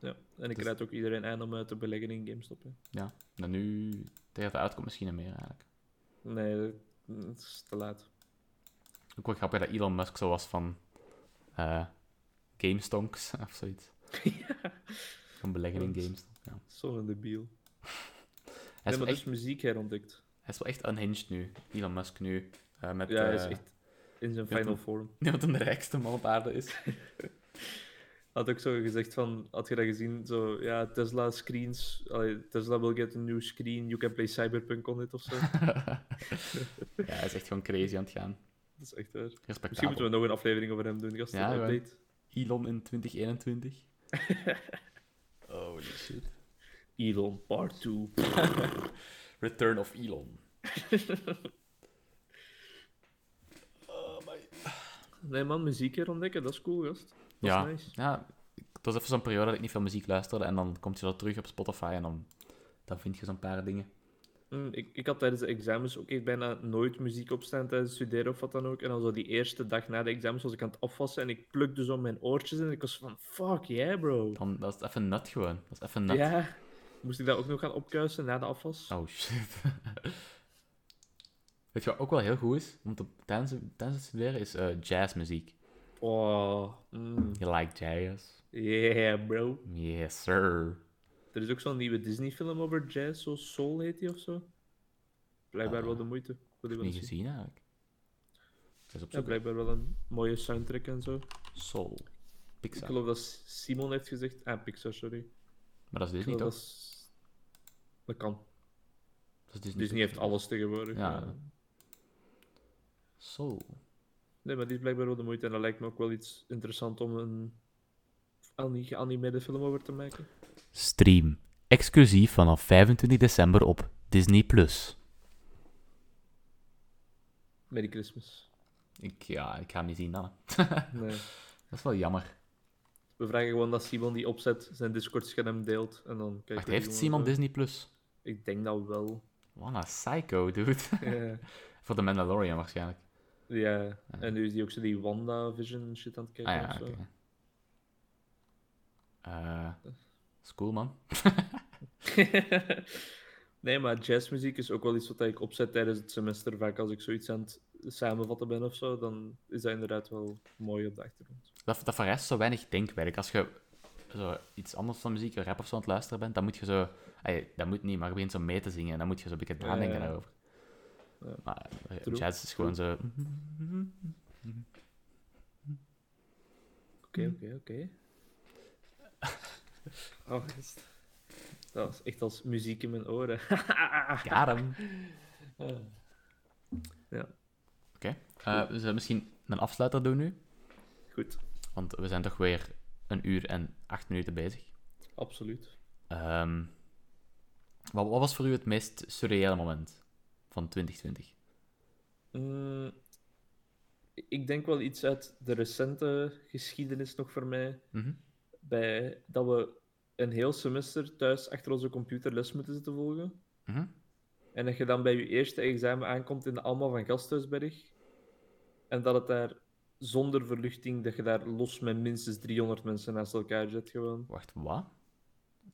[SPEAKER 1] Ja. En ik
[SPEAKER 2] Dus-
[SPEAKER 1] raad ook iedereen aan om eh, te beleggen in GameStop, hè.
[SPEAKER 2] Ja, dan Nou, nu, tegen de uitkomt misschien en meer eigenlijk.
[SPEAKER 1] Nee, dat- het is te laat.
[SPEAKER 2] Ook wel grappig dat Elon Musk zo was van eh GameStonks [laughs] of zoiets. Van beleggen in
[SPEAKER 1] Klopt.
[SPEAKER 2] GameStonk. Ja.
[SPEAKER 1] Zo'n debiel.
[SPEAKER 2] Hij,
[SPEAKER 1] Hij
[SPEAKER 2] is
[SPEAKER 1] nee,
[SPEAKER 2] wel
[SPEAKER 1] maar
[SPEAKER 2] echt,
[SPEAKER 1] dus muziek herontdekt.
[SPEAKER 2] hij is wel echt unhinged nu, Elon Musk nu. eh, met,
[SPEAKER 1] ja, hij is
[SPEAKER 2] eh,
[SPEAKER 1] echt in zijn
[SPEAKER 2] ja,
[SPEAKER 1] final
[SPEAKER 2] toen-
[SPEAKER 1] form.
[SPEAKER 2] [laughs] Ja, wat een de rijkste man op aarde is.
[SPEAKER 1] Had ook zo gezegd van, had je dat gezien? Zo, ja, Tesla screens. allee, Tesla will get a new screen. You can play Cyberpunk on it of zo.
[SPEAKER 2] [laughs] [laughs] ja, hij is echt gewoon crazy aan het gaan.
[SPEAKER 1] dat is echt waar. Misschien
[SPEAKER 2] Respectabel.
[SPEAKER 1] moeten we nog een aflevering over hem doen, gasten.
[SPEAKER 2] Ja, gewoon.
[SPEAKER 1] update.
[SPEAKER 2] Elon in 2021. Holy shit.
[SPEAKER 1] Elon Part 2.
[SPEAKER 2] Return of Elon. Oh, my.
[SPEAKER 1] Nee man, muziek herontdekken, dat is cool, gast. Dat
[SPEAKER 2] Ja.
[SPEAKER 1] is nice.
[SPEAKER 2] Ja, het was even zo'n periode dat ik niet veel muziek luisterde. En dan komt je dat terug op Spotify en dan, dan vind je zo'n paar dingen.
[SPEAKER 1] Mm, ik, ik had tijdens de examens ook echt bijna nooit muziek opstaan tijdens het studeren of wat dan ook. En dan zo die eerste dag na de examens was ik aan het afwassen en ik plukte zo mijn oortjes in en ik was van, fuck yeah bro.
[SPEAKER 2] Dan, dat is even nut gewoon. Dat is even nut.
[SPEAKER 1] Ja, moest ik dat ook nog gaan opkuisen na de afwas?
[SPEAKER 2] Oh shit. [laughs] Weet je wat ook wel heel goed is? Om te, tijdens, tijdens het studeren is eh, jazzmuziek.
[SPEAKER 1] Oh, mm.
[SPEAKER 2] You like jazz?
[SPEAKER 1] yeah, bro.
[SPEAKER 2] Yes, sir.
[SPEAKER 1] Er is ook zo'n nieuwe Disney-film over jazz, zo Soul heet die of zo. Blijkbaar
[SPEAKER 2] Ah.
[SPEAKER 1] wel de moeite. Wil je wel
[SPEAKER 2] Niet
[SPEAKER 1] eens zien?
[SPEAKER 2] gezien eigenlijk. Het is op
[SPEAKER 1] Ja,
[SPEAKER 2] zoek.
[SPEAKER 1] blijkbaar wel een mooie soundtrack en zo.
[SPEAKER 2] Soul.
[SPEAKER 1] Ik
[SPEAKER 2] Pixar.
[SPEAKER 1] geloof dat Simon heeft gezegd. Ah, Pixar, sorry. Ik
[SPEAKER 2] Maar dat is Disney
[SPEAKER 1] geloof
[SPEAKER 2] toch?
[SPEAKER 1] dat, s- dat kan.
[SPEAKER 2] Dat is Disney.
[SPEAKER 1] Dus Disney heeft alles tegenwoordig.
[SPEAKER 2] Ja.
[SPEAKER 1] ja.
[SPEAKER 2] Soul.
[SPEAKER 1] Nee, maar die is blijkbaar wel de moeite. En dat lijkt me ook wel iets interessant om een ani- geanimeerde film over te maken.
[SPEAKER 2] Stream. Exclusief vanaf 25 december op Disney+.
[SPEAKER 1] Merry
[SPEAKER 2] [laughs]
[SPEAKER 1] Christmas.
[SPEAKER 2] Ik, ja, ik ga hem niet zien dan. hè.
[SPEAKER 1] Nee.
[SPEAKER 2] Dat is wel jammer.
[SPEAKER 1] We vragen gewoon dat Simon die opzet zijn Discord-scherm deelt. En dan kijken
[SPEAKER 2] Wacht,
[SPEAKER 1] we
[SPEAKER 2] heeft
[SPEAKER 1] gewoon zo.
[SPEAKER 2] Simon Disney+.
[SPEAKER 1] Ik denk dat
[SPEAKER 2] [laughs]
[SPEAKER 1] wel.
[SPEAKER 2] Wat een psycho, dude. [laughs]
[SPEAKER 1] Ja.
[SPEAKER 2] Voor de Mandalorian waarschijnlijk.
[SPEAKER 1] ja. En nu is die ook zo die WandaVision shit aan het
[SPEAKER 2] Ah
[SPEAKER 1] kijken.
[SPEAKER 2] ja,
[SPEAKER 1] of
[SPEAKER 2] oké.
[SPEAKER 1] zo.
[SPEAKER 2] Eh, is cool, man.
[SPEAKER 1] [laughs] Nee, maar jazzmuziek is ook wel iets wat ik opzet tijdens het semester. Vaak als ik zoiets aan het samenvatten ben of zo, dan is dat inderdaad wel mooi op de achtergrond.
[SPEAKER 2] Dat, dat vereist zo weinig denkwerk. Als je zo iets anders van muziek, een rap of zo aan het luisteren bent, dan moet je zo... ey, dat moet niet, maar je begint zo mee te zingen en dan moet je zo een beetje
[SPEAKER 1] Ja,
[SPEAKER 2] nadenken
[SPEAKER 1] ja.
[SPEAKER 2] daarover.
[SPEAKER 1] Ja.
[SPEAKER 2] Maar eh,
[SPEAKER 1] True.
[SPEAKER 2] jazz is gewoon zo... [laughs]
[SPEAKER 1] Oké, oké, oké. [laughs] Oh, gast. dat was echt als muziek in mijn oren. [laughs]
[SPEAKER 2] Got 'em.
[SPEAKER 1] Eh,
[SPEAKER 2] Eh, we zullen misschien een afsluiter doen nu,
[SPEAKER 1] Goed,
[SPEAKER 2] want we zijn toch weer een uur en acht minuten bezig.
[SPEAKER 1] absoluut.
[SPEAKER 2] Ehm, wat, wat was voor u het meest surreële moment van 2020?
[SPEAKER 1] Mm, ik denk wel iets uit de recente geschiedenis nog voor mij.
[SPEAKER 2] Mhm.
[SPEAKER 1] Bij, dat we een heel semester thuis achter onze computer les moeten zitten volgen.
[SPEAKER 2] Mhm.
[SPEAKER 1] En dat je dan bij je eerste examen aankomt in de Alma van Gasthuisberg. En dat het daar zonder verluchting, dat je daar los met minstens 300 mensen naast elkaar zet gewoon.
[SPEAKER 2] Wacht, wat?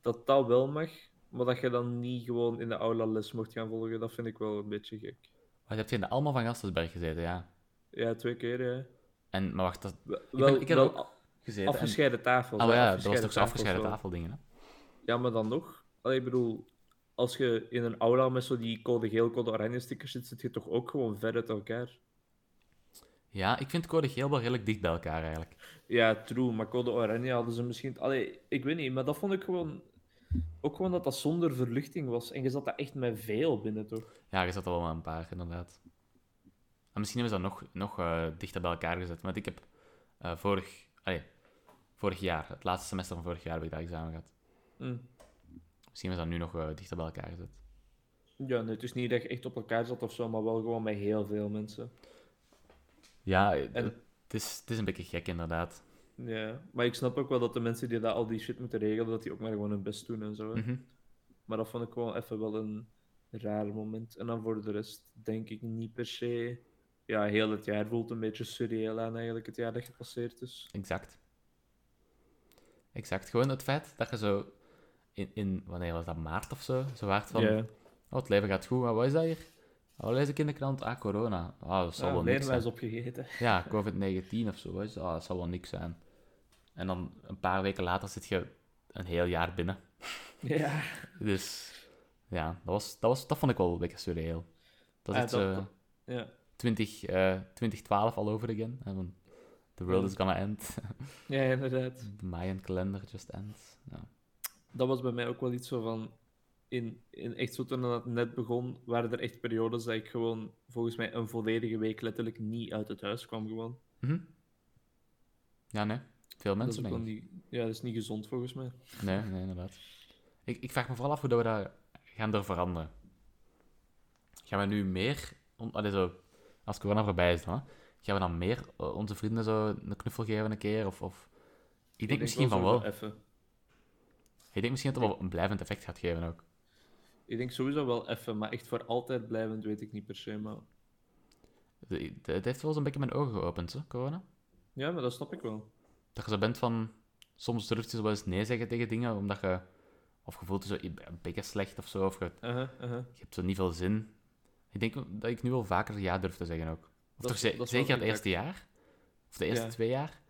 [SPEAKER 1] Dat dat wel mag, maar dat je dan niet gewoon in de aula les mocht gaan volgen, dat vind ik wel een beetje gek.
[SPEAKER 2] Wat heb je in de Alma van Gastelsberg gezeten, ja?
[SPEAKER 1] Ja, twee keer, ja.
[SPEAKER 2] En, maar wacht, dat
[SPEAKER 1] Wel,
[SPEAKER 2] ben- ik heb
[SPEAKER 1] wel
[SPEAKER 2] ook gezeten. en-
[SPEAKER 1] afgescheiden tafels.
[SPEAKER 2] Oh
[SPEAKER 1] hè,
[SPEAKER 2] ja, dat was toch zo
[SPEAKER 1] tafels
[SPEAKER 2] afgescheiden
[SPEAKER 1] wel.
[SPEAKER 2] tafeldingen, hè?
[SPEAKER 1] Ja, maar dan nog. Allee, ik bedoel, als je in een aula met zo die code geel, code oranje stickers zit, zit je toch ook gewoon ver uit elkaar.
[SPEAKER 2] Ja, ik vind code geel wel redelijk dicht bij elkaar, eigenlijk.
[SPEAKER 1] Ja, true, maar Code Oranje hadden ze misschien. Allee, ik weet niet, maar dat vond ik gewoon. Ook gewoon dat dat zonder verluchting was. En je zat daar echt met veel binnen, toch?
[SPEAKER 2] Ja, je zat er wel maar een paar, inderdaad. En misschien hebben ze dat nog, nog eh, dichter bij elkaar gezet, want ik heb eh, vorig... Allee, vorig jaar, het laatste semester van vorig jaar, heb ik dat examen gehad.
[SPEAKER 1] Hm.
[SPEAKER 2] Misschien hebben ze dat nu nog eh, dichter bij elkaar gezet.
[SPEAKER 1] Ja, nee, het is niet dat je echt op elkaar zat of zo, maar wel gewoon met heel veel mensen.
[SPEAKER 2] Ja, eh,
[SPEAKER 1] En-
[SPEAKER 2] het, is, het is een beetje gek, inderdaad.
[SPEAKER 1] Ja, maar ik snap ook wel dat de mensen die dat, al die shit moeten regelen, dat die ook maar gewoon hun best doen en zo. hè.
[SPEAKER 2] Mhm.
[SPEAKER 1] Maar dat vond ik gewoon even wel een raar moment. En dan voor de rest denk ik niet per se. Ja, heel het jaar voelt een beetje surreal aan eigenlijk, het jaar dat gepasseerd is.
[SPEAKER 2] Exact. Exact. Gewoon het feit dat je zo in, in wanneer was dat, maart of zo, zo waard van,
[SPEAKER 1] Ja.
[SPEAKER 2] oh, het leven gaat goed, maar wat is dat hier? Wat lees ik in de krant? Ah, corona. Ah, dat zal
[SPEAKER 1] Ja,
[SPEAKER 2] wel niks zijn.
[SPEAKER 1] leerwijs opgegeten. [laughs]
[SPEAKER 2] Ja, COVID-19 of zo, wat is dat? Ah, dat zal wel niks zijn. En dan een paar weken later zit je een heel jaar binnen.
[SPEAKER 1] Ja.
[SPEAKER 2] Dus ja, dat, was, dat, was, dat vond ik wel een beetje surreal. Dat is
[SPEAKER 1] Ah,
[SPEAKER 2] echt eh,
[SPEAKER 1] dat-
[SPEAKER 2] zo
[SPEAKER 1] dat- Ja.
[SPEAKER 2] 20, eh, 2012 all over again. En van, the world is gonna end. [laughs]
[SPEAKER 1] ja, inderdaad.
[SPEAKER 2] The Mayan calendar just ends. Ja.
[SPEAKER 1] Dat was bij mij ook wel iets zo van. In, in echt zo toen dat net begon, waren er echt periodes dat ik gewoon volgens mij een volledige week letterlijk niet uit het huis kwam. Gewoon.
[SPEAKER 2] Mhm. Ja, nee. Veel
[SPEAKER 1] Dat is
[SPEAKER 2] mensen,
[SPEAKER 1] ook
[SPEAKER 2] denk
[SPEAKER 1] wel
[SPEAKER 2] ik.
[SPEAKER 1] niet, ja, dat is niet gezond volgens mij.
[SPEAKER 2] Nee, nee, inderdaad. Ik, ik vraag me vooral af hoe dat we daar gaan door veranderen. Gaan we nu meer... on- allee, zo, als corona voorbij is dan, hè, gaan we dan meer eh, onze vrienden zo een knuffel geven een keer? Of, of... Ik, denk misschien van wel.
[SPEAKER 1] sowieso Even.
[SPEAKER 2] Ik denk misschien dat het wel een blijvend effect gaat geven ook.
[SPEAKER 1] Ik denk sowieso wel even, maar echt voor altijd blijvend weet ik niet per se. Maar...
[SPEAKER 2] De- de- Het heeft wel eens een beetje mijn ogen geopend, hè, corona.
[SPEAKER 1] Ja, maar dat snap ik wel.
[SPEAKER 2] Dat je zo bent van... Soms durf je zo wel eens nee zeggen tegen dingen, omdat je... Of je voelt je zo een beetje slecht of zo, of je
[SPEAKER 1] Uh
[SPEAKER 2] je hebt zo niet veel zin. Ik denk dat ik nu wel vaker ja durf te zeggen ook. Of
[SPEAKER 1] Dat
[SPEAKER 2] toch
[SPEAKER 1] is-
[SPEAKER 2] ze-
[SPEAKER 1] dat is wel
[SPEAKER 2] zeker het
[SPEAKER 1] feedback.
[SPEAKER 2] eerste jaar. Of de eerste
[SPEAKER 1] Ja.
[SPEAKER 2] twee jaar.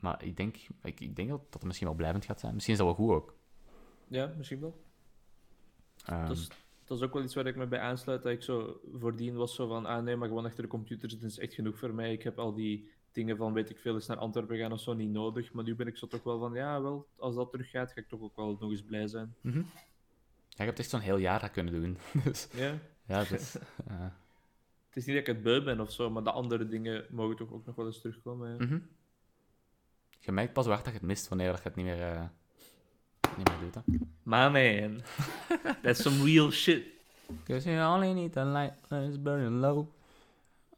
[SPEAKER 2] Maar ik denk, ik, ik denk dat dat het misschien wel blijvend gaat zijn. Misschien is dat wel goed ook.
[SPEAKER 1] Ja, misschien wel.
[SPEAKER 2] Ehm,
[SPEAKER 1] Dat is, dat is ook wel iets waar ik me bij aansluit. Dat ik zo voordien was zo van, ah nee, maar gewoon achter de computer zitten is echt genoeg voor mij. Ik heb al die dingen van, weet ik veel, eens naar Antwerpen gaan of zo niet nodig. Maar nu ben ik zo toch wel van, ja wel, als dat terug gaat, ga ik toch ook wel nog eens blij zijn.
[SPEAKER 2] mhm. Ja, je hebt echt zo'n heel jaar dat kunnen doen. [laughs] dus
[SPEAKER 1] Ja.
[SPEAKER 2] ja, dat [laughs] is... eh,
[SPEAKER 1] Het is niet dat ik het beu ben of zo, maar de andere dingen mogen toch ook nog wel eens terugkomen. ja.
[SPEAKER 2] mhm. Je merkt pas waar dat je het mist wanneer dat je het niet meer, eh, niet meer doet. Hè.
[SPEAKER 1] Maar man,
[SPEAKER 2] [laughs]
[SPEAKER 1] that's some real shit.
[SPEAKER 2] 'Cause you only need the light that is burning low.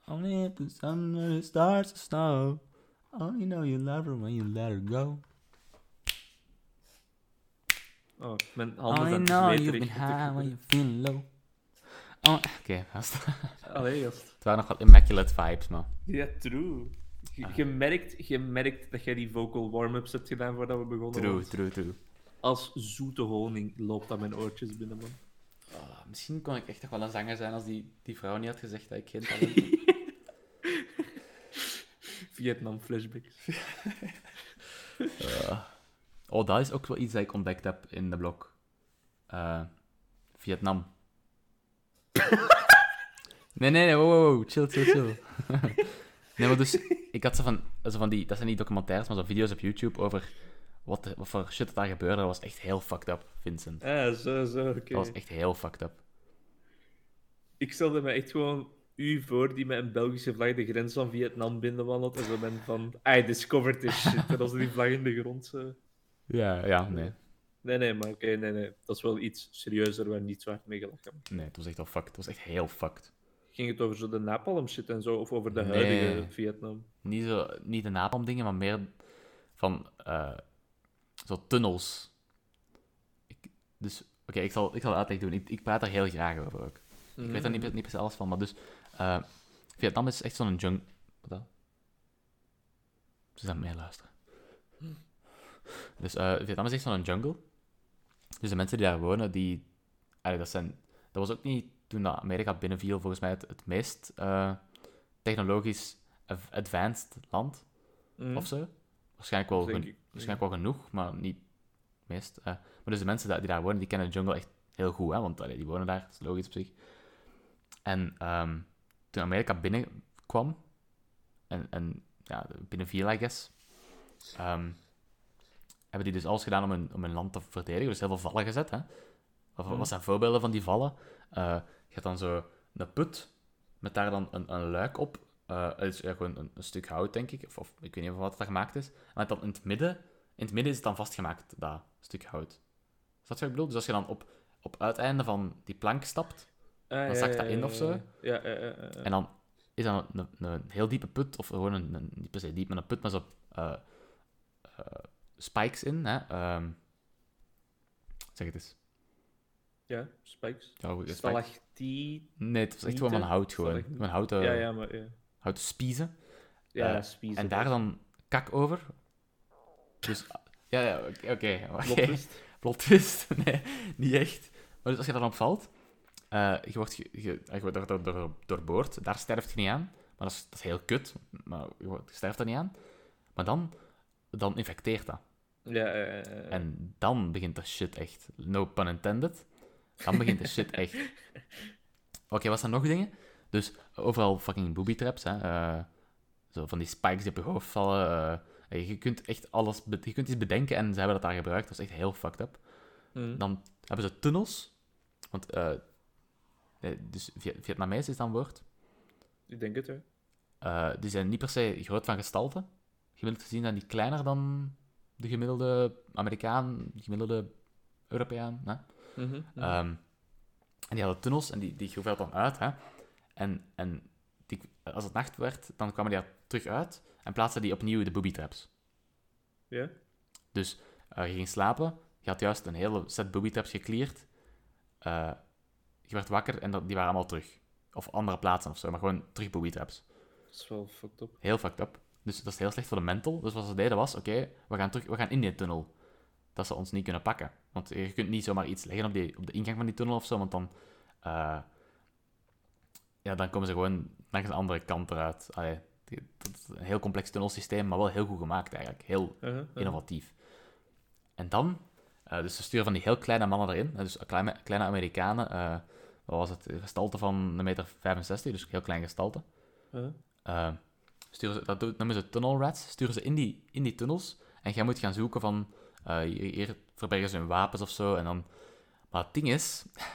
[SPEAKER 2] Only if the sun and the stars to snow. Only know you love her when you let her go.
[SPEAKER 1] Oh, mijn handen
[SPEAKER 2] Only
[SPEAKER 1] zijn
[SPEAKER 2] know
[SPEAKER 1] zweterig.
[SPEAKER 2] you've been high when you're feeling low. Oh, Oké, [laughs] gast.
[SPEAKER 1] Allee, gast.
[SPEAKER 2] het waren nog wat immaculate vibes, man.
[SPEAKER 1] Ja, true. Je, je merkt, je merkt dat jij die vocal warm-ups hebt gedaan voordat we begonnen.
[SPEAKER 2] True,
[SPEAKER 1] want-
[SPEAKER 2] true, true.
[SPEAKER 1] Als zoete honing loopt aan mijn oortjes binnen, man.
[SPEAKER 2] Ah, ah, misschien kon ik echt nog wel een zanger zijn als die, die vrouw niet had gezegd dat ik geen [laughs] talent had.
[SPEAKER 1] Vietnam flashbacks.
[SPEAKER 2] Eh, oh, dat is ook wel iets dat ik ontdekt heb in de blog. Eh, Vietnam. [laughs] nee, nee, nee, wow, wow, wow, chill, chill, chill. [laughs] nee, maar dus, ik had zo van, zo van die, dat zijn niet documentaires, maar zo video's op YouTube over wat, de- wat voor shit dat daar gebeurde. Dat was echt heel fucked up, Vincent.
[SPEAKER 1] [laughs] Ah, zo, zo, oké.
[SPEAKER 2] Dat was echt heel fucked up.
[SPEAKER 1] Ik stelde me echt gewoon u voor die met een Belgische vlag de grens van Vietnam binnenwandelt. En zo ben van, I discovered this shit. En als die vlag in de grond. zo.
[SPEAKER 2] Ja, ja, nee.
[SPEAKER 1] Nee, nee, maar oké, nee, nee. Dat is wel iets serieuzer waar niet zo hard mee gelachen wordt.
[SPEAKER 2] Nee, het was echt al fucked. Het was echt heel fucked.
[SPEAKER 1] Ging het over zo de napalm shit en zo? Of over de
[SPEAKER 2] Nee.
[SPEAKER 1] huidige Vietnam?
[SPEAKER 2] Niet, zo, niet de napalm dingen, maar meer van eh, zo tunnels. Ik, dus, oké, ik, zal, ik zal uitleg doen. Ik, ik praat daar heel graag over ook. Ik weet daar niet, niet precies alles van, maar dus... eh, Vietnam is echt zo'n jung... Wat dat? Ze zijn meer luisteren. Dus eh, Vietnam is echt zo'n jungle. Dus de mensen die daar wonen, die... Allee, dat, zijn, dat was ook niet toen dat Amerika binnenviel, volgens mij het, het meest eh, technologisch av- advanced land
[SPEAKER 1] Mm,
[SPEAKER 2] of zo. Waarschijnlijk wel,
[SPEAKER 1] Denk
[SPEAKER 2] gen-
[SPEAKER 1] ik, ja.
[SPEAKER 2] waarschijnlijk wel genoeg, maar niet het meest. eh. maar dus de mensen da- die daar wonen, die kennen de jungle echt heel goed, hè, want allee, die wonen daar, dat is logisch op zich. En ehm, toen Amerika binnenkwam, en, en ja, binnen Villa, I guess, ehm, hebben die dus alles gedaan om hun, om hun land te verdedigen. Dus heel veel vallen gezet. Hè? Wat, wat
[SPEAKER 1] Mhm.
[SPEAKER 2] zijn voorbeelden van die vallen? Eh, je hebt dan zo een put met daar dan een, een luik op. Eh, het is eigenlijk gewoon een, een stuk hout, denk ik. Of, of ik weet niet van wat dat gemaakt is. En dan in het midden, in het midden is het dan vastgemaakt, dat stuk hout. Is dat wat ik bedoel? Dus als je dan op, op uiteinde van die plank stapt,
[SPEAKER 1] Ah,
[SPEAKER 2] dan
[SPEAKER 1] ja,
[SPEAKER 2] zakt
[SPEAKER 1] ja,
[SPEAKER 2] dat in
[SPEAKER 1] ja,
[SPEAKER 2] of zo.
[SPEAKER 1] Ja, ja, ja, ja, ja.
[SPEAKER 2] en dan is dat een, een, een heel diepe put, of gewoon een, een- niet per se diep, maar een put met zo eh, eh, spikes in. Hè? Ehm, zeg het eens.
[SPEAKER 1] Ja, spikes.
[SPEAKER 2] Ja, goed, spikes.
[SPEAKER 1] Stalactiet.
[SPEAKER 2] Nee, het was echt gewoon van
[SPEAKER 1] Nieten?
[SPEAKER 2] hout gewoon.
[SPEAKER 1] Stalagmieten.
[SPEAKER 2] Van houten,
[SPEAKER 1] Ja, dus. ja, maar... Ja,
[SPEAKER 2] houten spiezen.
[SPEAKER 1] ja
[SPEAKER 2] Eh,
[SPEAKER 1] spiezen.
[SPEAKER 2] En
[SPEAKER 1] [laughs]
[SPEAKER 2] daar dan kak over. Dus, ja, ja, oké. oké, oké.
[SPEAKER 1] Plot twist.
[SPEAKER 2] Plot twist? [laughs] Nee, niet echt. Maar dus als je daarop valt, eh, je wordt, ge, ge- eh, je wordt door, door, door, doorboord. Daar sterft je niet aan. Maar dat is, dat is heel kut. Maar je, wordt- je sterft er niet aan. Maar dan, dan infecteert dat.
[SPEAKER 1] Ja, ja, ja, ja.
[SPEAKER 2] En dan begint de shit echt. No pun intended. Dan begint de shit echt. Oké, wat zijn nog dingen? Dus overal fucking booby traps, hè. eh, zo van die spikes die op je hoofd vallen. eh, je kunt echt alles... be- je kunt iets bedenken en ze hebben dat daar gebruikt. Dat is echt heel fucked up.
[SPEAKER 1] Mm.
[SPEAKER 2] Dan hebben ze tunnels. Want, eh eh, dus Vi- Vietnamees is dan woord.
[SPEAKER 1] Ik denk het, hè.
[SPEAKER 2] Eh, die zijn niet per se groot van gestalte. Gemiddeld gezien zijn die kleiner dan de gemiddelde Amerikaan, de gemiddelde Europeaan. Hè?
[SPEAKER 1] Mhm, mhm.
[SPEAKER 2] Ehm, en die hadden tunnels en die, die groeven dat dan uit. Hè? En, en die, als het nacht werd, dan kwamen die daar terug uit en plaatsten die opnieuw de booby traps.
[SPEAKER 1] Ja?
[SPEAKER 2] Dus eh, je ging slapen, je had juist een hele set booby traps gecleared. Eh, je werd wakker en dat, die waren allemaal terug. Of andere plaatsen of zo, maar gewoon terug booby traps.
[SPEAKER 1] Dat is wel fucked up.
[SPEAKER 2] Heel fucked up. Dus dat is heel slecht voor de mental. Dus wat ze deden was, oké, we gaan terug, we gaan in die tunnel. Dat ze ons niet kunnen pakken. Want je kunt niet zomaar iets leggen op, die, op de ingang van die tunnel of zo, want dan... eh, ja, dan komen ze gewoon langs de andere kant eruit. Allee, die- dat is een heel complex tunnelsysteem, maar wel heel goed gemaakt eigenlijk. Heel
[SPEAKER 1] Uh-huh, uh-huh.
[SPEAKER 2] innovatief. En dan, eh, dus ze sturen van die heel kleine mannen erin, eh, dus kleine, kleine Amerikanen, eh, wat was het, gestalte van een meter 65, dus heel klein gestalte.
[SPEAKER 1] Uh-huh.
[SPEAKER 2] Eh, sturen ze, dat doet- noemen ze tunnel rats. Sturen ze in die, in die tunnels. En jij moet gaan zoeken van... eh, hier, hier verbergen ze hun wapens of zo. En dan... Maar het ding is... [laughs]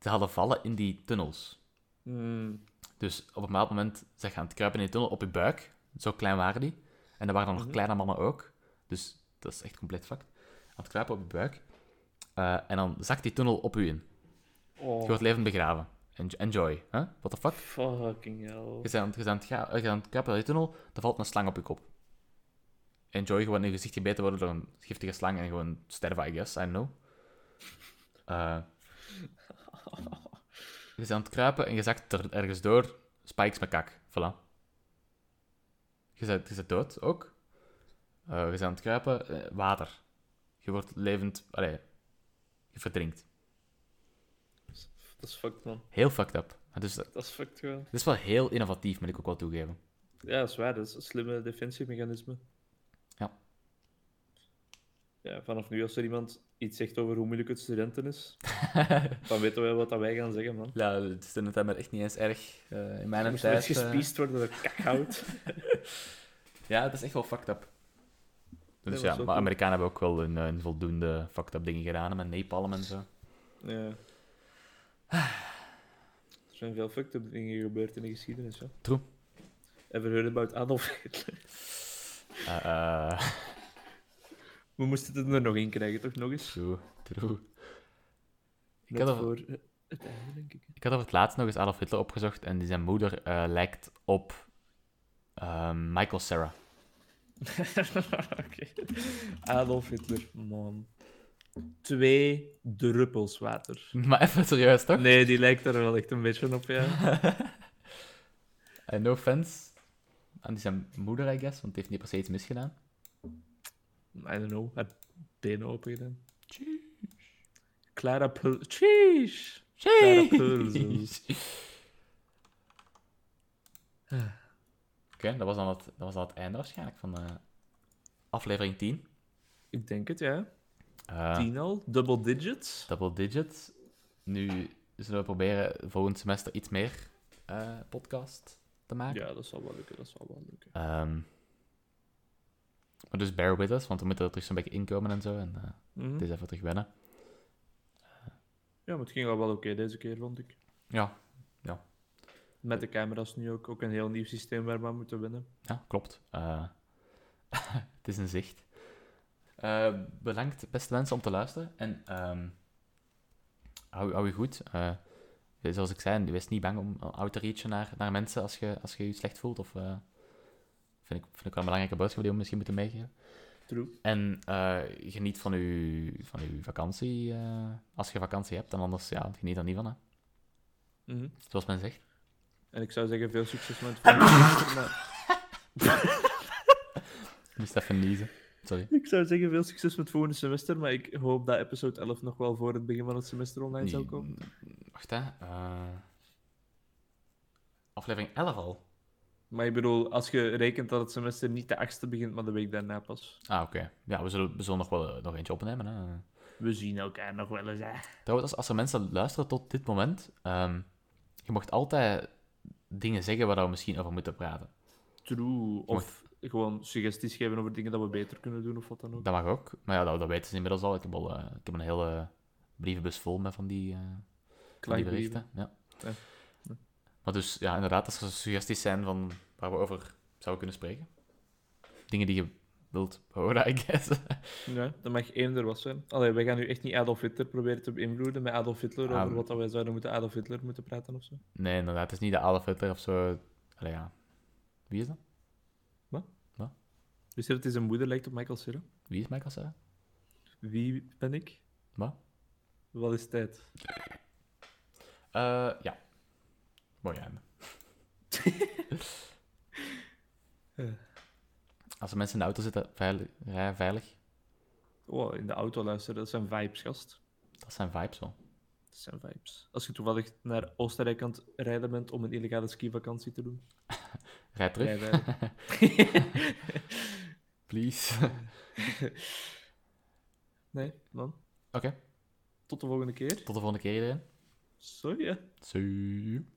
[SPEAKER 2] Ze hadden vallen in die tunnels.
[SPEAKER 1] Mm.
[SPEAKER 2] Dus op een bepaald moment zijn ze aan het kruipen in die tunnel op je buik. Zo klein waren die. En er waren dan nog
[SPEAKER 1] Mhm.
[SPEAKER 2] kleine mannen ook. Dus dat is echt compleet fucked. Aan het kruipen op je buik. Eh, en dan zakt die tunnel op u in. Je
[SPEAKER 1] Oh,
[SPEAKER 2] wordt levend begraven. En- Enjoy. Huh? What the fuck?
[SPEAKER 1] fucking hell.
[SPEAKER 2] Je bent aan het- je bent aan het ga- eh, je bent aan het kappen uit de tunnel, dan valt een slang op je kop. Enjoy gewoon in je gezicht gebeten worden door een giftige slang en gewoon sterven, I guess, I don't know. Eh, je bent aan het kruipen en je zakt er ergens door, spikes met kak, voilà. Je bent, je bent dood ook. Eh, je bent aan het kruipen, eh, water. Je wordt levend, allee, je verdrinkt.
[SPEAKER 1] Dat is fucked, man.
[SPEAKER 2] Heel fucked up. Maar Dus dat,
[SPEAKER 1] Dat is fucked gewoon.
[SPEAKER 2] dat is wel heel innovatief, moet ik ook wel toegeven.
[SPEAKER 1] Ja, dat is waar. Dat is een slimme defensiemechanisme.
[SPEAKER 2] Ja.
[SPEAKER 1] Ja, vanaf nu, als er iemand iets zegt over hoe moeilijk het studenten is, dan weten wij wat dat wij gaan zeggen, man.
[SPEAKER 2] ja, het is in het maar echt niet eens erg. eh, in mijn
[SPEAKER 1] Moest
[SPEAKER 2] tijd...
[SPEAKER 1] er eens
[SPEAKER 2] eh,
[SPEAKER 1] gespiest worden door kakhout.
[SPEAKER 2] Ja, dat is echt wel fucked up. Dus
[SPEAKER 1] was
[SPEAKER 2] ja,
[SPEAKER 1] ook
[SPEAKER 2] maar
[SPEAKER 1] wel-
[SPEAKER 2] Amerikanen hebben ook wel een, een voldoende fucked up dingen gedaan, hè, met Nepal en zo.
[SPEAKER 1] ja. Er zijn veel fucked up dingen gebeurd in de geschiedenis, ja.
[SPEAKER 2] True.
[SPEAKER 1] Ever heard about Adolf Hitler?
[SPEAKER 2] Eh, eh, [laughs]
[SPEAKER 1] We moesten het er nog in krijgen, toch? Nog eens?
[SPEAKER 2] true, true.
[SPEAKER 1] Ik
[SPEAKER 2] had al-
[SPEAKER 1] voor eh, het einde, denk ik.
[SPEAKER 2] Ik had over het laatst nog eens Adolf Hitler opgezocht en die zijn moeder eh, lijkt op ehm, Michael Sarah.
[SPEAKER 1] [laughs] Oké. Adolf Hitler, man. Twee druppels water.
[SPEAKER 2] [laughs] Maar even serieus, toch?
[SPEAKER 1] Nee, die lijkt er wel echt een beetje op, ja.
[SPEAKER 2] [laughs] Eh, no offense aan die zijn moeder, I guess, want die heeft niet per se iets misgedaan.
[SPEAKER 1] I don't know. Haar benen open gedaan. Clara Pul... Cheese! Clara Pulzel. [laughs]
[SPEAKER 2] Oké, dat was dan het- dat was dan het einde waarschijnlijk van eh, aflevering 10.
[SPEAKER 1] Ik denk het, ja.
[SPEAKER 2] Eh,
[SPEAKER 1] Tien al. Double digits.
[SPEAKER 2] double digits. Nu zullen we proberen volgend semester iets meer eh, podcast te maken.
[SPEAKER 1] Ja, dat zal wel lukken. Dat zal wel lukken.
[SPEAKER 2] Ehm, maar dus bear with us, want we moeten er terug zo'n beetje inkomen en zo. En eh,
[SPEAKER 1] Mhm.
[SPEAKER 2] het is even terug wennen.
[SPEAKER 1] Ja, maar het ging al wel oké deze keer, vond ik.
[SPEAKER 2] Ja,
[SPEAKER 1] Met de camera's nu ook. Ook een heel nieuw systeem waar we aan moeten winnen.
[SPEAKER 2] ja klopt. Eh, [laughs] het is een zicht. Eh, bedankt, beste mensen, om te luisteren. En ehm, hou, hou je goed. Eh, zoals ik zei, wees niet bang om out te reachen naar, naar mensen als je, als je je slecht voelt. Of, eh, vind, ik, vind ik wel een belangrijke boodschap die we misschien moeten meegeven.
[SPEAKER 1] True.
[SPEAKER 2] En eh, geniet van uw, van uw vakantie, eh, als je vakantie hebt. En anders, ja, geniet er niet van, hè.
[SPEAKER 1] Mhm.
[SPEAKER 2] Zoals men zegt.
[SPEAKER 1] En ik zou zeggen, veel succes
[SPEAKER 2] [laughs]
[SPEAKER 1] met het volgende maar-
[SPEAKER 2] Ik moest even niezen. Sorry.
[SPEAKER 1] Ik zou zeggen, veel succes met het volgende semester. Maar ik hoop dat episode 11 nog wel voor het begin van het semester online zou
[SPEAKER 2] Nee,
[SPEAKER 1] komen.
[SPEAKER 2] Wacht, hè. Eh, aflevering 11 al?
[SPEAKER 1] Maar ik bedoel, als je rekent dat het semester niet de achtste begint, maar de week daarna pas.
[SPEAKER 2] Ah, oké. Ja, we zullen, we zullen nog wel eh, nog eentje opnemen, hè.
[SPEAKER 1] We zien elkaar nog wel eens, hè.
[SPEAKER 2] Trouwens, als, als er mensen luisteren tot dit moment, ehm, je mocht altijd dingen zeggen waar we misschien over moeten praten.
[SPEAKER 1] True. Of gewoon suggesties geven over dingen dat we beter kunnen doen of wat dan ook.
[SPEAKER 2] Dat mag ook. Maar ja, dat, dat weten ze inmiddels al. Ik heb, al, eh, ik heb een hele brievenbus vol met van die... eh, Kleine
[SPEAKER 1] Klachtbrieven.
[SPEAKER 2] berichten. Ja.
[SPEAKER 1] Ja. Ja.
[SPEAKER 2] Maar dus, ja, inderdaad, als er suggesties zijn van waar we over zouden kunnen spreken. Dingen die je wilt horen, [laughs] I guess.
[SPEAKER 1] Ja, dat mag één er wat zijn. Allee, wij gaan nu echt niet Adolf Hitler proberen te beïnvloeden met Adolf Hitler
[SPEAKER 2] Ah,
[SPEAKER 1] over wat dat wij zouden moeten Adolf Hitler moeten praten of zo.
[SPEAKER 2] Nee, inderdaad, het is niet de Adolf Hitler of zo. Allee, ja. Wie is dat?
[SPEAKER 1] Dus dat hij zijn moeder lijkt op Michael Cera.
[SPEAKER 2] Wie is Michael Sarah?
[SPEAKER 1] Wie ben ik?
[SPEAKER 2] Wat?
[SPEAKER 1] Wat is tijd?
[SPEAKER 2] Eh, ja. Mooi einde.
[SPEAKER 1] Eh.
[SPEAKER 2] Als er mensen in de auto zitten, veilig, rij veilig.
[SPEAKER 1] Oh, in de auto luisteren, dat zijn vibes, gast.
[SPEAKER 2] Dat zijn vibes wel.
[SPEAKER 1] Dat zijn vibes. Als je toevallig naar Oostenrijk aan het rijden bent om een illegale skivakantie te doen.
[SPEAKER 2] Rijd terug, [laughs]
[SPEAKER 1] rijden.
[SPEAKER 2] please. [laughs] Oké,
[SPEAKER 1] nee, man. Tot de volgende keer.
[SPEAKER 2] tot de volgende keer iedereen.
[SPEAKER 1] Sorry, hè.
[SPEAKER 2] See you.